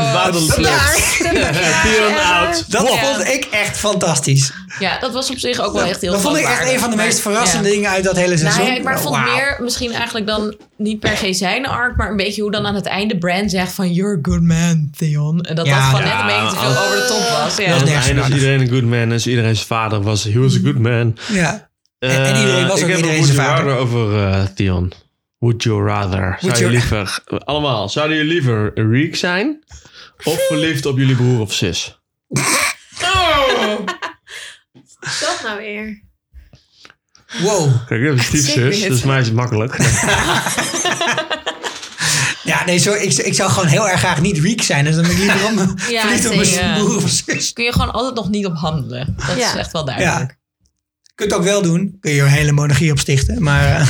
E: out.
A: Dat
F: Ja.
A: vond ik echt fantastisch.
F: Ja, dat was op zich ook wel echt heel
A: Dat vond ik echt
F: geloofwaardig,
A: een van de
F: maar-
A: meest verrassende
F: ja.
A: dingen uit dat hele seizoen.
F: Nou ja, ik maar ik vond
A: Wauw.
F: meer misschien eigenlijk dan niet per se zijn arc, maar een beetje hoe dan aan het einde Brand zegt van you're a good man, Theon. En dat
A: Ja. Oh.
F: dat gewoon
E: Ja,
F: net een beetje te
E: als-
F: veel over de top was. Ja.
A: Dat is
E: Aan het
A: nergens
E: einde was
A: nodig.
E: iedereen een good man. Dus iedereen zijn vader was, he was a good man.
A: Ja. En- en
E: Eh,
A: iedereen was ook
E: Ik heb
A: iedereen
E: een would
A: zijn
E: you
A: vader.
E: rather over eh Theon. Would you rather? Zou
A: Would
E: je
A: you-
E: liever... Allemaal. Zouden jullie liever Reek zijn? Of verliefd op jullie broer of zus?
D: Dat nou weer.
A: Wow.
E: Kijk, ik heb een stiefzus.
F: dit.
E: Dus mij is het makkelijk.
A: Ja, nee, zo, ik, ik zou gewoon heel erg graag niet Reek zijn. Dus dan ben ik liever om,
F: Ja,
A: verliefd op mijn
F: zeker.
A: broer of zus.
F: Kun je gewoon altijd nog niet op handelen. Dat is
D: Ja.
F: echt wel
A: Ja.
F: duidelijk.
A: Kun je het ook wel doen. Kun je een hele monarchie opstichten. Maar, eh.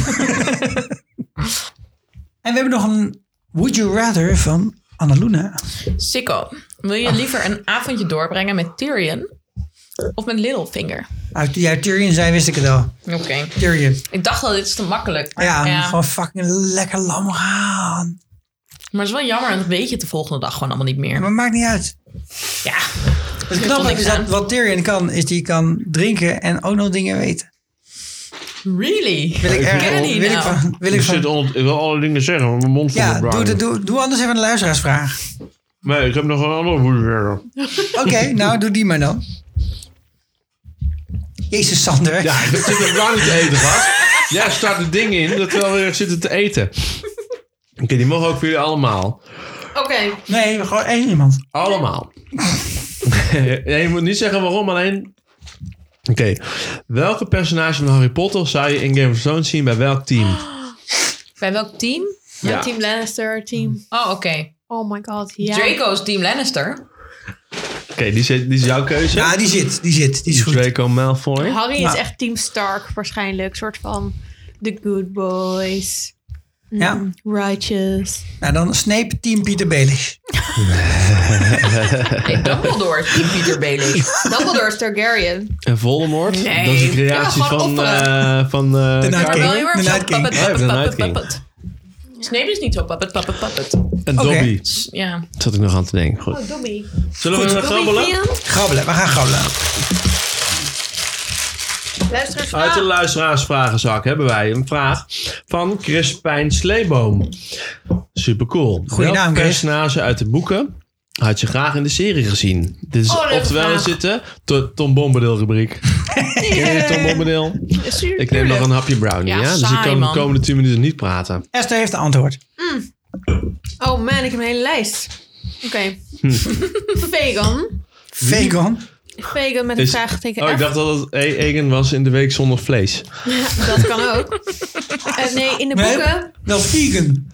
A: en we hebben nog een Would You Rather van Annaluna.
F: Sikko, wil je liever een avondje doorbrengen met Tyrion of met Littlefinger?
A: Uit, ja, Tyrion zei, wist ik het al.
F: Oké.
A: Tyrion.
F: Ik dacht al, dit is te makkelijk. Maar,
A: Ja,
F: ja,
A: gewoon fucking lekker lam gaan.
F: maar het is wel jammer, en dat weet je het de volgende dag gewoon allemaal niet meer.
A: Maar maakt niet uit.
F: Ja,
A: Het
F: er toch
A: knappe is
F: niks aan.
A: dat wat Tyrion kan, is die kan drinken en ook nog dingen weten.
F: really?
A: Wil ik erg
F: ken die
A: wil ik
F: nou.
A: van, wil
E: Ik
A: ik
E: zit
A: van,
E: al, ik wil alle dingen zeggen, maar mijn mond vol
A: ja,
E: met
A: doe,
E: bruin.
A: doe, doe, doe anders even een luisteraarsvraag.
E: Nee, ik heb nog een andere woord.
A: Oké, nou doe die maar dan. Jezus Sander.
E: Ja, ik zit er bruin te eten vast. Jij start het ding in dat we alweer zitten te eten. Oké, die mogen ook voor jullie allemaal.
F: Oké.
A: Nee, gewoon één iemand.
E: Allemaal. ja, je moet niet zeggen waarom, alleen... Oké, welke personage van Harry Potter zou je in Game of Thrones zien bij welk team?
F: Bij welk team?
E: Ja.
D: Team Lannister, team...
F: Oh, oké.
D: Oh my god, ja.
F: Draco's team Lannister.
E: Oké, die, is- die is jouw keuze.
A: Ja, die zit, die zit, die is goed.
E: Draco Malfoy.
D: Harry
A: Nou.
D: is echt team Stark waarschijnlijk. soort van the good boys.
A: Ja.
D: Righteous.
A: Nou, dan Snape Team Pieter Baelish.
F: Nee, Dumbledore is team Peter Baelish.
D: Dumbledore is Targaryen.
E: En Voldemort.
F: Nee.
E: Dat is een
F: Ja,
E: creatie
F: gewoon Oh,
E: van...
F: offeren.
E: eh, van eh,
A: De Night
F: Maar wel
A: King.
F: heel erg
A: De
F: zo
A: Night King.
F: puppet,
E: Ja, de
F: puppet,
E: Night
F: puppet,
E: King.
F: puppet. Snape is niet zo puppet, puppet, puppet.
E: en
A: Oké.
E: Dobby.
F: Ja.
E: Dat zat ik nog aan te denken. Goed.
D: Oh, Dobby.
E: Zullen we gaan grabbelen?
A: Grabbelen, we gaan grabbelen.
D: Luister eens
E: Uit de luisteraarsvragenzak hebben wij een vraag van Chris Pijn Sleeboom. Supercool.
A: Goeie
E: Welk
A: naam, Chris.
E: personage uit de boeken Had je graag in de serie gezien. Dit is
F: Oh, leuke
E: oftewel
F: vraag.
E: we zitten to- Tom Bombadil rubriek. Ken je Tom Bombadil? Ik neem nog een hapje brownie,
F: Ja,
E: ja? Dus ik
F: saai,
E: kan de
F: man.
E: komende 10 minuten niet praten.
A: Esther heeft een antwoord.
D: Oh man, ik heb een hele lijst. Oké.
E: Hm.
D: Vegan.
A: Vegan.
D: Vegan met een
E: Is-
D: vraagteken
E: Oh, ik
D: F.
E: dacht dat het E- Egen was in de week zonder vlees.
D: Dat kan ook. Eh, nee, in de
A: Nee.
D: boeken.
A: Wel vegan.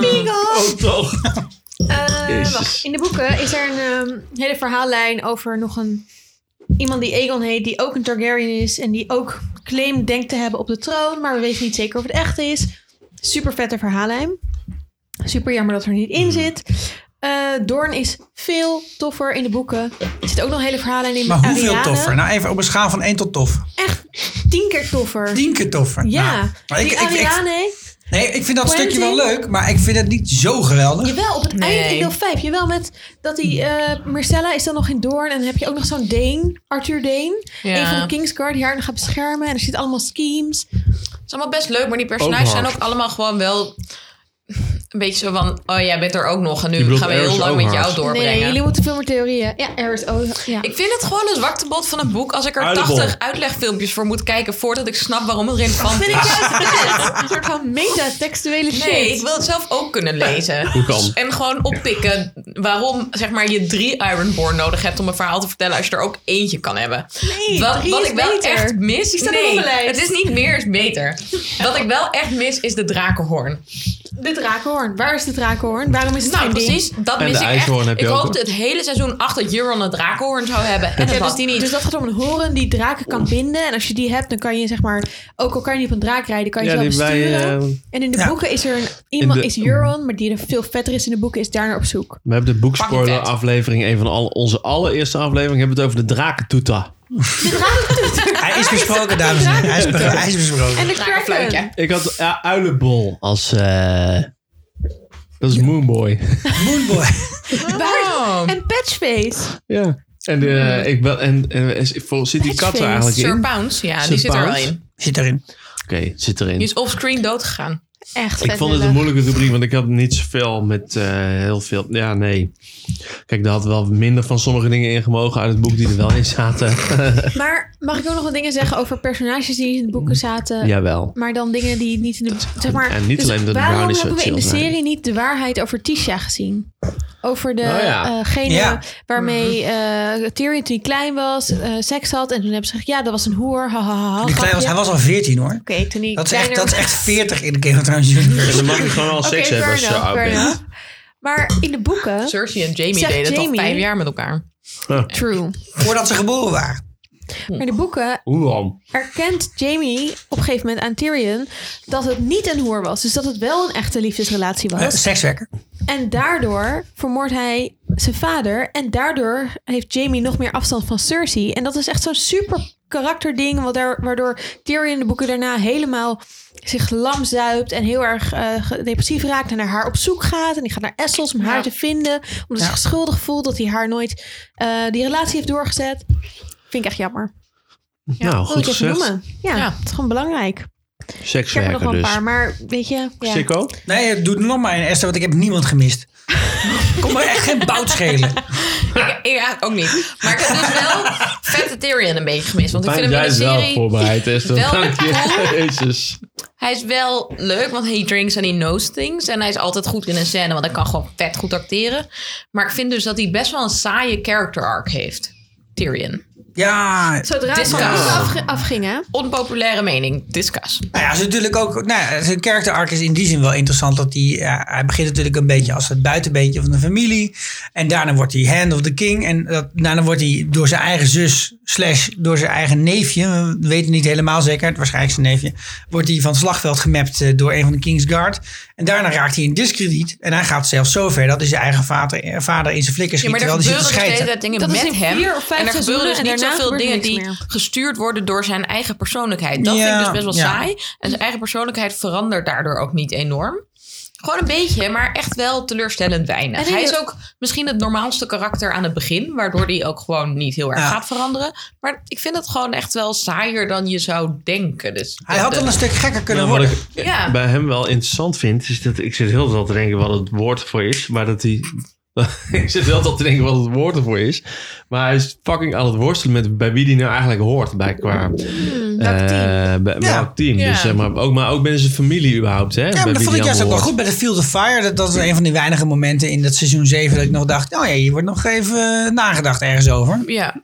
D: Vegan!
E: Oh, toch?
D: Eh,
E: Jezus.
D: wacht. In de boeken is er een ehm, hele verhaallijn over nog een... Iemand die Aegon heet, die ook een Targaryen is... en die ook claim denkt te hebben op de troon... maar we weten niet zeker of het echt is. Super vette verhaallijn. Super jammer dat er niet
A: Mm.
D: in zit. Eh Doorn is veel toffer in de boeken. Er zit ook nog een hele verhaallijn in
A: Maar
D: met
A: hoeveel
D: Ariane.
A: toffer? Nou, even op een schaal van 1 tot tof.
D: Echt tien keer toffer.
A: Tien keer toffer.
D: ja,
A: Nou, maar ik,
D: die
A: ik, ik-
D: Ariane.
A: nee, ik vind dat
D: Quentin?
A: stukje wel leuk, maar ik vind het niet zo geweldig.
D: Jawel, op het
F: Nee.
D: eind in deel 5. Jawel, met dat die eh Marcella is dan nog in Doorn. En dan heb je ook nog zo'n Deen, Arthur Deen.
F: Ja.
D: Een van de Kingsguard die haar nog gaat beschermen. En er zitten allemaal schemes.
F: Het is allemaal best leuk, maar die personages
E: Ook
F: zijn
E: hard.
F: ook allemaal gewoon wel een beetje zo van: oh jij bent er ook nog en
E: Je
F: nu
E: bedoelt
F: gaan we heel
E: Eris
F: lang
E: ook
F: met
E: hard.
F: jou doorbrengen.
D: Nee, jullie moeten veel meer theorieën. Ja, er is ook... Ja.
F: Ik vind het gewoon een zwaktebod van een boek als ik er
E: Uilenbol.
F: 80 uitlegfilmpjes voor moet kijken voordat ik snap waarom het
D: Dat
F: relevant
D: vind
F: is.
D: ik juist vet. Een soort van metatextuele shit.
F: Nee, ik wil het zelf ook kunnen lezen.
E: Hoe kan?
F: En gewoon oppikken waarom zeg maar, je drie Ironborn nodig hebt om een verhaal te vertellen als je er ook eentje kan hebben.
D: Nee,
F: wat
D: drie
F: wat
D: is
F: ik wel
D: beter.
F: echt mis.
D: Die staan ook op
F: nee,
D: mijn lijst.
F: het is niet meer, is beter. Wat ik wel echt mis is de drakenhoorn.
D: De drakenhoorn. Waar is de drakenhoorn? Waarom is het
F: Nou,
D: geen ding?
F: precies. Dat
E: En
F: mis
E: de
F: ik echt.
E: ijshoorn heb je
F: ik
E: ook,
F: hoopte het hele seizoen achter dat Euron een drakenhoorn zou hebben. En dat
D: Ja,
F: was
D: dus,
F: die niet.
D: dus dat gaat om een horen die draken kan binden. En als je die hebt, dan kan je zeg maar... Ook al kan je niet op een draak rijden, kan je
E: Ja,
D: ze wel
E: die
D: besturen.
E: bij, eh,
D: en in de
A: Ja.
D: boeken is er een, iemand,
E: de-
D: is Euron, maar die er veel vetter is in de boeken, is daar naar op zoek.
E: We hebben de boekspoiler
F: vet.
E: aflevering, een van alle, onze allereerste aflevering, hebben we het over de drakentoeta.
A: Hij is besproken, dames en heren. Hij is, be- hij is besproken.
D: En de Kraken.
F: Drakenfluitje.
E: Ik had ja, uilenbol als... eh, dat is Moonboy.
A: Moonboy.
F: Wow.
D: En Patchface.
E: ja. En, eh, ik wel, en, en is- voor- zit die kat er
D: Patchface,
E: eigenlijk in?
F: Sir
E: Oké,
F: Pounce, ja,
E: Sir
F: die zit er wel
E: Pounce?
F: in.
A: Zit erin.
D: Oh,
E: zit erin.
F: Die is offscreen doodgegaan.
D: Echt
E: Ik
D: vet
E: vond het
D: lullig.
E: een moeilijke rubriek, want ik had niet zoveel met eh, heel veel. Ja, nee. Kijk, daar had wel minder van sommige dingen in gemogen uit het boek die er wel in zaten.
D: Maar mag ik ook nog wat dingen zeggen over personages die in de boeken zaten?
E: Jawel.
D: Maar dan dingen die niet in de... Zeg maar,
E: en niet
D: dus
E: alleen de
D: waarom
E: brownies
D: hebben we in de
E: zullen zijn.
D: serie niet de waarheid over Tisha gezien? Over de
E: Oh ja.
D: eh, gene
A: Ja. Mhm.
D: waarmee eh, Tyrion toen hij klein was, eh, seks had. En toen hebben ze gezegd, ja, dat was een hoer. Ha, ha, ha, ha,
A: Die klein was,
D: grapje.
A: hij was al 14 hoor.
D: Oké, toen hij
A: Dat is, echt,
D: kleiner
A: dat is echt 40 in de Game of Thrones universe.
E: En dan mag ik gewoon al
D: Oké,
E: seks hebben als je
D: fair enough,
E: zo oud
D: fair
E: bent.
D: enough. Maar in de boeken...
F: Cersei en Jamie
D: Zegt
F: deden
D: Jamie-
F: toch vijf jaar met elkaar.
D: True.
A: Voordat ze geboren waren.
D: Maar in de boeken
E: Hoe dan?
D: erkent Jamie op een gegeven moment aan Tyrion dat het niet een hoer was. Dus dat het wel een echte liefdesrelatie
A: Eh,
D: was.
A: sekswerker.
D: En daardoor vermoordt hij zijn vader. En daardoor heeft Jamie nog meer afstand van Cersei. En dat is echt zo'n super karakterding. wat daar- Waardoor Tyrion de boeken daarna helemaal zich lam zuipt. En heel erg eh, depressief raakt. En naar haar op zoek gaat. En die gaat naar Essos om haar te vinden. Omdat hij zich schuldig voelt dat hij haar nooit eh, die relatie heeft doorgezet. Vind ik echt jammer.
E: nou,
D: Wil ik
E: goed
D: even
E: gezegd.
D: noemen. Ja,
F: Ja.
D: het is gewoon belangrijk. Ik heb er nog
E: Sekswerker
D: wel een
E: dus.
D: paar, maar weet je... Ja.
E: Sikko?
A: Nee, eh, doe het nog maar in Esther, want ik heb niemand gemist. Kom maar echt geen bout schelen.
F: Ik, ik eigenlijk ook niet. Maar ik heb dus wel vette Tyrion een beetje gemist. Want ik vind hem in de
E: wel
F: serie...
E: voorbereid, Esther.
F: Wel
E: Dank je. Jezus.
F: Hij is wel leuk, want he drinks and he knows things. En hij is altijd goed in een scène, want hij kan gewoon vet goed acteren. Maar ik vind dus dat hij best wel een saaie character arc heeft. Tyrion.
A: Ja,
D: Zodra het van
F: Discuss.
D: ons afge- afging, hè?
F: Onpopulaire mening. Discuss.
A: nou ja, is natuurlijk ook, nou ja, zijn character arc is in die zin wel interessant. Dat hij, ja, hij begint natuurlijk een beetje als het buitenbeentje van de familie. En daarna wordt hij hand of the king. En dat, daarna wordt hij door zijn eigen zus slash door zijn eigen neefje. We weten niet helemaal zeker, het waarschijnlijk zijn neefje. Wordt hij van het slagveld gemapt eh, door een van de Kingsguard. En daarna raakt hij in discrediet. En hij gaat zelfs zo ver dat hij zijn eigen vader, eh, vader in zijn flikkers
F: Ja,
A: schiet.
F: maar er
A: terwijl hij zit te
F: gebeuren dus de hele
A: schijten.
F: tijd dingen
D: Dat is
F: met
D: in
F: hem.
D: vier of vijf
F: en er gebeuren
D: seizoenen
F: dus
D: en
F: niet
D: daarna
F: zoveel
D: gebeurt er
F: dingen die
D: niks meer.
F: gestuurd worden door zijn eigen persoonlijkheid. Dat
A: Ja,
F: vind ik dus best wel
A: ja.
F: saai. En zijn eigen persoonlijkheid verandert daardoor ook niet enorm. Gewoon een beetje, maar echt wel teleurstellend weinig.
D: En in
F: Hij
D: de-
F: is ook misschien het normaalste karakter aan het begin, waardoor hij ook gewoon niet heel erg
A: Ja.
F: gaat veranderen. Maar ik vind het gewoon echt wel saaier dan je zou denken. Dus
A: Hij had
F: de-
A: wel een stuk gekker kunnen
E: Nou,
A: worden.
E: wat ik
F: Ja.
E: bij hem wel interessant vind, is dat ik zit heel veel te denken wat het woord voor is, maar dat hij ik zit wel tot te denken wat het woord ervoor is. Maar hij is fucking aan het worstelen met bij wie die nou eigenlijk hoort. Bij qua
D: welk
E: eh,
D: team?
E: bij- bij
A: Ja.
E: welk team.
F: Ja.
E: Dus, zeg maar, ook, maar ook binnen zijn familie überhaupt. Hè,
A: Ja, maar dat vond ik juist ook wel goed bij de Field of Fire. Dat, dat was een van die weinige momenten in dat seizoen 7 dat ik nog dacht, nou ja, hier wordt nog even eh, nagedacht ergens over.
F: Ja.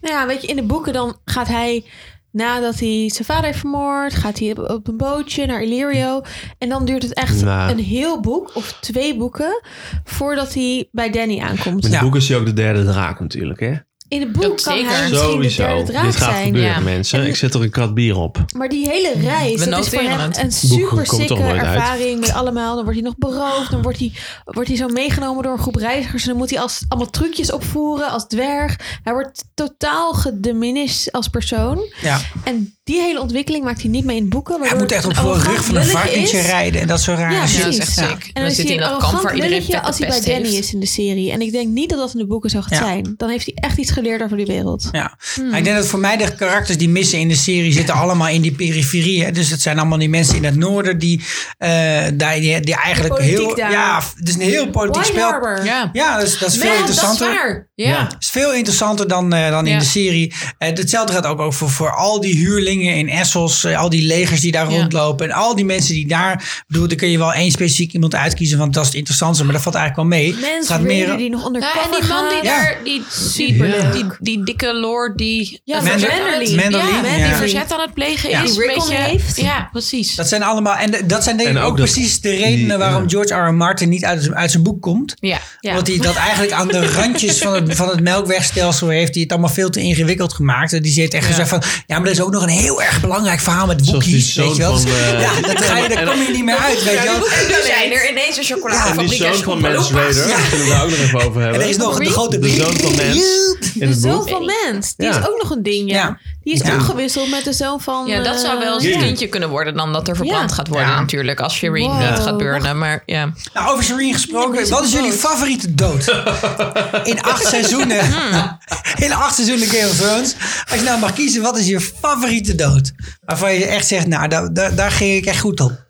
D: Nou ja, weet je, in de boeken dan gaat hij... Nadat hij zijn vader heeft vermoord, gaat hij op- op een bootje naar Illyrio. En dan duurt het echt
E: Nou.
D: een heel boek of twee boeken voordat hij bij Danny aankomt.
E: Met
A: Ja.
E: de boek is hij ook de derde draak natuurlijk. Hè?
D: In het boek
F: Dat
D: kan
F: zeker.
D: hij misschien de
E: Sowieso.
D: derde draak
E: Dit gaat
D: zijn.
E: gebeuren
F: ja.
E: mensen. Ik zet er een krat bier op.
D: Maar die hele reis,
F: We
D: dat is voor
F: noteren
D: hem
F: het.
D: een
E: komt
D: super
E: toch
D: sikke
E: nooit uit.
D: ervaring. Met allemaal, dan wordt hij nog beroofd. Dan wordt hij, wordt hij zo meegenomen door een groep reizigers. En dan moet hij als, allemaal trucjes opvoeren als dwerg. Hij wordt totaal gediminished als persoon.
A: Ja.
D: En die hele ontwikkeling maakt hij niet mee in boeken.
A: Hij
D: waardoor
A: moet echt
D: het
A: op
D: een
A: de
D: arrogant
A: rug van een
D: lulletje
A: varkentje
D: is.
A: rijden en dat soort rare
D: Ja,
A: shit.
F: dat is
D: precies.
F: echt
A: Ja.
F: sick.
D: En dan,
F: zit hij in dat kamp
D: arrogant
F: waar iedereen
D: lulletje
F: vette
D: als hij bij
F: pest
D: Danny
F: heeft.
D: is in de serie. En ik denk niet dat dat in de boeken zo gaat
A: Ja.
D: zijn. Dan heeft hij echt iets geleerd over die wereld.
A: Ja. Maar ik denk dat voor mij de karakters die missen in de serie zitten allemaal in die periferie. Hè? Dus het zijn allemaal die mensen in het noorden die, eh, daar, die, die eigenlijk
D: De politiek
A: heel...
D: daar.
A: Ja, f- het is een heel politiek
D: White
A: spel.
D: Harbor.
F: Ja.
A: Ja, dat is, dat is veel
F: Ja,
A: interessanter.
F: Dat is waar. Ja.
A: is veel interessanter dan, eh, dan in
F: Ja.
A: de serie. Eh, hetzelfde gaat ook over voor al die huurlingen in Essos. eh, al die legers die daar
F: Ja.
A: rondlopen. En al die mensen die daar... ik bedoel, dan kun je wel één specifiek iemand uitkiezen. Want dat is het interessantste. Maar dat valt eigenlijk wel mee. het
D: Mensen
A: gaat
D: reden
A: meer...
D: die nog
F: Ja,
D: undercover
F: en die man die
D: gaan.
A: Ja.
F: daar, die, die,
D: Superleuk.
F: die, die dikke lord die...
D: Ja,
F: dat-
A: Mandel-
F: Manderly.
A: Manderly,
F: Ja,
A: ja.
F: die verzet aan het plegen
A: Ja.
F: is.
D: Die Rickon
F: een beetje-
D: heeft.
F: Ja, precies.
A: Dat zijn allemaal... En de- dat zijn denk ik
E: En
A: ook,
E: ook dat-
A: precies de redenen
E: die-
A: waarom
E: ja.
A: George R. R. Martin niet uit, uit zijn boek komt.
F: ja.
A: want hij dat eigenlijk aan de randjes van het, van het melkwegstelsel heeft. Die het allemaal veel te ingewikkeld gemaakt. En Die zit echt gezegd van... Ja, maar er is ook nog een heel erg belangrijk verhaal met
E: Zoals die
A: Wookiees. Weet
E: zoon
A: je wel.
E: van, eh,
A: ja, dat ga je, daar kom je niet meer uit. Weet je wel.
F: En nu zijn er ineens een
E: En die
F: chocoladefabriek
E: zoon
F: en
E: van Mans
F: Schoenpaloepa's.
E: Raider. Kunnen we daar ook nog even over hebben.
A: En er is nog de grote...
E: De zoon van Mans in
D: De
E: het
D: zoon
E: boek.
D: van Mens, die
E: Ja.
D: is ook nog een ding, ja.
A: Ja.
D: Die is
A: Ja.
D: omgewisseld met de zoon van... eh,
F: Ja, dat zou wel eens een
E: Ja.
F: kindje kunnen worden dan dat er verbrand
D: Ja.
F: gaat worden
A: Ja.
F: natuurlijk. Als Shireen
D: Wow.
F: het gaat burnen. Maar ja,
A: Nou, over Serene gesproken. wat is jullie favoriete dood? In acht seizoenen.
D: Hmm.
A: In acht seizoenen Game of Thrones. Als je nou mag kiezen, wat is je favoriete dood? Waarvan je echt zegt, nou, daar, daar, daar ging ik echt goed op.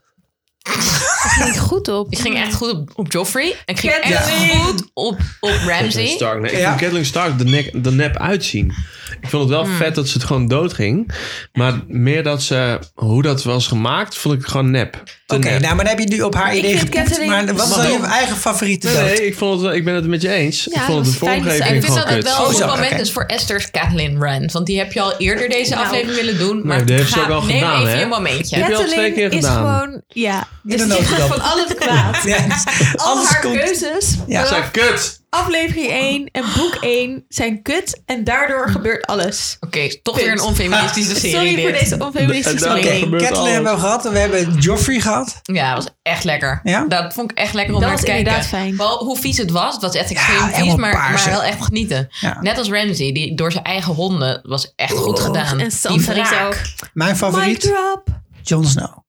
D: ging goed op.
F: ik ging echt goed op, op Joffrey. Ik ging
A: Catelyn.
F: echt goed op, op
E: Catelyn
F: Ramsey.
E: Stark. Nee, ik
A: Ja.
E: vond Catelyn Stark de, nek, de nep uitzien. Ik vond het wel vet dat ze het gewoon dood ging. Maar meer dat ze, hoe dat was gemaakt, vond ik gewoon nep. Te
A: Oké,
E: nep.
A: nou, maar dan heb je nu op haar
D: Ik
A: idee
D: vind
A: gepoept.
D: Catherine-
A: Maar wat is dan
E: Maar-
A: je eigen favoriete
E: Nee,
A: dood?
E: nee, ik, vond het, wel- ik ben het met je eens. ik
D: dat
E: vond
D: was
E: het de
D: fijn.
E: vormgeving
D: Ik
F: En ik vind
E: gewoon
F: dat
E: kut.
F: Dus het wel een
A: Oh,
F: goed
A: zo,
F: moment
A: oké.
F: is voor Esther's Catelyn Rand. Want die heb je al eerder deze
D: Nou.
F: aflevering willen doen. Maar
E: die heeft ze
F: ga-
E: ook al
F: neem
E: gedaan,
F: even
E: hè?
F: je momentje.
E: heb je al
D: Catelyn
E: twee keer
D: is
E: gedaan.
D: gewoon... Ja,
A: In
D: dus
A: de
D: die gaat van
A: notendop.
D: al het kwaad.
A: Ja, dus
D: Al
A: alles
D: haar
A: komt-
D: keuzes,
A: Ja.
E: Ze
D: vanaf
E: zei, kut.
D: aflevering 1 en boek 1 zijn kut en daardoor gebeurt alles.
F: Oké, toch weer een onfeministische serie
D: Sorry voor
F: dit.
D: deze onfeministische
E: En dan-
D: mening.
E: gebeurt
A: Catelyn
E: alles.
A: hebben we gehad. We hebben Joffrey gehad.
F: Ja, dat was echt lekker.
A: Ja?
F: Dat vond ik echt lekker om
D: Dat
F: naar te
D: is
F: kijken.
D: inderdaad fijn.
F: Wel, hoe vies het was, het was echt extreem vies,
A: helemaal
F: maar,
A: paars,
F: maar
A: hè?
F: wel echt genieten.
A: Ja.
F: Net als Ramsey, die door zijn eigen honden was echt goed gedaan.
D: Oh, En
F: die
D: Sansa is
F: wraak.
D: ook.
A: Mijn
D: Mic
A: favoriet,
D: drop.
A: Jon Snow.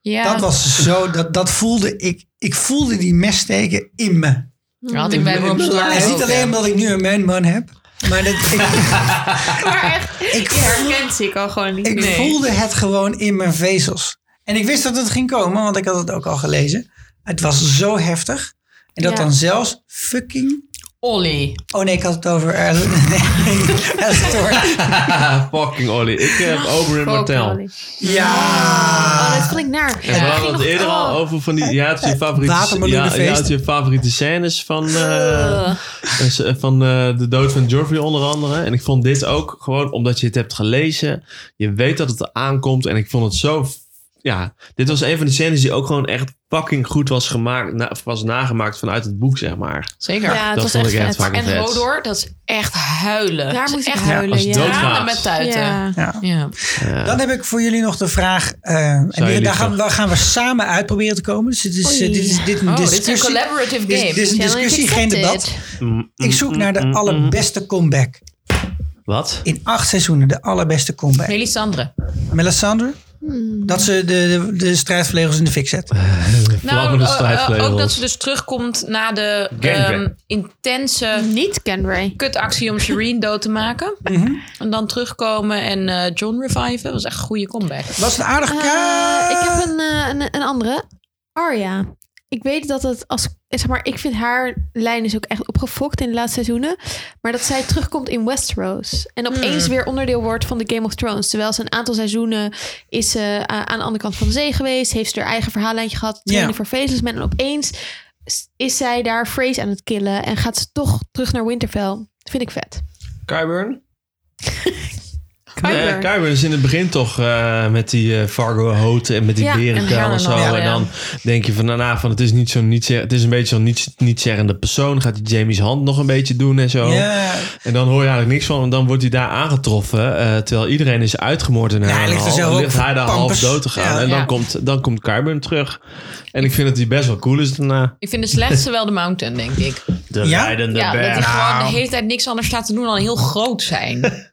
F: Ja,
A: Dat was zo, dat, dat voelde ik. Ik voelde die messteken in me.
F: dat had ik bij Rob
A: Het is niet Mm. alleen omdat ik nu een man-man heb. Maar dat, ik,
D: Maar echt,
A: Ik
D: ik herkent ze ik al gewoon niet
A: ik
D: meer.
A: voelde het gewoon in mijn vezels. En ik wist dat het ging komen, want ik had het ook al gelezen. Het was zo heftig. En dat
D: Ja.
A: dan zelfs fucking...
F: Olly.
A: Oh nee, ik had het over... eh, nee, Astor.
E: Ah, fucking Ollie. Ik heb Oberyn Martell.
A: Ja.
D: Oh, dat Oh, vond ik naar.
E: En we hadden het eerder al
D: over.
E: over van die... Ja, het is je favoriete,
A: Watermeloenenfeest.
E: ja, ja, het is je favoriete scènes van, eh, eh, van eh, de dood van Joffrey onder andere. En ik vond dit ook gewoon omdat je het hebt gelezen. Je weet dat het eraan komt. En ik vond het zo... Ja, dit was een van die scènes die ook gewoon echt fucking goed was, gemaakt, na- of was nagemaakt vanuit het boek, zeg maar.
F: Zeker.
D: Ja, het
E: dat
D: was
E: vond
D: echt
E: ik echt
D: vet.
E: fucking
F: En
E: vet.
F: Rodor, dat is echt huilen.
D: Daar
F: Dat is
D: moest ik
F: echt
D: huilen,
E: Als
D: ja.
E: dood
F: Tranen
E: gaat.
F: met tuiten. Ja.
D: Ja.
A: Ja.
E: Ja.
A: Dan heb ik voor jullie nog de vraag... eh, en die,
E: jullie
A: daar gaan,
E: toch-
A: daar gaan we samen uit proberen te komen. Dus dit is, eh,
D: Oei.
A: dit is, dit een
F: Oh, dit is een
A: discussie.
F: collaborative
A: Dit is-
F: game.
A: dit is een
D: Challenge
A: discussie, geen
D: accepted.
A: debat.
E: Mm,
A: Ik zoek naar de allerbeste comeback.
E: Wat?
A: In acht seizoenen de allerbeste comeback.
F: Melisandre.
A: Melisandre? Dat ze de, de, de strijdvlegels in de fik zet.
E: Eh.
F: Nou,
E: Vlammende
F: eh, eh,
E: strijdvlegels.
F: ook dat ze dus terugkomt na de
E: Gangbang.
F: ehm, intense
D: Niet Kenray.
F: kutactie om Shireen dood te maken.
E: Mhm.
F: En dan terugkomen en eh, John reviven. Dat was echt een goede comeback.
A: Was een aardig
D: Eh,
A: ka-
D: ik heb een, eh, een, een andere. Arya. Ik weet dat het als zeg maar, ik vind haar lijn is ook echt opgefokt in de laatste seizoenen. Maar dat zij terugkomt in Westeros. En
A: Hmm.
D: opeens weer onderdeel wordt van de Game of Thrones. Terwijl ze een aantal seizoenen is ze eh, aan de andere kant van de zee geweest. Heeft ze haar eigen verhaallijntje gehad. Trainen voor Faceless Man. En opeens s- is zij daar Phrase aan het killen. En gaat ze toch terug naar Winterfell. Dat vind ik vet.
E: Kyburn?
D: Kyburn.
E: Nee, Kyburn is in het begin toch eh, met die eh, Fargo hoten en met die
D: Ja, en
E: berenkuil en zo.
F: Helena, ja.
E: En dan denk je van daarna van het is niet zo'n niet het is een beetje zo'n niet, niet zeggende persoon. Gaat die Jamie's hand nog een beetje doen en zo.
A: Ja,
E: En dan hoor je eigenlijk niks van. En dan wordt hij daar aangetroffen. eh, terwijl iedereen is uitgemoord in
A: hij
E: haar
A: ligt er
E: hal.
A: zelf
E: Dan
A: ook
E: ligt hij daar half
A: pampers.
E: dood te gaan.
A: Ja.
E: en dan,
F: Ja.
E: komt, dan komt Kyburn terug. En ik vind dat hij best wel cool is daarna.
F: Ik vind de slechtste wel de Mountain, denk ik.
E: De
A: Ja?
E: leidende
F: Ja, dat
E: berg.
F: die gewoon de hele tijd niks anders staat te doen dan heel groot zijn.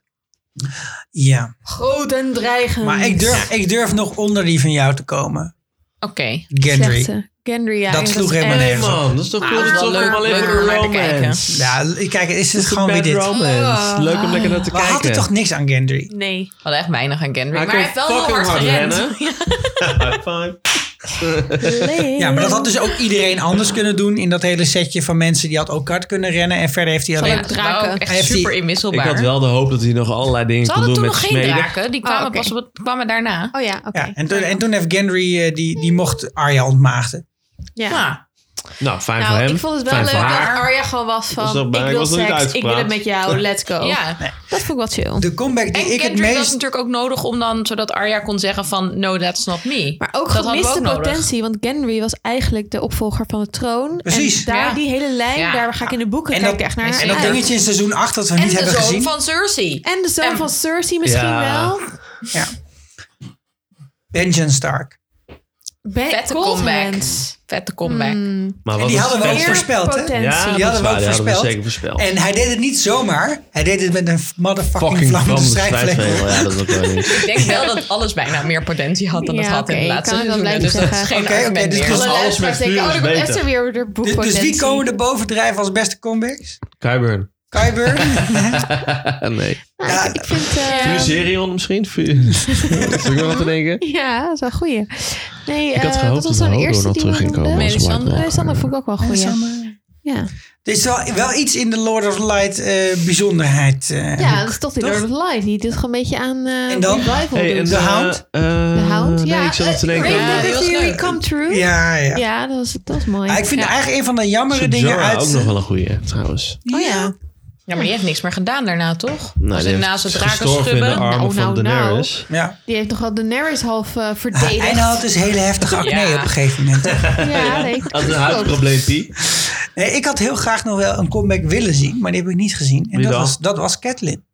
A: ja.
F: groot en dreigend.
A: maar ik durf, ik durf nog onder die van jou te komen.
F: Oké.
A: Gendry.
D: Slechte. Gendry, ja.
A: Dat
D: ik-
A: sloeg
D: is
A: helemaal
D: echt-
E: Hey
A: nergens
E: man, dat is toch
F: Ah,
E: cool?
F: dat
E: Dat
F: is
E: is
F: wel
E: toch
F: leuk-
E: helemaal leuk
F: leuk om
E: voor
F: naar te
E: romance.
A: Ja, kijk, is het
E: Is
A: gewoon weer
E: bad
A: dit.
E: romance.
F: Oh.
E: Leuk om lekker naar te
A: We
E: kijken.
A: hadden toch niks aan Gendry?
D: Nee.
F: Wel echt weinig aan Gendry.
E: Hij
F: maar hij heeft
E: kon
F: wel heel
E: fucking
F: hard
E: hard
F: gerend.
E: rennen. High five.
A: Ja, maar dat had dus ook iedereen anders kunnen doen in dat hele setje van mensen. Die had ook hard kunnen rennen en verder heeft hij
D: Zal
A: alleen...
F: Ja,
D: ik-
F: dat waren ook
A: Hij
F: echt
A: heeft die-
F: super
E: Ik
F: inwisselbaar.
E: had wel de hoop dat hij nog allerlei dingen
F: Ze
E: kon
F: hadden
E: doen
F: toen
E: met
F: nog geen
E: smeden. Ah,
F: draken. Die kwamen
D: Oh, oké.
F: pas op het, kwamen daarna.
D: Oh ja, oké.
A: Ja, en toen, en toen heeft Gendry, eh, die, die mocht Arya ontmaagden.
D: Ja.
F: Ja.
E: Nou, fijn voor
D: Nou,
E: hem.
D: ik vond het wel
E: fijn
D: leuk
E: voor
D: dat
E: haar.
D: Arya gewoon was
E: was
D: van...
E: nog
D: ik
E: bij, ik
D: wil
E: was nog niet
D: seks, ik wil het
E: uitgepraat.
D: met jou, let's
E: oh.
D: go.
F: ja.
D: Dat vond ik wel chill.
A: De comeback die ik
F: En
A: het
F: Kendrick was
A: meest...
F: natuurlijk ook nodig om dan, zodat Arya kon zeggen van, no, that's not me.
D: Maar ook
F: dat
D: gemiste
F: hadden we ook
D: potentie, want Gendry was eigenlijk de opvolger van de troon.
A: Precies.
D: En daar
F: Ja.
D: die hele lijn,
F: Ja.
D: daar ga ik in de boeken
A: En
D: kijken
A: dat,
D: echt naar.
A: en
D: haar
A: dat
D: uit.
A: dingetje in seizoen 8 dat we
F: nodig.
A: niet
F: En de
A: hebben
F: zoon
A: gezien.
F: van Cersei.
D: En de zoon
F: En-
D: van Cersei misschien
E: Ja.
D: wel.
A: Ja. Benjen Stark.
D: Ben
F: Vette
D: Coldhands.
F: Vette comeback.
E: Maar
A: En
E: wat
A: die
E: was
A: hadden we
E: het
A: ook
E: vet-
A: voorspeld, hè?
D: potentie.
E: Ja,
D: Die
A: Die
E: dat is
A: hadden we
E: waar,
A: ook
E: die hadden we
A: voorspeld.
E: zeker voorspeld.
A: En hij deed het niet zomaar. Hij deed het met een motherfucking
E: Fucking
A: vlammende
E: vlammende
A: strijdvlegel.
E: strijdvlegel. Ja, dat is ook wel niet.
F: Ik denk wel dat alles bijna meer potentie had dan
D: Ja,
F: het had in
D: oké,
F: de laatste
D: kan ik wel
F: seizoenen. Dus
D: blijven
F: dat is
D: zeggen.
F: geen
A: Oké, oké,
F: argument
A: dus
F: meer.
A: dat is
D: Alle
A: Alles
D: luisteraars
E: met
D: denken,
E: vuur
D: oh,
E: is
D: er komt
E: beter.
D: Esther weer door
A: Dus, dus
D: boekpotentie.
A: wie komen er bovendrijven als beste comebacks?
E: Kyburn.
A: Kyburn?
E: nee.
A: Ja,
D: Ik vind... eh,
E: Fuserion misschien? Fu- Zit ik nog wat te denken?
D: ja, dat is wel een goeie. Nee,
E: Ik had
D: eh,
E: gehoopt
D: wat was
E: dat
D: dan de
E: Hodor
D: eerste
E: nog
D: die
E: terug
D: we
E: ging komen
D: noemden?
F: als White Walker.
D: Nee, Sander vond ik ook wel een goeie. Ja.
A: Er is wel, wel iets in de Lord of Light eh, bijzonderheid. eh.
D: Ja, dat is toch die
A: Toch?
D: Lord of Light. Die dit gewoon een beetje aan eh
A: En dan?
D: revival
E: Hey, en
D: doet.
A: De
E: eh,
A: Hound?
E: eh,
D: De Hound, ja.
E: Nee, ik zat nog
D: eh,
E: te denken.
D: Rainbow
F: Ja, die was
D: Theory
F: leuk.
D: Come True. Ja,
A: ja, ja.
D: dat, was, dat was mooi.
A: Maar ik vind
D: ja.
A: eigenlijk een van de jammere dingen
E: Jorah
A: uit... eh,
E: ook nog wel een goeie, trouwens.
D: Oh ja.
F: Ja, maar die heeft niks meer gedaan daarna, toch?
E: Nou,
F: Als
E: die
F: in
E: heeft
F: naast het draken
E: gestorven
F: schubben.
E: in de armen
D: Nou, nou,
E: van
D: nou.
E: Daenerys.
A: Ja.
D: Die heeft nog wel Daenerys half eh, verdedigd.
A: Hij had dus hele heftige acne
F: Ja.
A: op een gegeven moment.
D: Ja, Oh, nee.
E: Had een
D: klopt.
E: huidprobleempie.
A: Nee, ik had heel graag nog wel een comeback willen zien, maar die heb ik niet gezien. En
E: Wie
A: dat
E: dan?
A: was, dat was Catelyn.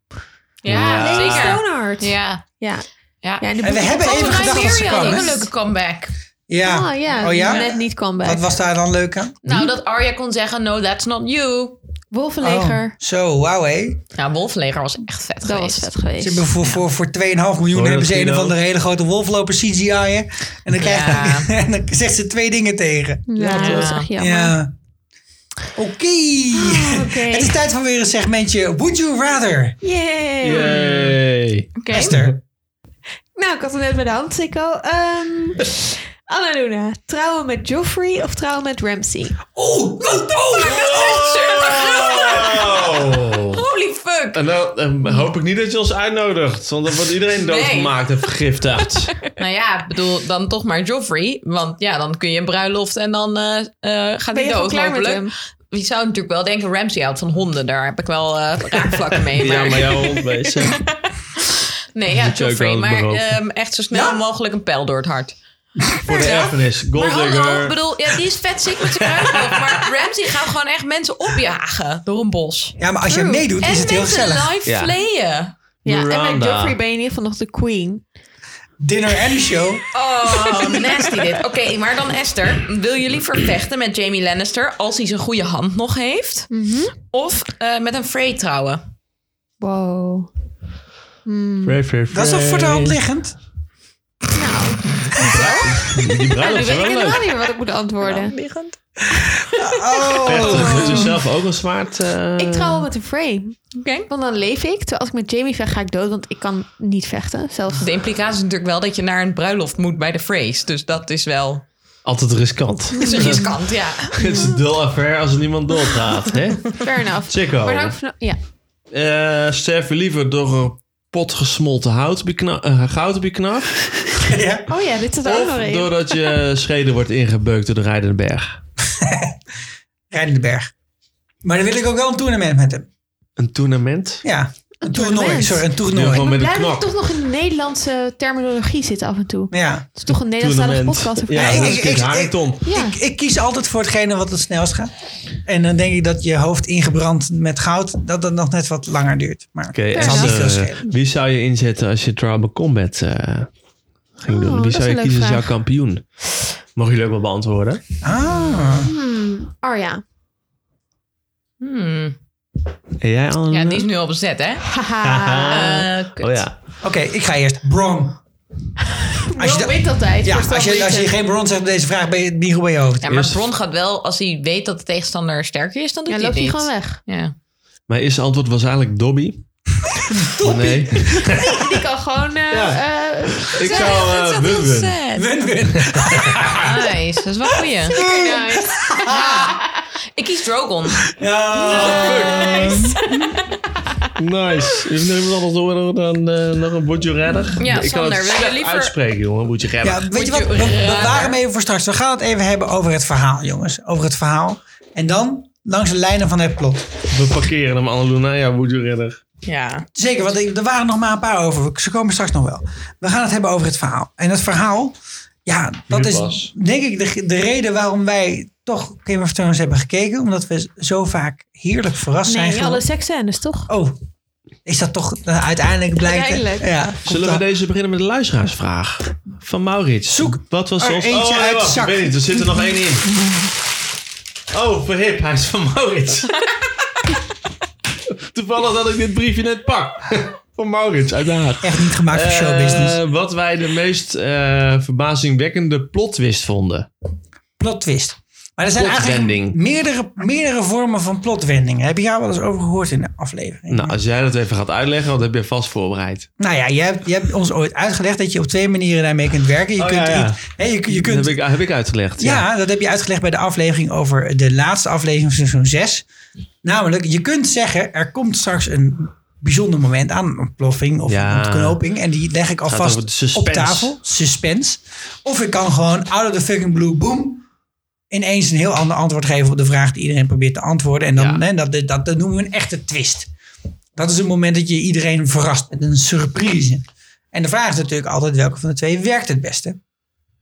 F: Ja,
E: Ja.
D: Lady
F: zeker.
D: Stoneheart. Ja.
F: Ja.
D: Ja.
F: Ja.
D: in de
A: En we
D: boeken-
A: hebben
D: Oh,
A: even
F: Oh,
A: gedacht dat ze
F: Rhaenyra
A: kwam,
F: had ook
A: hè?
F: een leuke comeback.
A: Ja.
D: Oh ja,
A: Oh, ja?
D: die net niet kwam
A: Wat
D: bij.
A: was daar dan leuk aan?
D: Hm?
F: Nou, dat Arya kon zeggen, no, that's not you.
D: Wolvenleger.
A: Oh, Zo, wauw hé.
F: Nou, Wolfleger was echt
D: Dat
F: vet
D: was
F: geweest.
D: vet
A: Ze
D: geweest.
A: hebben voor, voor, voor 2,5 miljoen
E: dat
A: hebben ze een
E: kilo?
A: of andere hele grote wolf lopen CGI'en. En dan, krijg
F: Ja.
A: en dan zegt ze twee dingen tegen.
D: Ja,
F: Ja.
D: dat was echt jammer. Ah, Oh,
A: Ja. Oké.
D: oké.
A: Het is tijd voor weer een segmentje Would You Rather?
D: Yay.
E: Yay.
F: Oké.
A: Esther.
D: Nou, ik had het net bij de hand, Sikko. Ehm Anna Luna, trouwen met Joffrey of trouwen met Ramsey?
A: Oeh, oeh, oeh.
E: Oh,
F: Holy fuck.
E: En dan eh, hoop ik niet dat je ons uitnodigt. Want dan wordt iedereen doodgemaakt en vergiftigd.
F: Nou ja, ik bedoel, dan toch maar Joffrey. Want ja, dan kun je een bruiloft en dan eh, eh, gaat
D: Ben
F: hij
D: je gewoon
F: dood
D: klaar met hem?
F: hopelijk. Je zou natuurlijk wel denken, Ramsey houdt van honden. Daar heb ik wel eh, raakvlakken mee.
E: Ja,
F: maar-
E: maar jouw hond bezig.
F: nee, ja,
E: moet je ook
F: Joffrey.
E: wel
F: Maar
E: beroven.
F: ehm, echt zo snel mogelijk een pijl door het hart.
E: Voor de erfenis.
F: Maar hallo, ik
E: Golddigger.
F: bedoel, ja, die is vet ziek met zijn kruisboog. Maar Ramsey gaat gewoon echt mensen opjagen door een bos.
A: Ja, maar als je meedoet is
F: en
A: het heel
F: mensen
A: gezellig.
F: live
E: Ja.
F: playen.
D: Ja, en met
E: Miranda.
D: Joffrey ben je in ieder geval nog de queen.
A: Dinner en de show.
F: Oh, nasty dit. Oké, maar dan Esther. Wil je liever vechten met Jamie Lannister als hij zijn goede hand nog heeft?
D: Mhm.
F: Of eh, met een Frey trouwen?
D: Wow.
E: Frey, frey,
A: Dat is toch voor de
E: frey.
A: hand liggend?
E: Die bruiloft is
D: Ik
E: wel
D: weet
E: leuk.
D: helemaal niet meer wat ik moet antwoorden.
E: Vechten met zichzelf ook een zwaard. eh,
D: Ik trouw met een Frey.
F: Oké.
D: Want dan leef ik. Terwijl als ik met Jamie vecht, ga ik dood. Want ik kan niet vechten. Zelfs
F: De implicatie is natuurlijk wel dat je naar een bruiloft moet bij de Freys. Dus dat is wel...
E: altijd riskant.
F: Het is riskant, ja.
E: het is een dull affair als er niemand doodgaat. hè?
D: Fair enough.
E: Checo.
D: Maar dan ook van- ja.
E: Eh sterf je liever door een pot gesmolten hout bekna- eh, goud beknapt?
A: ja.
D: Oh ja, dit zit er ook nog
E: Of
D: in.
E: doordat je scheden wordt ingebeukt door de rijdende berg?
A: Rijden de berg. Maar dan wil ik ook wel een toernooi met hem.
E: Een tournament?
A: Ja, een toernooi.
D: toernooi.
A: Sorry, een
E: Ja,
A: toernooi.
E: gewoon met een
D: Blij dat we
E: knok.
D: toch nog in de Nederlandse terminologie zitten af en toe.
A: Ja.
D: Het is toch een Nederlandstalige
E: Tournament.
D: podcast.
A: Nee,
E: Ja, dat
A: ik-
E: is
A: ik-
E: Kit
A: ik-
E: Harington.
D: Ja.
A: Ik, ik kies altijd voor hetgene wat het snelst gaat. En dan denk ik dat je hoofd ingebrand met goud, dat dat nog net wat langer duurt. Maar
E: Oké,
A: het
E: en
A: zal niet
E: eh,
A: veel schelen.
E: wie zou je inzetten als je Tribal Combat eh, ging
D: Oh,
E: doen?
D: dat
E: Wie
D: is
E: zou
D: een
E: je
D: leuke
E: kiezen als jouw
D: vraag.
E: kampioen? Mag je leuk wel beantwoorden?
A: Ah,
D: Arja.
F: Hmm.
E: En jij, Anne?
F: Ja, die is nu al bezet, hè?
D: Mhm. Haha.
F: Eh, kut.
E: Oh ja.
A: oké, ik ga eerst. Bron. Als je
D: Bro
A: da-
D: wint altijd.
A: Ja,
D: voor some
A: als je, als je
D: reason.
A: geen bron zegt op deze vraag, ben je het niet goed bij je hoofd.
F: Ja, maar
E: Eerst-
F: Bron gaat wel, als hij weet dat de tegenstander sterker is, dan doet
D: Ja,
F: hij
D: loopt
F: het
D: hij
F: niet.
D: gewoon weg.
F: Ja.
E: Mijn eerste antwoord was eigenlijk Dobby. Dobby? Nee.
D: Die kan gewoon... eh, eh,
E: Ik zou
F: dat
E: eh
F: is echt heel
E: Wun-Wun.
F: sad.
A: Win-win.
F: Nice, dat is wel goeie. Ah.
D: very nice.
F: Ik kies Drogon.
E: Nice. Heeft nog iemand anders horen dan eh, nog een Boetje Redder?
F: Ja,
E: ik kan
F: Sander,
E: het
F: we willen
E: slecht
F: liever-
E: uitspreken, jongen. Boetje Redder.
A: Ja, weet je wat? We, we waren even voor straks. We gaan het even hebben over het verhaal, jongens. Over het verhaal. En dan langs de lijnen van het plot.
E: We parkeren hem, Annaluna. Ja, Boetje Redder.
F: Ja.
A: Zeker, want er waren nog maar een paar over. Ze komen straks nog wel. We gaan het hebben over het verhaal. En dat verhaal, ja, dat
E: Hier
A: is
E: was.
A: denk ik de, de reden waarom wij toch Game of Thrones hebben gekeken. Omdat we zo vaak heerlijk verrast zijn.
D: Nee,
A: geworden.
D: alle seksscènes, toch?
A: Oh, is dat toch eh, uiteindelijk blijkt?
D: Uiteindelijk.
A: Ja, komt
E: Zullen we
A: dat-
E: deze beginnen met de luisteraarsvraag? Van Maurits.
A: Zoek
E: Wat was
A: er
E: ons...
A: eentje
E: nee,
A: uit
E: wacht,
A: zak.
E: Ik weet niet, er zit er nog één in. Oh, verhip. Hij is van Maurits. Toevallig dat ik dit briefje net pak. Van Maurits, uit Den Haag.
A: Echt niet gemaakt voor showbusiness.
E: Eh, wat wij de meest eh, verbazingwekkende plotwist vonden.
A: Plot twist. Maar er zijn eigenlijk
E: Plotwending.
A: meerdere, meerdere vormen van plotwendingen. Heb je daar wel eens over gehoord in de aflevering?
E: Nou, als jij dat even gaat uitleggen, want dat heb je vast voorbereid.
A: Nou ja, je hebt, je hebt ons ooit uitgelegd dat je op twee manieren daarmee kunt werken. Je
E: Oh,
A: kunt,
E: ja, ja.
A: iets- hè, je, je
E: Dat
A: kunt
E: heb ik, heb ik uitgelegd.
A: Ja, dat heb je uitgelegd bij de aflevering over de laatste aflevering van seizoen 6. Namelijk, je kunt zeggen, er komt straks een bijzonder moment aan. Een ontploffing of
E: Ja.
A: een ontknoping. En die leg ik
E: over de
A: alvast
E: suspense.
A: op tafel. Suspense. Of ik kan gewoon out of the fucking blue, boom. Ineens een heel ander antwoord geven op de vraag die iedereen probeert te antwoorden. En dan,
E: Ja.
A: hè, dat, dat, dat noemen we een echte twist. Dat is het moment dat je iedereen verrast met een surprise. En de vraag is natuurlijk altijd welke van de twee werkt het beste.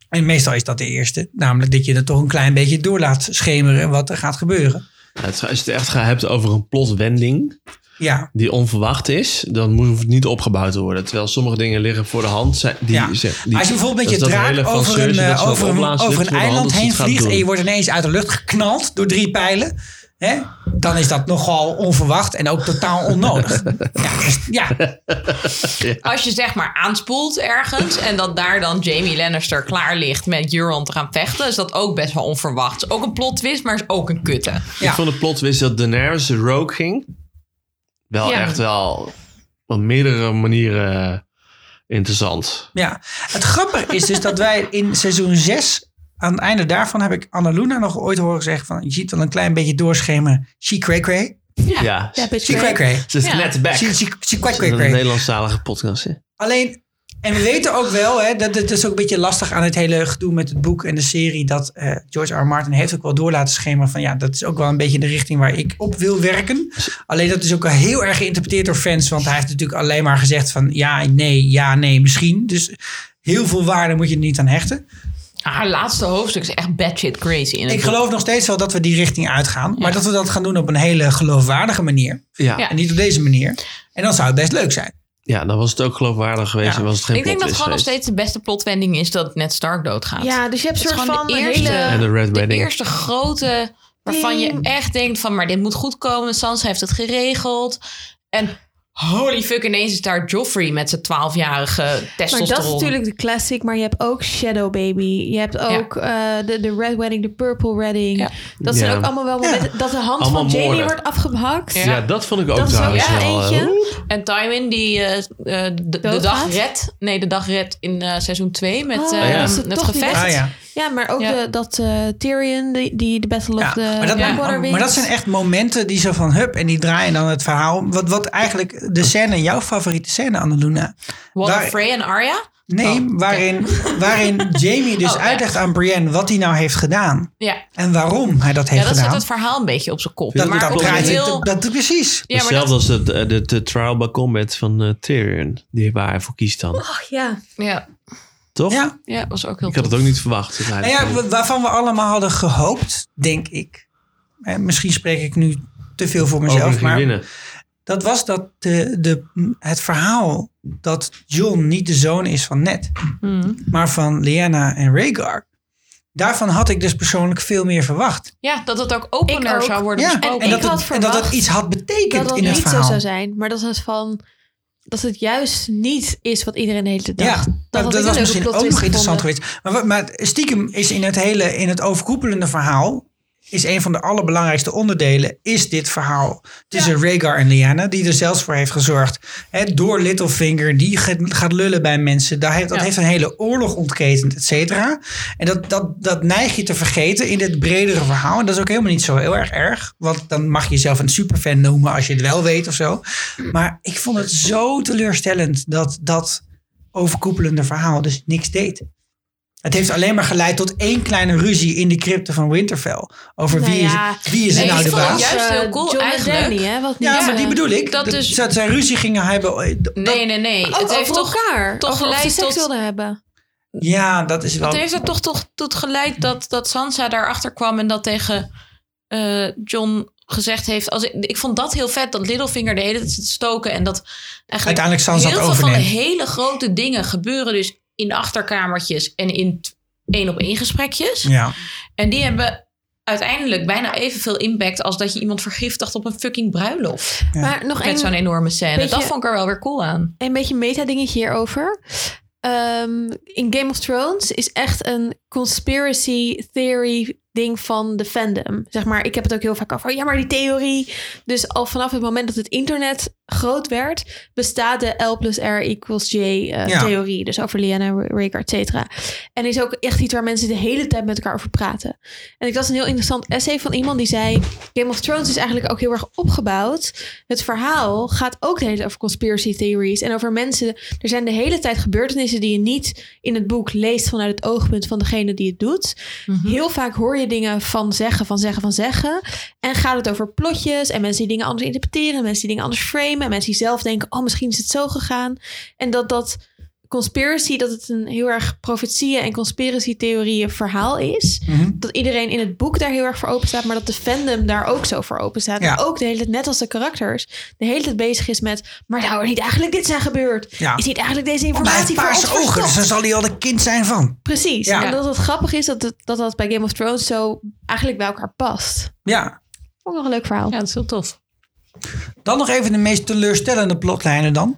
A: En meestal is dat de eerste. Namelijk dat je er toch een klein beetje door laat schemeren wat er gaat gebeuren.
E: Nou, het- Als je het echt gaat hebben over een plotwending
A: Ja,
E: die onverwacht is, dan moet het niet opgebouwd te worden. Terwijl sommige dingen liggen voor de hand. Zijn, die,
A: ja.
E: ze- die,
A: Als je bijvoorbeeld met
E: dat
A: je
E: is dat hele
A: draak
E: van
A: over een,
E: Cersei, dat
A: eh,
E: ze dat
A: over een,
E: opblazen,
A: over
E: ligt
A: een
E: voor de hand
A: eiland
E: als ze
A: heen
E: het gaat
A: vliegt
E: doen.
A: en je wordt ineens uit de lucht geknald door drie pijlen. Hè? Dan is dat nogal onverwacht en ook totaal onnodig. ja, dus- ja,
F: Als je zeg maar aanspoelt ergens en dat daar dan Jamie Lannister klaar ligt met Euron te gaan vechten, is dat ook best wel onverwacht. Is ook een plot twist, maar is ook een kutte. Ah,
A: ja.
E: Ik vond de plotwist dat Daenerys rogue ging. Wel
D: Ja.
E: echt wel op meerdere manieren interessant.
A: Ja, het grappige is dus dat wij in seizoen 6, aan het einde daarvan heb ik Annaluna nog ooit horen zeggen van, je ziet wel een klein beetje doorschemeren. She cray cray.
E: Ja,
D: Ja, bitch.
A: She cray cray.
E: ze is
F: Ja.
E: net back.
A: She, she, she cray cray
E: Een
A: cray.
E: Nederlandstalige podcast. Hè?
A: Alleen, en we weten ook wel, hè, dat het is ook een beetje lastig aan het hele gedoe met het boek en de serie, dat eh, George R. R. Martin heeft ook wel door laten schemeren van, ja, dat is ook wel een beetje de richting waar ik op wil werken. Alleen dat is ook wel heel erg geïnterpreteerd door fans, want hij heeft natuurlijk alleen maar gezegd van, ja, nee, ja, nee, misschien. Dus heel veel waarde moet je er niet aan hechten.
F: Haar laatste hoofdstuk is echt batshit crazy. In het
A: Ik
F: boek.
A: geloof nog steeds wel dat we die richting uitgaan. Maar dat we dat gaan doen op een hele geloofwaardige manier.
E: Ja.
F: Ja.
E: Ja.
A: En niet op deze manier. En dan zou het best leuk zijn.
E: dan was het ook geloofwaardig geweest
A: Ja.
E: en was het geen
F: Ik denk dat
E: plotwist
F: gewoon nog
E: geweest.
F: steeds de beste plotwending is dat net Stark doodgaat.
D: Ja, dus je hebt
F: Het
D: een
F: is
D: soort
F: gewoon
D: van
F: de eerste-
E: En
D: hele...
E: de Red
F: de
E: Wedding.
F: eerste grote waarvan je
D: Ding.
F: echt denkt van, maar dit moet goed komen. Sansa heeft het geregeld. En holy fuck, ineens is daar Joffrey met zijn 12-jarige
D: Maar
F: testosteron.
D: dat is natuurlijk de classic, maar je hebt ook Shadow Baby. Je hebt ook eh, de, de Red Wedding, de Purple Wedding.
F: Ja.
D: Dat zijn
E: Ja.
D: ook allemaal wel momenten dat de hand
E: Allemaal
D: van Jamie
E: moorden.
D: wordt afgehakt.
F: Ja.
E: Ja, dat vond ik ook
D: Dat is ook
E: trouwens
D: echt
E: wel.
D: eentje.
E: eh,
F: En Tywin die eh, eh, de, de
D: Doodgaat?
F: dag red. Nee, de dag red in eh, seizoen 2 met
D: Oh,
F: eh,
E: ja.
D: dat is het
F: het
D: toch niet echt.
F: gevecht.
A: Ah ja.
D: Ja, maar ook
F: Ja.
D: de- dat eh, Tyrion, die, die de Battle of
A: Ja,
D: the
A: maar, dat, Oh,
D: Blackwater
A: maar,
D: wint.
A: maar dat zijn echt momenten die zo van hup en die draaien dan het verhaal. Wat, wat eigenlijk de scène, jouw favoriete scène, Annaluna.
F: Wat
A: Waar-
F: Frey en Arya?
A: Nee,
F: Oh, oké.
A: waarin, waarin Jamie dus
F: Oh, ja.
A: uitlegt aan Brienne wat hij nou heeft gedaan.
F: Ja.
A: En waarom hij dat
F: Ja,
A: heeft
F: dat zet
A: gedaan.
F: het verhaal een beetje op zijn kop.
A: dat,
F: maar
A: dat,
F: op een
A: praat je-
F: heel...
A: dat, dat- precies.
F: ja, maar
E: Hetzelfde
F: dat,
E: als de, de, de trial by combat van eh, Tyrion. Die waar hij voor kiest dan.
D: Ach ja.
F: ja,
E: Toch?
A: Ja.
F: Oh, ja, was ook heel
E: Ik had het ook niet verwacht.
A: Nou ja, wa- waarvan we allemaal hadden gehoopt, denk ik. Eh, misschien spreek ik nu te veel voor mezelf, maar
E: winnen.
A: dat was dat de, de, het verhaal dat John niet de zoon is van Ned,
D: Hmm.
A: maar van Lyanna en Rhaegar. Daarvan had ik dus persoonlijk veel meer verwacht.
F: Ja, dat het ook opener
D: Ik ook.
F: zou worden
A: Ja, en,
F: besproken.
D: ik
A: dat
D: had
A: het, en dat het
D: verwacht
A: iets had
D: Dat
A: betekend
D: dat
A: in
D: niet
A: het
D: zo
A: verhaal.
D: zou zijn. Maar dat het van... Dat het juist niet is wat iedereen de hele tijd dacht.
A: Ja, dat,
D: dat, had
A: dat
D: ik
A: was
D: een leuke
A: misschien ook
D: plot
A: nog
D: twist
A: interessant
D: gevonden.
A: geweest. Maar, wat- maar stiekem is in het hele, in het overkoepelende verhaal, is een van de allerbelangrijkste onderdelen, is dit verhaal tussen Rhaegar en Lyanna, die er zelfs voor heeft gezorgd. Hè, door Littlefinger, die ge- gaat lullen bij mensen. Daar heeft, dat
F: Ja.
A: heeft een hele oorlog ontketend, et cetera. En dat, dat, dat neig je te vergeten in dit bredere verhaal. En dat is ook helemaal niet zo heel erg erg. Want dan mag je jezelf een superfan noemen als je het wel weet of zo. Maar ik vond het zo teleurstellend dat dat overkoepelende verhaal dus niks deed. Het heeft alleen maar geleid tot één kleine ruzie in de crypte van Winterfell. Over
D: Nou
A: wie,
D: ja,
A: is, wie is er
F: nee,
A: nou
F: ik
A: de
F: vond het
A: baas.
F: juist
D: Eh,
F: heel cool
D: John en
F: eigenlijk.
D: Danny, hè? Wat
A: Ja,
D: niet,
A: maar
D: eh,
A: die bedoel ik.
F: dat
A: Dat,
F: dus-
A: dat zij ruzie gingen hebben. eh, dat-
F: Nee, nee, nee.
D: ook
F: het heeft
D: Oh, over
F: Oh, toch,
D: elkaar.
F: toch
D: Over of ze
F: geleid
D: seks
F: tot-
D: wilden hebben.
A: Ja, dat is wel...
F: het heeft er toch, toch tot geleid dat, dat Sansa daarachter kwam en dat tegen eh, John gezegd heeft. Als ik, ik vond dat heel vet, dat Littlefinger de hele tijd zit te stoken en dat eigenlijk
A: Uiteindelijk Sansa
F: heel
A: het
F: veel van de
A: overneemt.
F: hele grote dingen gebeuren dus in achterkamertjes en in één op één gesprekjes.
A: Ja.
F: En die hebben uiteindelijk bijna evenveel impact als dat je iemand vergiftigt op een fucking bruiloft.
A: Ja.
D: Maar nog
F: Met zo'n
D: één
F: enorme scène.
D: beetje-
F: Dat vond ik er wel weer cool aan.
D: een beetje meta-dingetje hierover. Ehm, in Game of Thrones is echt een conspiracy theory ding van de fandom. Zeg maar, ik heb het ook heel vaak over. oh Ja, maar die theorie. Dus al vanaf het moment dat het internet groot werd, bestaat de L plus R equals J eh,
A: Ja.
D: theorie. Dus over Lyanna, Rhaegar, et cetera. En is ook echt iets waar mensen de hele tijd met elkaar over praten. En ik las een heel interessant essay van iemand die zei... Game of Thrones is eigenlijk ook heel erg opgebouwd. Het verhaal gaat ook de hele tijd over conspiracy theories. En over mensen... Er zijn de hele tijd gebeurtenissen die je niet in het boek leest... vanuit het oogpunt van degene die het doet. Heel vaak hoor je dingen van zeggen, van zeggen, van zeggen. En gaat het over plotjes en mensen die dingen anders interpreteren... mensen die dingen anders framen en mensen die zelf denken... oh, misschien is het zo gegaan. En dat dat conspiracy, dat het een heel erg profetieën en conspiratietheorieën verhaal is.
A: Mhm.
D: Dat iedereen in het boek daar heel erg voor open staat, maar dat de fandom daar ook zo voor open staat.
A: Ja.
D: En ook de hele tijd, net als de karakters, de hele tijd bezig is met, maar zou er niet eigenlijk dit zijn gebeurd?
A: Ja.
D: Is niet eigenlijk deze
A: Maar hij
D: informatie
A: heeft
D: voor ons
A: paarse ogen, dus
D: verstopt?
A: daar zal hij al een kind zijn van.
D: Precies.
A: Ja.
D: En dat het grappig is dat, het, dat dat bij Game of Thrones zo eigenlijk bij elkaar past.
A: Ja.
D: Ook nog een leuk verhaal.
F: Ja, dat is heel tof.
A: Dan nog even de meest teleurstellende plotlijnen dan.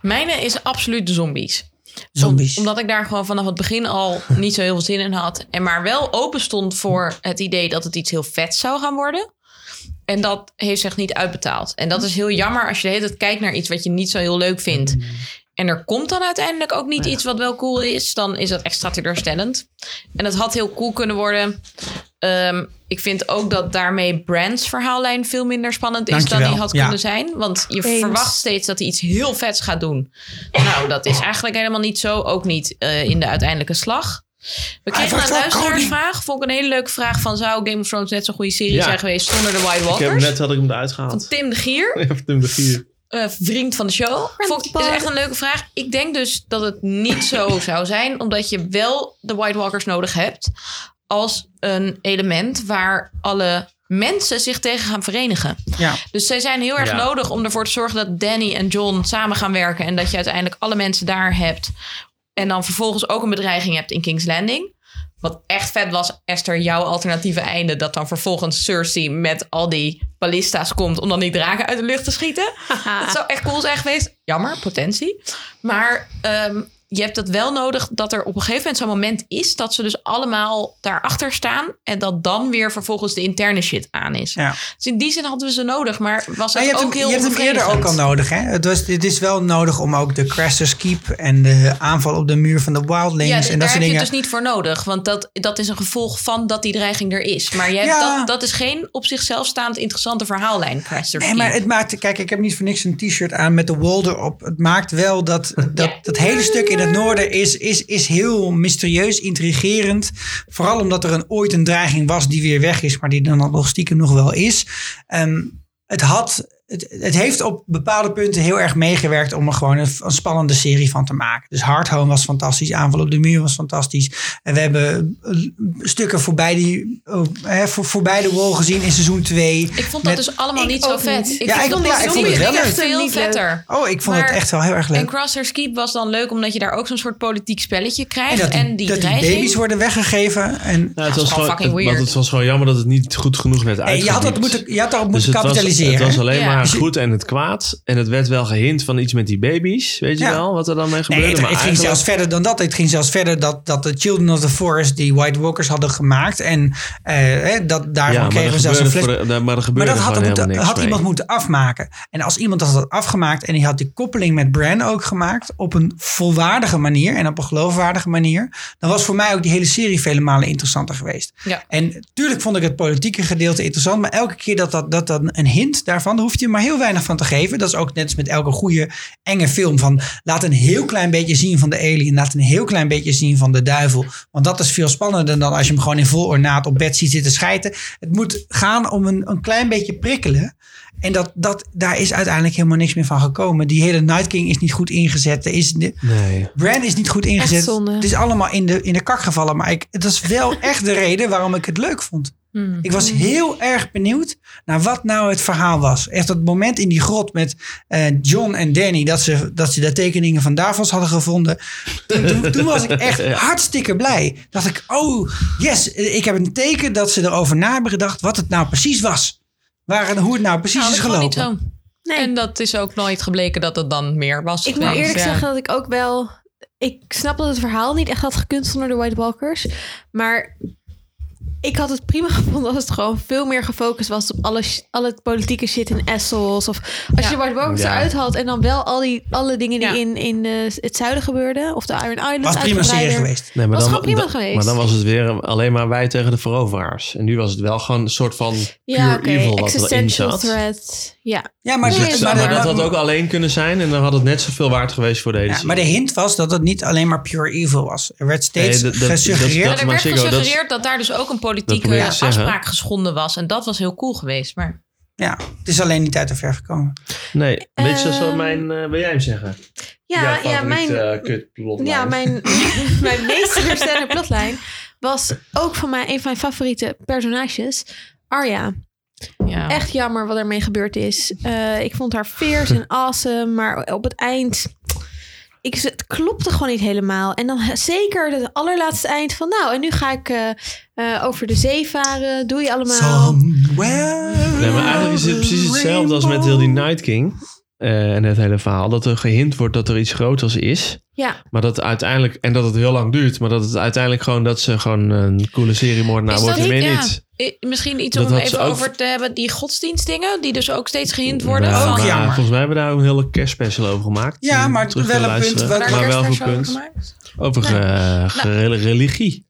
F: Mijne is absoluut de zombies.
A: Zombies.
F: Om- omdat ik daar gewoon vanaf het begin al niet zo heel veel zin in had. En maar wel open stond voor het idee dat het iets heel vets zou gaan worden. En dat heeft zich niet uitbetaald. En dat is heel jammer als je de hele tijd kijkt naar iets wat je niet zo heel leuk vindt.
A: Hmm.
F: En er komt dan uiteindelijk ook niet iets wat wel cool is. Dan is dat extra teleurstellend. En dat had heel cool kunnen worden. Ehm, ik vind ook dat daarmee Brands verhaallijn veel minder spannend is dan
A: Dankjewel.
F: die had
A: Ja.
F: kunnen zijn. Want je
D: Eens.
F: verwacht steeds dat hij iets heel vets gaat doen. Nou, dat is eigenlijk helemaal niet zo. Ook niet eh, in de uiteindelijke slag. We kregen
A: wordt
F: een
A: wel
F: luisteraarsvraag. Vond ik een hele leuke vraag van... zou Game of Thrones net zo'n goede serie
E: Ja.
F: zijn geweest zonder de White
E: Ik heb,
F: Walkers?
E: net had ik hem eruit
F: Van
E: gehaald.
F: Tim de Gier,
E: Even hem de vier.
F: eh, vriend van de show. Vond ik is echt een leuke vraag. Ik denk dus dat het niet zo zou zijn... omdat je wel de White Walkers nodig hebt... als een element waar alle mensen zich tegen gaan verenigen.
A: Ja.
F: Dus zij zijn heel erg
E: Ja.
F: nodig om ervoor te zorgen dat Danny en John samen gaan werken. En dat je uiteindelijk alle mensen daar hebt. En dan vervolgens ook een bedreiging hebt in King's Landing. Wat echt vet was, Esther, jouw alternatieve einde. Dat dan vervolgens Cersei met al die ballista's komt om dan die draken uit de lucht te schieten. Dat zou echt cool zijn geweest. Jammer, potentie. Maar ehm, je hebt dat wel nodig dat er op een gegeven moment zo'n moment is dat ze dus allemaal daarachter staan en dat dan weer vervolgens de interne shit aan is.
A: Ja.
F: Dus in die zin hadden we ze nodig, maar was
A: Maar
F: het
A: je hebt,
F: ook
A: hem,
F: heel
A: je hebt hem eerder ook
F: onbevredigend.
A: al nodig. Hè? Het, was, het is wel nodig om ook de Craster's Keep en de aanval op de muur van de Wildlings
F: Ja,
A: en dat
F: daar
A: soort
F: heb je
A: dingen.
F: het dus niet voor nodig. Want dat, dat is een gevolg van dat die dreiging er is. Maar je hebt
A: Ja.
F: dat, dat is geen op zichzelf staand interessante verhaallijn. Craster
A: Nee, maar het maakt, kijk, ik heb niet voor niks een t-shirt aan met de wall erop. Het maakt wel dat dat,
F: Ja.
A: dat hele stuk in het noorden is, is, is heel mysterieus, intrigerend. Vooral omdat er een, ooit een dreiging was die weer weg is, maar die dan nog stiekem nog wel is. Ehm, het, had, het, het heeft op bepaalde punten heel erg meegewerkt om er gewoon een, een spannende serie van te maken. Dus Hard Home was fantastisch, Aanval op de Muur was fantastisch. En we hebben eh, stukken voorbij, die, eh, hè, voor, voorbij de wall gezien in seizoen 2.
F: Ik vond dat
A: Met-
F: dus allemaal
D: Ik
F: niet zo
D: ook
F: vet.
D: niet.
A: Ja, ik-
F: vond
A: ja, ik
F: die
A: vond het wel
F: zombie echt
A: leuk.
F: veel
D: Niet leuk.
F: vetter.
A: Oh, ik vond het
F: Maar-
A: echt wel heel erg leuk.
F: En Crosshair's Keep was dan leuk omdat je daar ook zo'n soort politiek spelletje krijgt. En,
A: dat die,
F: die
A: dat die
F: dreiging.
A: baby's worden weggegeven. En,
E: Ja, Nou, het was
F: dat is gewoon
E: gewoon,
F: fucking
E: het-
F: weird.
E: want het was gewoon jammer dat het niet goed genoeg werd
A: en
E: uitgediept.
A: je had dat moeten, je had daarop
E: Dus
A: moeten
E: het was-
A: kapitaliseren.
E: het was alleen
F: Ja.
E: maar
F: Dus
A: je-
E: goed en het kwaad. En het werd wel gehind van iets met die baby's. Weet je
A: Ja.
E: wel, wat er dan mee gebeurde.
A: Nee, het,
E: maar
A: het ging
E: eigenlijk-
A: zelfs verder dan dat. Het ging zelfs verder dat, dat de Children of the Forest die White Walkers hadden gemaakt. En eh, hè, dat, daarvan
E: Ja, maar
A: kregen
E: er
A: we zelfs een
E: gebeurde,
A: fles.
E: voor de- maar er
A: Maar
E: gebeurde
A: dat had, er
E: gewoon helemaal
A: moeten,
E: niks
A: had
E: mee.
A: iemand moeten afmaken. En als iemand dat had afgemaakt en die had die koppeling met Bran ook gemaakt. op een volwaardige manier en op een geloofwaardige manier. dan was voor mij ook die hele serie vele malen interessanter geweest.
F: Ja.
A: En tuurlijk vond ik het politieke gedeelte interessant. Maar elke keer dat dat, dat dan een hint daarvan, daar hoef je maar heel weinig van te geven. Dat is ook net als met elke goede enge film. Van laat een heel klein beetje zien van de alien. Laat een heel klein beetje zien van de duivel. Want dat is veel spannender dan als je hem gewoon in vol ornaat op bed ziet zitten schijten. Het moet gaan om een, een klein beetje prikkelen. En dat, dat, daar is uiteindelijk helemaal niks meer van gekomen. Die hele Night King is niet goed ingezet. Er is, de-
E: Nee.
A: Brand is niet goed ingezet.
D: Echt zonde.
A: Het is allemaal in de, in de kak gevallen. Maar ik, dat is wel echt de reden waarom ik het leuk vond. Ik was heel erg benieuwd naar wat nou het verhaal was. Echt dat moment in die grot met eh, John en Danny... dat ze, dat ze de tekeningen van Davos hadden gevonden. Toen, toen, toen was ik echt hartstikke blij. Dacht ik, oh yes, eh, ik heb een teken dat ze erover na hebben gedacht... wat het nou precies was. Waar, en hoe het nou precies
F: Nou,
A: is
F: dat gewoon niet
A: gelopen.
F: zo.
D: Nee.
F: En dat is ook nooit gebleken dat het dan meer was.
D: Ik moet
F: geweest.
D: eerlijk
F: Ja.
D: zeggen dat ik ook wel. Ik snap dat het verhaal niet echt had gekund zonder de White Walkers. Maar ik had het prima gevonden als het gewoon veel meer gefocust was op alle, sh- alle politieke shit in Essos. Of als je de White Walkers
E: Ja.
D: eruit had en dan wel al die, alle dingen die
F: Ja.
D: in, in eh, het zuiden gebeurden. Of de Iron Islands.
A: Was prima serie
D: uitgebreider.
A: geweest.
E: Nee, maar
D: Was
E: dan,
D: gewoon prima
E: da-
D: geweest.
E: Maar dan was het weer alleen maar wij tegen de veroveraars. En nu was het wel gewoon een soort van pure
D: Ja, oké.
E: evil wat erin
D: Existential
E: zat.
D: threat. Ja.
A: Ja, maar,
E: Dus
A: de-
E: het-
A: maar
E: maar,
A: de-
E: dat had ook alleen kunnen zijn. En dan had het net zoveel waard geweest voor de hele
A: Ja, maar de hint was dat het niet alleen maar pure evil was. Er werd steeds
E: Nee, dat- dat-
A: gesuggereerd.
E: dat-
F: Maar er
E: maar
F: werd
E: Siggo, dat is-
F: gesuggereerd dat daar dus ook een
E: probeer
F: politieke
E: ik te zeggen.
F: afspraak geschonden was. En dat was heel cool geweest. Maar
A: ja, het is alleen niet uit de verf gekomen.
E: Nee, weet je, zo
D: Ehm,
E: mijn... eh, wil jij hem zeggen? eh,
D: Ja, ja, mijn, Ja, mijn, mijn meest teleurstellende plotlijn was ook van mij een van mijn favoriete personages. Arya.
F: ja.
D: Echt jammer wat ermee gebeurd is. Eh, ik vond haar fierce en awesome, maar op het eind... Ik, het klopte gewoon niet helemaal. En dan he- zeker het allerlaatste eind van... Nou, en nu ga ik eh, eh, over de zee varen. Doe je allemaal...
A: Somewhere
E: Nee, maar eigenlijk is het precies hetzelfde als met heel die Night King. eh, en het hele verhaal. Dat er gehind wordt dat er iets groters is.
D: Ja,
E: Maar dat uiteindelijk... En dat het heel lang duurt. Maar dat het uiteindelijk gewoon... Dat ze gewoon een coole serie moordenaar
F: Is
E: wordt.
F: dat
E: En meer
F: niet- ja.
E: niet.
F: I- Misschien iets
E: Dat
F: om
E: had ze
F: even
E: ook-
F: over te hebben. Die godsdienstdingen, die dus ook steeds gehind worden.
E: Nou,
F: van,
A: Ook
E: maar
A: jammer.
E: Volgens mij hebben we daar een hele kerstspecial over gemaakt.
A: Ja,
E: Die
A: maar
E: terug
A: wel
E: te
A: een
E: luisteren.
A: punt wat-
F: Daar
E: Maar
F: heb ik
E: wel
F: eerst
E: een
F: daar zo over
E: punt.
F: gemaakt.
E: Over eh, gere- religie.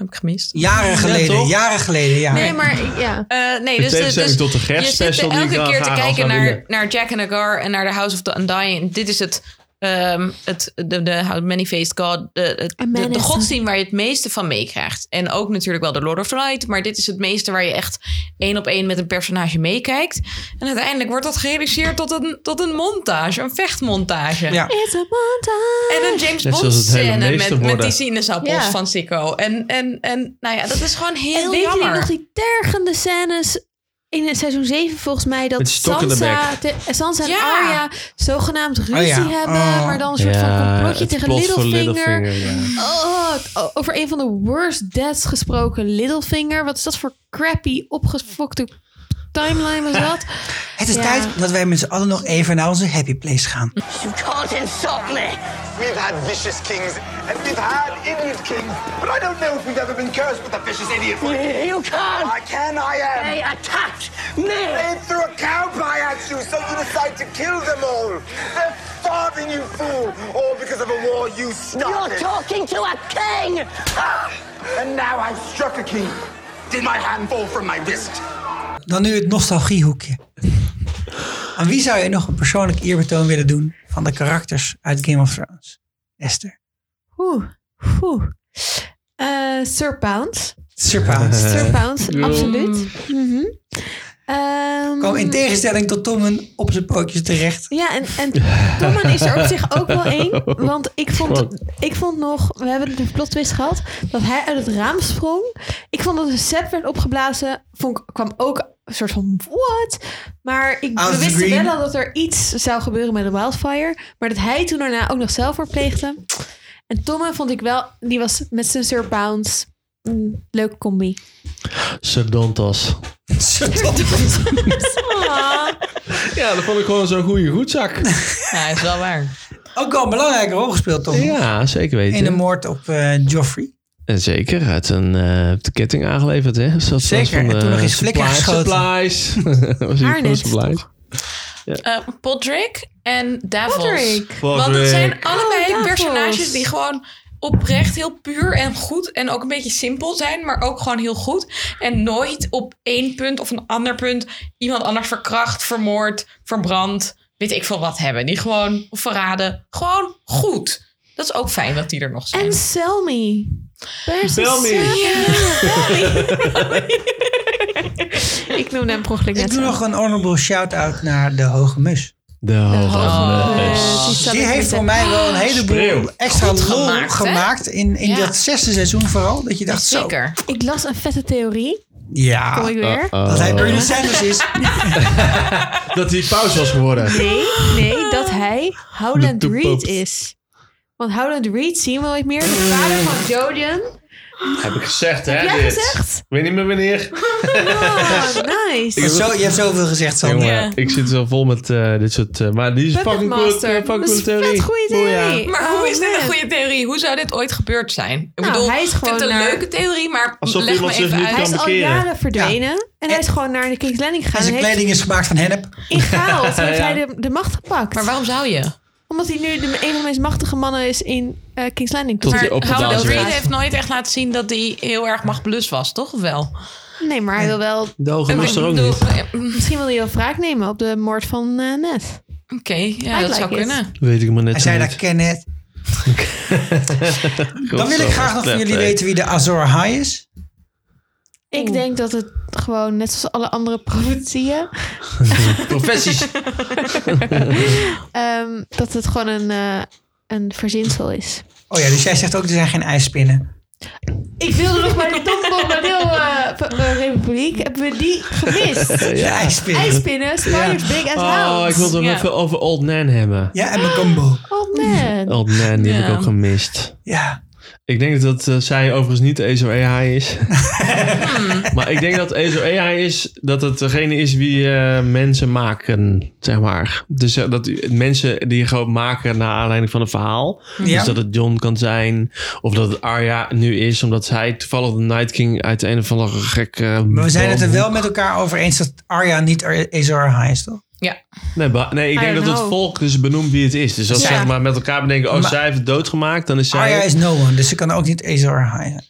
F: Heb ik gemist.
A: Jaren geleden,
E: toch?
A: jaren geleden, ja.
D: nee, maar ja.
F: Eh, nee,
E: In
F: dus, de-
E: tegenstelling
F: dus
E: tot de
F: je zit
E: gerstspecial die ik
F: elke
E: wel
F: keer te
E: graag
F: kijken
E: zou
F: naar,
E: willen.
F: naar Jack and Agar en naar de House of the Undying. Dit is het, ehm, het de, de How Many Faced God, de, het-
D: A man
F: de, de
D: is-
F: godsdienst waar je het meeste van meekrijgt. En ook natuurlijk wel de Lord of the Light, maar dit is het meeste waar je echt één op één met een personage meekijkt. En uiteindelijk wordt dat gereduceerd tot een, tot een montage, een vechtmontage.
A: Ja.
D: It's a montage.
F: En een James
E: Net
F: Bond
E: zoals het hele
F: scène
E: meeste
F: met, met
E: worden.
F: die sinaasappels
D: Ja.
F: van Sikko. En, en, en nou ja, dat is gewoon
D: En
F: heel
D: weet
F: jammer.
D: jullie nog die tergende scènes in het seizoen 7 volgens mij dat
E: Met stok in de
D: Sansa, te- eh, Sansa en
F: Ja.
D: Arya zogenaamd ruzie
A: ja.
D: hebben,
A: Oh.
D: maar dan een soort van complotje
E: het
D: tegen
E: plot voor
D: Littlefinger.
E: ja.
D: Oh, het- o- over een van de worst deaths gesproken, Littlefinger. Wat is dat voor crappy opgefokte timeline was dat?
A: Het is
D: Ja.
A: tijd dat wij met z'n allen nog even naar onze happy place gaan.
I: You can't insult me!
H: We've had vicious kings and we've had idiot kings, but I don't know if we've ever been cursed with a vicious idiot one.
I: You can't!
H: I can, I am.
I: They attacked me!
H: They threw a cowpie at you, so you decide to kill them all. They're farming you fool, all because of a war you
I: You're
H: started.
I: talking to a king!
H: Ah! And now I've struck a king. Did my hand fall from my wrist?
A: Dan nu het nostalgiehoekje. Aan wie zou je nog een persoonlijk eerbetoon willen doen van de karakters uit Game of Thrones? Esther.
D: Oeh, oeh. Eh, Sir Pounds.
A: Sir Pounce.
D: Sir Pounds, absoluut.
F: Mm.
D: Mhm. Ehm,
A: Kwam in tegenstelling tot Tommen op zijn pootjes terecht.
D: Ja, en, en Tommen is er op zich ook wel één. Want ik vond, ik vond nog, we hebben de plot twist gehad, dat hij uit het raam sprong. Ik vond dat een set werd opgeblazen. Vond, ik- kwam ook een soort van, what? Maar ik
A: Out of
D: we
A: the
D: wisten
A: green.
D: wel al dat er iets zou gebeuren met de wildfire. Maar dat hij toen daarna ook nog zelfmoord pleegde. En Tomme vond ik wel, die was met zijn Sir Pounds. Een leuke combi.
E: Sedontas. Ja, dat vond ik gewoon zo'n goede goedzak.
F: Ja, is wel waar.
A: Ook wel een belangrijke rol gespeeld, Tom.
E: Ja, zeker weten.
A: In de moord op eh, Joffrey.
E: En zeker, uit een eh, de ketting aangeleverd, hè? Zoals
A: Zeker, en toen nog eens flikker geschoten.
E: Supplies. Was hier
D: Haarnet.
E: gewoon supplies.
F: Eh Podrick en Davos.
D: Podrick.
F: Want het zijn allebei
D: Oh, Davos.
F: personages die gewoon oprecht heel puur en goed en ook een beetje simpel zijn, maar ook gewoon heel goed. En nooit op één punt of een ander punt iemand anders verkracht, vermoord, verbrand, weet ik veel wat hebben. Die gewoon of verraden, gewoon goed. Dat is ook fijn dat die er nog zijn.
D: En Selmy. Where's the
E: Selmy.
D: Selmy? ik noemde hem per ongeluk
A: Ik
D: net
A: doe
D: zo.
A: nog een honorable shout-out naar de Hoge Mus.
E: De hoge
F: hoge
E: neus.
F: Oh,
D: Dus zal
A: Die
D: ik
A: heeft
D: niet
A: voor mij wel een heleboel
E: Spreeuw.
A: extra
F: Ah, Goed
A: lol
F: gemaakt, hè?
A: gemaakt, in, in
F: Ja.
A: dat zesde seizoen vooral. Dat je dacht, zo,
F: Zeker.
D: hebben. Ik las een vette theorie. Kom
A: ja,
E: Ah,
D: ik weer?
A: dat hij Bernie Sanders is.
E: Oh. Dat hij paus was geworden.
D: Nee, nee, dat hij Howland
E: De toepoot.
D: Reed is. Want Howland Reed zien we ooit meer. De
E: Mm.
D: vader van Jodian.
E: Heb ik gezegd, hè?
D: jij
E: dit.
D: gezegd?
E: Ik weet niet meer wanneer.
D: Oh,
A: Je
D: nice.
A: hebt zo- je hebt zoveel gezegd, Sander.
E: Jongen, ik zit zo vol met eh, dit soort... eh, maar die is
D: Puppet
E: fucking cool,
D: Master.
E: eh, fucking
D: Dat is
E: cool
D: een
E: theorie.
D: vet goede
E: Oh, ja.
D: theorie.
F: Maar hoe
D: Oh,
F: is dit
D: man.
F: een goede theorie? Hoe zou dit ooit gebeurd zijn? Ik
D: Nou, hij is
F: ik vind
D: gewoon
F: het een
D: naar-
F: leuke theorie, maar
E: Alsof
F: leg me
E: iemand zich
F: even
E: niet
F: uit.
D: Hij is al
E: bekeren.
D: jaren verdwenen. En hij is gewoon naar de King's Landing
A: En
D: gegaan. En
A: zijn
D: heeft
A: kleding is gemaakt van hennep.
D: in chaos heeft hij de, de macht gepakt.
F: Maar waarom zou je?
D: Omdat hij nu de, een van de meest machtige mannen is in eh, King's Landing.
E: Tot
D: Maar-
E: hij
F: Maar
E: opgedaan
F: Howard
E: is
F: Reed
E: weer.
F: heeft nooit echt laten zien dat hij heel erg machtbelust was, toch? Of wel?
D: nee, maar hij wil wel...
E: De hoge
F: Ik
E: neus er ook
F: bedoel,
E: niet.
F: eh, mm,
D: Misschien wil hij wel wraak nemen op de moord van eh Ned.
F: Oké, ja, dat
D: like
F: zou
D: it.
F: kunnen.
E: Weet ik maar net
A: Hij
E: zo
A: zei dat
E: niet.
A: Kenneth. Dan wil ik graag nog van jullie weten wie de Azor High is.
D: Ik denk dat het gewoon, net zoals alle andere profetieën...
E: Professies.
D: ehm, dat het gewoon een, eh, een verzinsel is.
A: Oh ja, dus jij zegt ook, er zijn geen ijspinnen.
D: Ik wilde nog bij de Dombombardeel eh, Republiek. Hebben we die gemist?
A: Ja, ijspinnen.
D: IJspinnen, spiders big as
E: Oh, ik
D: hounds.
E: wilde hem
F: Ja.
E: even over Old Nan hebben.
A: Ja, en mijn combo.
D: Oh man.
E: Old Nan, die heb
F: Ja.
E: ik ook gemist.
A: Ja.
E: Ik denk dat eh, zij overigens niet de Azor AI is.
D: Hmm.
E: maar ik denk dat Azor AI is dat het degene is wie eh, mensen maken, zeg maar. Dus eh, dat u- mensen die gewoon maken naar aanleiding van een verhaal.
A: Ja.
E: Dus dat het John kan zijn. Of dat het Arya nu is, omdat zij toevallig de Night King uit een of andere gekke...
A: Maar we zijn het er
E: boom-
A: wel met elkaar over eens dat Arya niet Ar- Azor High is, toch?
F: Ja.
E: Nee, ba- nee, ik
D: I
E: denk dat
D: don't
E: het
D: know.
E: volk dus benoemt wie het is. Dus als
A: Ja.
E: ze zeg maar met elkaar bedenken, oh,
A: Maar-
E: zij heeft het doodgemaakt, dan is zij...
A: Arya is no one, dus ze kan ook niet Azor High zijn.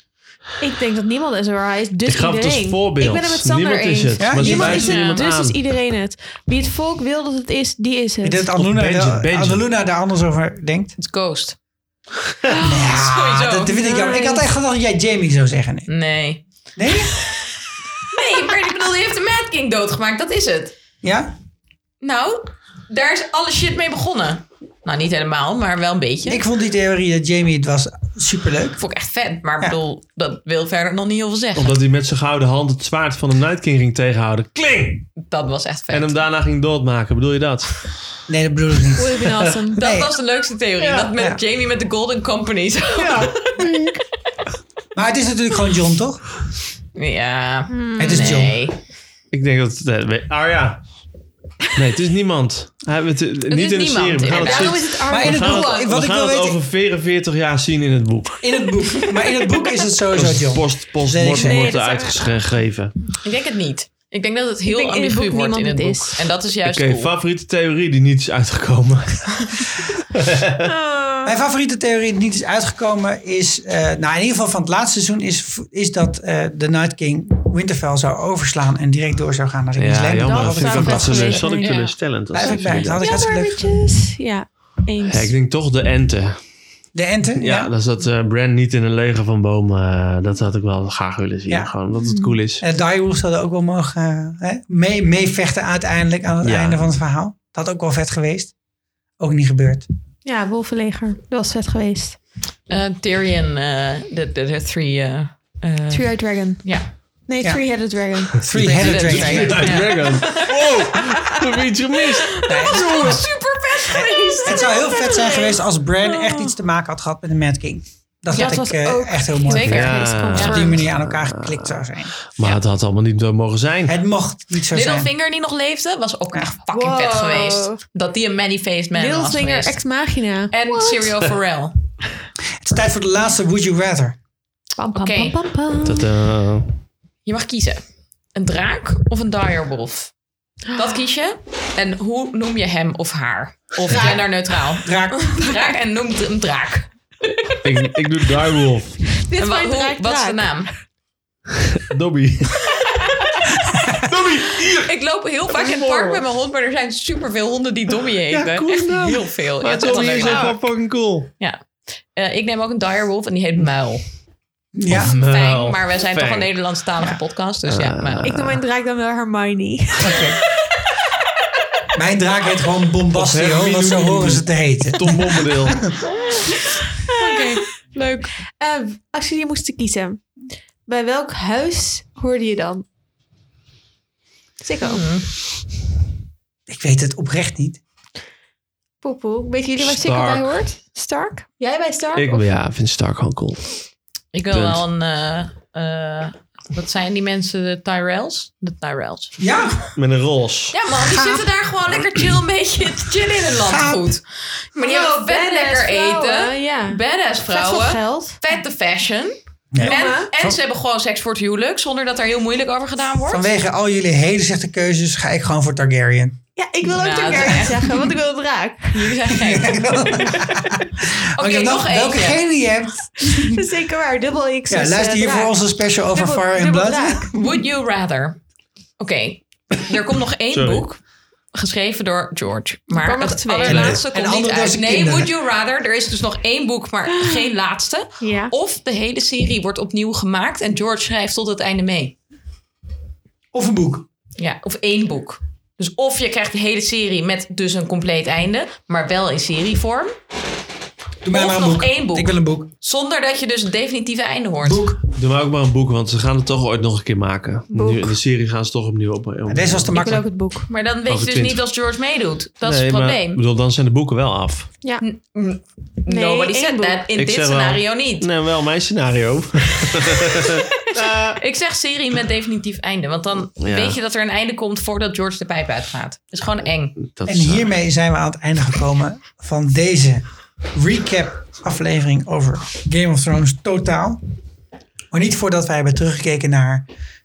D: Ik denk dat niemand is waar hij is, dus
E: Ik gaf het
D: iedereen.
E: als voorbeeld.
D: Ik ben het met Sander
E: Niemand
D: eens.
E: is het.
A: Ja,
E: maar
A: niemand
E: ze
D: Niemand is
E: wijzen
D: het,
E: iemand
D: dus
E: aan.
D: is iedereen het. Wie het volk wil dat het is, die is
A: Ik
D: het.
A: denk dat Annaluna,
E: Benjen,
A: daar-
E: Benjen.
A: Annaluna daar anders over denkt.
F: Het ghost.
A: Ja,
F: Sowieso.
A: dat, dat vind ik jammer. Ik had echt gedacht dat jij Jamie zou zeggen. Nee?
F: Nee.
A: nee?
F: Nee, maar ik bedoel, die heeft de Mad King doodgemaakt. Dat is het.
A: Ja?
F: Nou, daar is alle shit mee begonnen. Nou, niet helemaal, maar wel een beetje.
A: Ik vond die theorie dat Jamie het was superleuk.
F: vond ik echt vet, maar ik
A: Ja.
F: bedoel, dat wil verder nog niet heel veel zeggen.
E: Omdat hij met zijn gouden hand het zwaard van de Night King ging tegenhouden. Kling!
F: Dat was echt vet.
E: En hem daarna ging doodmaken. Bedoel je dat?
A: Nee, dat bedoel ik niet.
D: Would have been awesome.
F: dat
A: nee.
F: was de leukste theorie. dat met Jamie met de Golden Company. Zo.
A: Maar het is natuurlijk gewoon John, toch?
F: Ja.
A: het is John.
F: Nee.
E: Ah, Ik denk dat... eh, we- Arya. Nee, het is niemand. Hij- het- eh, niet in
F: is
E: de
F: niemand,
E: serie. We gaan het
F: inderdaad.
E: steeds-
F: Daarom is het
A: Maar in
E: we
A: het
E: gaan
A: boek,
E: het-
A: wat
E: we
A: ik
E: gaan
A: wil
E: het
A: weten,
E: over 44 jaar zien in het boek.
A: in het boek. Maar in het boek is het sowieso,
E: Als
A: John.
E: post,
A: Nee, ik
E: post,
A: zeg-
E: wordt
F: Nee, dat is-
E: uitgegeven.
F: Ik denk het niet. Ik denk dat het
D: denk
F: heel
D: in het boek
F: ambigu wordt in
D: niemand
F: het
D: het
F: boek.
D: is.
F: En dat is
E: Oké,
F: juist cool.
E: favoriete theorie die niet is uitgekomen.
A: Mijn
D: Oh.
A: favoriete theorie die niet is uitgekomen is... eh, nou, in ieder geval van het laatste seizoen is, is dat eh de Night King Winterfell zou overslaan... en direct door zou gaan naar King's
E: Ja,
A: Landing.
E: jammer.
D: dat
E: Dat vind ik
D: zou
E: ook
D: best
E: wel
D: geweest
E: Zal ik
D: zijn.
E: teleurstellend. als
A: Blijf
E: ze
A: ik bij.
E: vinden.
A: Dat had ik hartstikke
D: Jammer,
A: leuk.
D: bitches. Ja, eens.
E: Ja, ik denk toch de enten.
A: De Enten?
E: Ja, dat is dat eh Brand niet in een leger van bomen. eh, dat had ik wel graag willen zien.
A: Ja.
E: Gewoon omdat het cool is.
A: En Die Wolves hadden ook wel mogen eh, hè, mee, meevechten uiteindelijk aan het
E: Ja.
A: einde van het verhaal. Dat had ook wel vet geweest. Ook niet gebeurd.
D: Ja, wolvenleger. Dat was vet geweest.
F: Eh, Tyrion, eh, de, de, de three... eh, eh,
D: Three-eyed dragon.
F: ja.
D: Nee,
A: Ja.
D: three-headed dragon.
A: Three-headed
F: Three-headed
A: dragon.
F: dragon.
E: Night Dragon. Wow, dat heb je iets Oh, gemist.
F: Super vet geweest!
A: Het zou heel vet zijn geweest als Bran echt iets te maken had gehad met de Mad King. Dat
D: Ja,
A: had
D: het
A: ik
D: Oh. was
A: eh,
D: ook
A: echt heel mooi
F: zeker.
A: gevonden.
E: Ja.
A: Als
F: Ja.
A: op die manier aan elkaar geklikt zou zijn.
E: Maar het had allemaal niet zo mogen zijn.
A: Het mocht niet zo zijn.
F: Littlefinger die nog leefde, was ook echt fucking
D: Wow.
F: vet geweest. Dat die een many-faced man was
D: Littlefinger,
F: geweest.
D: ex magina.
F: En Serial Pharrell.
A: Het is tijd voor de laatste Would You Rather.
D: Pam, pam,
F: Oké.
D: pam, pam, pam.
E: Dat, eh,
F: Je mag kiezen. Een draak of een direwolf? Dat kies je. En hoe noem je hem of haar? Of genderneutraal.
A: Draak.
F: Draak en noem het een draak.
E: ik, ik doe Direwolf.
D: Dit
F: En
D: is
F: wa-
D: mijn
F: hoe-
D: draak,
F: wat is
D: draak.
F: de naam?
E: Dobby. Dobby, hier.
F: Ik loop heel vaak in het park met mijn hond, maar er zijn superveel honden die Dobby eten.
E: coole
F: Echt
E: naam.
F: heel veel. Ja,
E: Maar
F: het is echt
E: Dobby
F: een
E: is
F: leuke
E: echt wel
F: naam.
E: fucking cool.
F: Ja. Eh, ik neem ook een direwolf en die heet Muil.
A: Ja.
F: Fijn, maar we zijn toch een
E: Fijn. Ah,
F: Nederlandstalige podcast, dus ja, Muil.
D: Ik noem mijn draak dan wel Hermione. eh,
A: Mijn draak heet gewoon
E: Of
A: Bombastio,
E: Hermine
A: want zo
E: Noemie.
A: horen ze te heten.
E: Tom Bombadil.
F: leuk.
D: Eh, als jullie moesten kiezen, bij welk huis hoorde je dan? Sikko.
A: Ik weet het oprecht niet.
D: Poepoe. Weet jullie waar Sikko
E: Stark.
D: bij hoort? Stark? Jij bij Stark?
E: ik
D: Of-
E: ja, vind Stark gewoon cool.
F: Ik wil
E: Punt.
F: wel een... eh, eh, wat zijn die mensen? De Tyrells? De Tyrells.
A: Ja,
E: Met een roze.
F: Ja man, die zitten daar gewoon lekker chill een beetje te chillen in het
D: Oh,
F: landgoed. Maar die hebben vet
D: badass
F: lekker
D: vrouwen,
F: eten.
D: Ja.
F: Badass
D: Vet veel
F: vrouwen.
D: geld.
F: Vette fashion. En, en ze hebben gewoon seks voor het huwelijk, zonder dat er heel moeilijk over gedaan wordt.
A: vanwege al jullie hele slechte keuzes ga ik gewoon voor Targaryen.
D: Ja, ik wil ook
F: Nou,
D: nou,
F: dat is echt-
D: zeggen, want ik wil een draak.
F: Jullie zijn gek. Oké,
A: Want je
F: nog
A: welke- welke
F: eentje.
A: gene je hebt.
D: Dat is zeker waar. Dubbel X.
A: Ja,
D: is,
A: luister
D: eh,
A: hier voor
D: draak.
A: onze special over
D: Dubbel-
A: Fire and
D: dubbel
A: Blood.
D: draak.
F: Would you rather? Oké, er komt nog één
E: Sorry.
F: boek. Geschreven door George.
D: Er
F: Maar
D: kwam nog
F: het
D: twee.
F: allerlaatste
A: En
F: komt niet
A: andere door
F: uit.
A: zijn
F: Nee,
A: kinderen.
F: Would You Rather. Er is dus nog één boek, maar geen laatste.
D: Ja.
F: Of de hele serie wordt opnieuw gemaakt en George schrijft tot het einde mee.
A: Of een boek.
F: Ja, of één boek. Dus of je krijgt de hele serie met dus een compleet einde, maar wel in serievorm.
A: Doe mij
F: Of
A: maar een
F: nog
A: boek.
F: één boek.
A: Ik wil een boek.
F: Zonder dat je dus het definitieve einde hoort.
A: Boek.
E: Doe maar ook maar een boek, want ze gaan het toch ooit nog een keer maken. Nu, de serie gaan ze toch opnieuw op. op-
A: Deze was te
D: Ik wil ook
A: makkelijk.
D: het boek.
F: Maar dan weet
E: Over
F: je dus
E: 20.
F: niet als George meedoet. Dat is
E: Nee,
F: het
E: maar
F: probleem.
E: ik bedoel, dan zijn de boeken wel af.
D: Ja.
F: Nee, Nobody
D: één
F: said
D: boek.
F: that. In
E: Ik
F: dit
E: zeg wel-
F: scenario niet.
E: Nee, wel mijn scenario.
F: Ik zeg serie met definitief einde. Want dan
E: Ja.
F: weet je dat er een einde komt voordat George de pijp uitgaat. Dat is gewoon eng.
E: Dat
A: En
E: is, eh,
A: hiermee zijn we aan het einde gekomen van deze recap aflevering over Game of Thrones totaal. Maar niet voordat wij hebben teruggekeken naar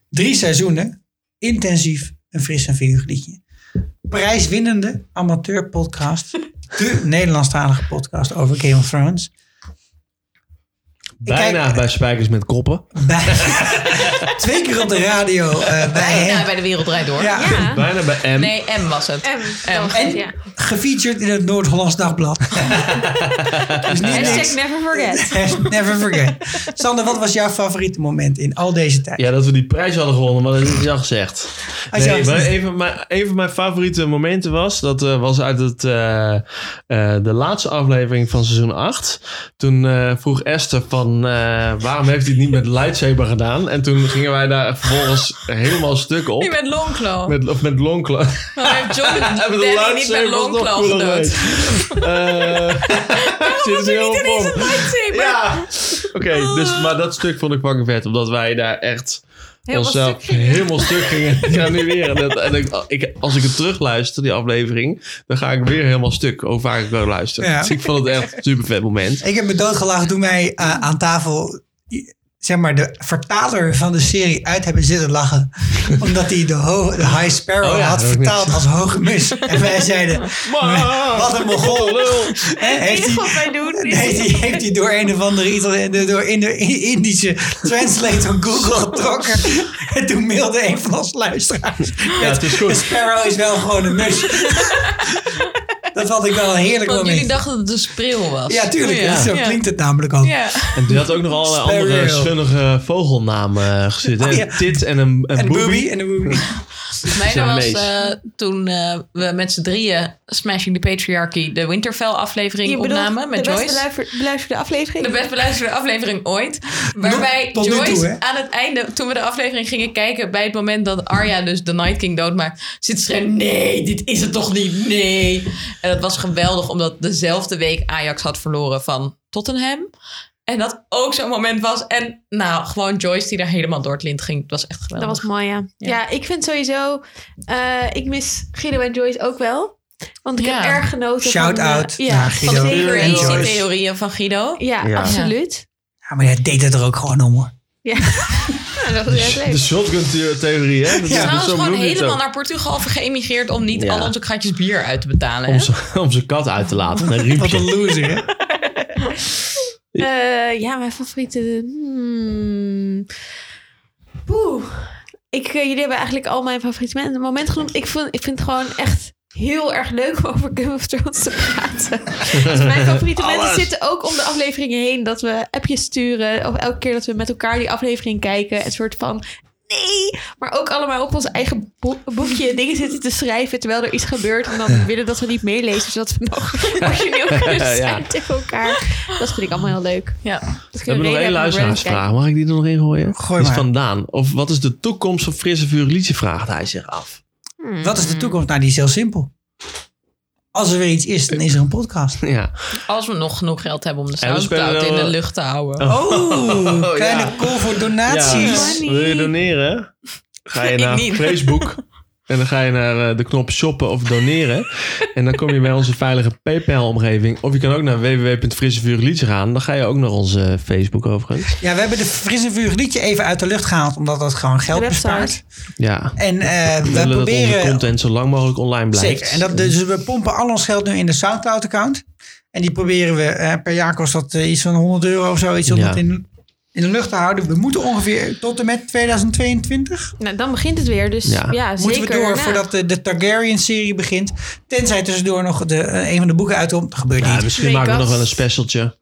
A: drie seizoenen. Intensief een fris en vurig liedje. Prijswinnende amateurpodcast. De Nederlandstalige podcast over Game of Thrones.
E: bijna
A: kijk-
E: bij Spijkers met Koppen.
A: Bij, twee keer op de radio eh, bij
F: Nou,
A: hem.
F: bij de wereld draait door.
A: Ja.
D: Ja.
E: Bijna bij M.
F: Nee, M was het.
D: En,
A: En
D: Ehm, ja.
A: gefeatured in het Noord-Hollands Dagblad. dus niet niks.
D: Hashtag never forget.
A: Never forget. Sander, wat was jouw favoriete moment in al deze tijd?
E: Ja, dat we die prijs hadden gewonnen, maar dat is al gezegd.
A: Hij is
E: Nee,
A: al
E: maar
A: gezegd.
E: een, van mijn, een van mijn favoriete momenten was, dat eh, was uit het, eh, eh, de laatste aflevering van seizoen 8. Toen eh, vroeg Esther van, eh, waarom heeft hij het niet met lightsaber gedaan? En toen gingen wij daar vervolgens helemaal stuk
F: Je
E: op.
F: bent Longclaw.
E: Met, of met longclaw.
F: Dan Oh, heeft John
E: Hebben de
F: Danny niet met
E: lightsaber nog
F: Longclaw
E: cooler
F: gedood.
E: geweest. Eh, zit er heel op.
F: lightsaber.
E: Ja. Oké, dus, maar dat stuk vond ik fucking vet. Omdat wij daar echt
F: Heel wat
E: onszelf
F: stuk gingen.
E: helemaal stuk gingen granuweren. En, dat- en ik, ik- als ik het terugluister, die aflevering, dan ga ik weer helemaal stuk over waar ik naar luister.
A: Ja.
E: Dus ik vond het echt een super vet moment.
A: Ik heb me doodgelachen toen wij eh, aan tafel i- zeg maar, de vertaler van de serie uit hebben zitten lachen. Omdat hij de, ho- de High Sparrow
E: Oh ja,
A: had
E: dat heb ik
A: vertaald als hoge mis. En wij zeiden, wat een mogol. Hè, Heeft hij,
F: Wat wij doen is-
A: heeft, hij, heeft hij door een of andere Italië, door in de Indische translator Google getrokken. En toen mailde een van onze luisteraars. met,
E: het is goed.
A: "Een sparrow is wel gewoon een mus. Dat vond ik wel een heerlijk
F: Want jullie
A: moment.
F: dachten dat het een spreeuw was.
A: Ja, tuurlijk.
F: Ja.
A: Zo
F: Ja.
A: klinkt het namelijk ook.
F: Ja.
E: En die had ook nog allerlei andere
A: Sparrow.
E: schunnige vogelnamen eh, gezet. hè.
A: Oh ja.
E: Een Tit en een,
A: En
E: een,
A: de
E: boobie.
A: boobie. En de boobie.
F: Mijne was
E: Siamese.
F: eh, toen eh, we met z'n drieën Smashing the Patriarchy de Winterfell aflevering
D: Je bedoelt
F: opnamen met
D: de best
F: Joyce.
D: beluister- beluisterde aflevering.
F: De best beluisterde aflevering ooit. Waarbij
A: tot nu
F: Joyce
A: toe, hè?
F: aan het einde, toen we de aflevering gingen kijken, bij het moment dat Arya dus de Night King doodmaakt, zit ze schreeuwen: Nee, dit is het toch niet? Nee. En dat was geweldig, omdat dezelfde week Ajax had verloren van Tottenham. En dat ook zo'n moment was. En nou, gewoon Joyce die daar helemaal door het lint ging. Het was echt
D: Dat
F: geweldig.
D: was mooi, ja. ja. ik vind sowieso... eh, ik mis Guido en Joyce ook wel. Want ik
F: Ja.
D: heb erg genoten
A: Shout
D: van... eh,
A: out
D: ja,
A: naar Guido
D: van
A: en
D: zeker.
A: en Joyce.
F: theorieën van Guido.
D: Ja,
E: Ja.
D: absoluut.
A: Ja, maar jij deed het er ook gewoon om hoor.
D: Ja. Ja, dat is echt
E: De
D: leuk.
E: shotgun-theorie, hè? Dat
F: Ja,
E: is
F: trouwens
E: zo
F: gewoon
E: bedoel je het
F: helemaal
E: ook.
F: naar Portugal geëmigreerd om niet
E: Ja.
F: al onze kratjes bier uit te betalen.
E: Om
F: hè?
E: z'n- Om zijn kat uit te laten. Een
A: Wat
E: riempje.
A: een loser, hè?
D: Eh, ja, mijn favoriete... hmm. Poeh. Ik, eh, jullie hebben eigenlijk al mijn favoriete men- moment genoemd. Ik vind, ik vind het gewoon echt heel erg leuk om over Game of Thrones te praten. Dus mijn favoriete mensen zitten ook om de afleveringen heen. Dat we appjes sturen. Of elke keer dat we met elkaar die aflevering kijken. Een soort van... Nee, maar ook allemaal op ons eigen bo- boekje dingen zitten te schrijven terwijl er iets gebeurt. En dan willen dat we niet meelezen, zodat we nog origineel kunnen zijn
E: Ja.
D: tegen elkaar. Dat vind ik allemaal heel leuk.
F: Ja.
D: Dat
E: We hebben nog één luisteraarsvraag. Mag ik die er nog in gooien?
A: Gooi
E: Die is
A: maar.
E: vandaan. Of wat is de toekomst van Frisse Vuur Liedje? Vraagt hij zich af.
F: Mm.
A: Wat is de toekomst? Nou, die is heel simpel. Als er weer iets is, dan is er een podcast.
E: Ja.
F: Als we nog genoeg geld hebben om de
E: En we spelen
F: Soundcloud in
E: wel-
F: de lucht te houden.
A: Oh,
E: ja.
A: kleine call voor donaties.
E: Ja. dus Wil je doneren? Ga je naar
F: niet.
E: Facebook. En dan ga je naar eh, de knop shoppen of doneren. En dan kom je bij onze veilige PayPal-omgeving. Of je kan ook naar www.frissevuurliedje gaan. Dan ga je ook naar onze Facebook overigens.
A: Ja. we hebben de frisse vuur liedje even uit de lucht gehaald, omdat dat gewoon geld
D: De website.
A: bespaart.
E: Ja.
A: En eh,
E: We
A: we
E: willen dat onze
A: proberen
E: content zo lang mogelijk online blijft. Mm.
A: Zeker. En dat, dus we pompen al ons geld nu in de Soundcloud-account. En die proberen we eh, per jaar kost dat eh, iets van 100 euro of zoiets om
E: Ja.
A: dat in, in de lucht te houden. We moeten ongeveer tot en met 2022
D: Nou, dan begint het weer. Dus
E: Ja.
D: ja, zeker. nou.
A: moeten we door
D: daarna.
A: voordat de, de Targaryen-serie begint. Tenzij tussendoor nog de, eh, een van de boeken uitkomt. Dat gebeurt
E: Ja,
A: niet.
E: misschien maken we
D: Make-up.
E: nog wel een specialtje.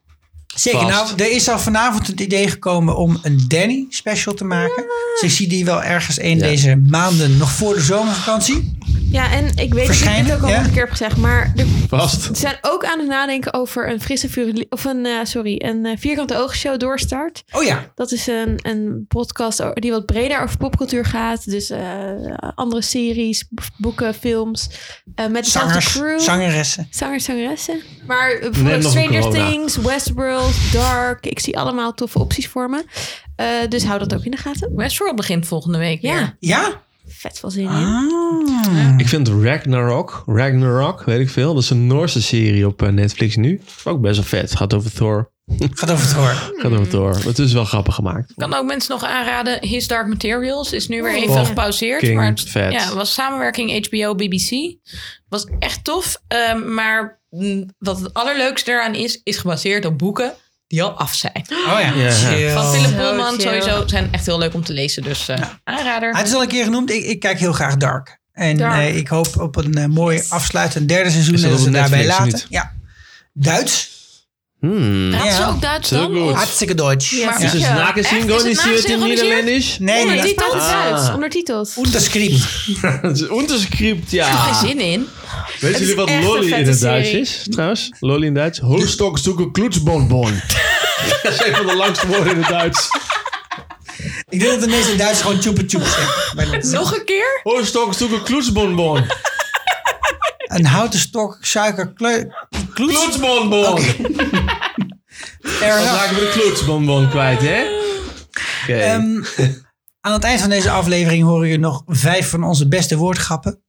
A: Zeker.
E: Vast.
A: Nou, er is al vanavond het idee gekomen om een Danny special te maken. Dus ik zie die wel ergens een
E: Ja.
A: deze maanden, nog voor de zomervakantie.
D: Ja, en ik weet dat ik
A: Verschijnen,
D: dit ook al
A: ja.
D: een keer heb gezegd. Maar er
E: Vast.
D: ze zijn ook aan het nadenken over een frisse vuur... Of een, eh, sorry, een eh, vierkante oogshow doorstart.
A: Oh ja,
D: Dat is een, een podcast o- die wat breder over popcultuur gaat. Dus eh, andere series, b- boeken, films. eh, met dezelfde
A: zangers,
D: crew.
A: zangeressen.
D: Zangers, zangeressen. Maar eh,
E: Neem
D: bijvoorbeeld
E: nog een
D: Stranger
E: corona.
D: Things, Westworld, Dark. Ik zie allemaal toffe opties voor me. Eh, dus hou dat ook in de gaten.
F: Westworld begint volgende week
D: Ja,
F: weer.
A: Ja?
D: vet veel zin in.
A: Ah,
E: Ik vind Ragnarok, Ragnarok, weet ik veel. Dat is een Noorse serie op eh, Netflix nu. Ook best wel vet. Gaat over Thor.
A: Gaat over het hoor.
E: Gaat over Thor. Het is wel grappig gemaakt.
F: Ik kan ook mensen nog aanraden. His Dark Materials is nu
D: Oh.
F: weer even
E: Oh. Fucking
F: gepauzeerd. Maar het
E: vet.
F: Ja, was samenwerking HBO-BBC. Was echt tof. ehm, maar mm, wat het allerleukste eraan is, is gebaseerd op boeken die al af zijn.
A: Oh ja.
E: Ja.
A: Chill.
F: Van
D: Zo
F: Philip Pullman
D: chill.
F: sowieso. Zijn echt heel leuk om te lezen. Dus eh, aanrader.
A: Het is al een keer genoemd. Ik, ik kijk heel graag Dark. En
D: Dark.
A: eh, ik hoop op een eh, mooi afsluitend derde seizoen.
E: Is dat
A: dat
E: op
A: ze daarbij
E: Netflix of
A: laten.
E: niet?
A: Ja. Duits.
E: Hmm.
F: Praat ze
A: Ja.
F: ook Duits
E: Zo
F: dan?
E: goed.
F: Of-
A: Hartstikke Duits.
D: Ja.
A: Ja.
E: Is dus het
F: Ja, echt? Is het
E: nagesynchroniseerd in
F: nagesynchroniseerd?
E: Nederlands?
A: Nee, nee, dat is
D: Ondertiteld
E: Ah.
D: Duits, ondertiteld.
A: onderscript.
E: Het is Unterskript, ja.
F: Geen zin in.
E: Weet jullie wat
D: echt een
E: lolly in
D: vette
E: het Duits
D: serie.
E: is, trouwens? Lolly in Duits? Hoofdstok zoeken kloetsbonbon. dat is een van de langste woorden in het Duits.
A: Ik denk dat de meeste Duits gewoon tjoepe tjoep zeggen. Maar dat-
F: Nog een keer?
E: Hoofdstok zoeken kloetsbonbon.
A: Een houten stok, suiker, kleur. Kloets.
E: Kloetsbonbon.
A: Fair
E: Dan
A: enough.
E: raken we de kloetsbonbon kwijt, hè? Oké.
A: Ehm, Aan het eind van deze aflevering horen jullie nog vijf van onze beste woordgrappen.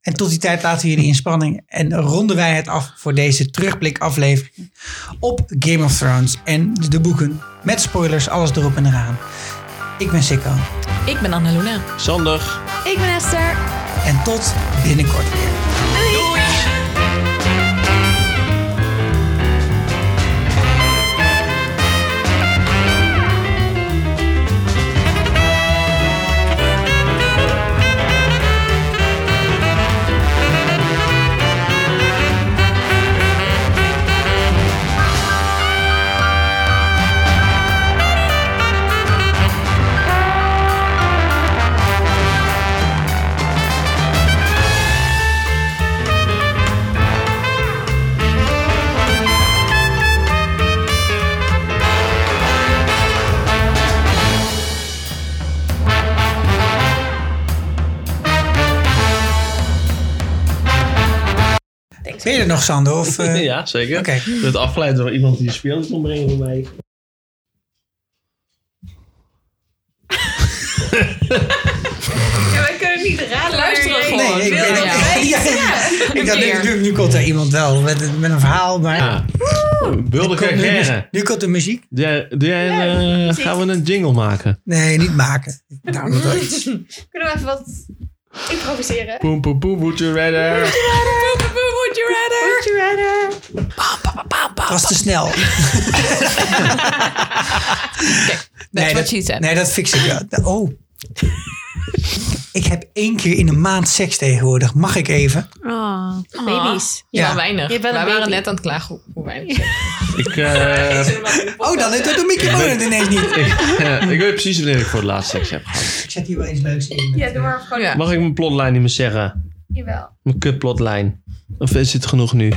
A: En tot die tijd laten we jullie in spanning en ronden wij het af voor deze terugblikaflevering op Game of Thrones en de boeken. Met spoilers, alles erop en eraan. Ik ben Sikko
F: Ik ben Annalena.
E: Sander.
D: Ik ben Esther.
A: en tot binnenkort weer. Ben je er nog, Sander? Of, eh,
E: ja, zeker.
A: Oké.
E: Je bent afgeleid door iemand die speelt kon brengen voor mij.
F: Ja, wij kunnen niet raden. Luisteren gewoon.
A: Nee, ik
F: Wil
A: ben
F: dat
A: ja,
F: weten?
A: Ik dacht, nu,
F: keer.
A: nu, nu komt er iemand wel met, met een verhaal, maar
E: Ja. Bulde
A: nu,
E: carrière.
A: nu komt de muziek.
E: Ja, doe jij een, eh, gaan we een jingle maken?
A: Nee, niet maken. Nou, dat wel iets.
D: Kunnen we even wat improviseren?
E: Poem, poem, poem, would you rather?
F: Would you rather?
D: Would you rather?
A: was te snel.
F: That's
A: dat,
F: what she said.
A: nee, dat fix ik wel. Oh. ik heb één keer in de maand seks tegenwoordig. Mag ik even?
D: Oh, baby's.
F: Ja,
A: Ja.
F: weinig.
D: Je bent
F: Wij
D: een
F: waren
D: baby.
F: net aan het klagen hoe- hoe weinig.
E: Ik, eh,
A: Oh, dan doet de microfoon het ineens niet.
E: ja, ik weet precies wanneer ik voor het laatst seks heb gehad.
A: Ik zet hier wel iets leuks in.
D: Ja, doe maar gewoon.
F: Ja.
E: Mag ik mijn plotlijn niet meer zeggen?
D: Jawel.
E: Mijn kutplotlijn. Of is het genoeg nu?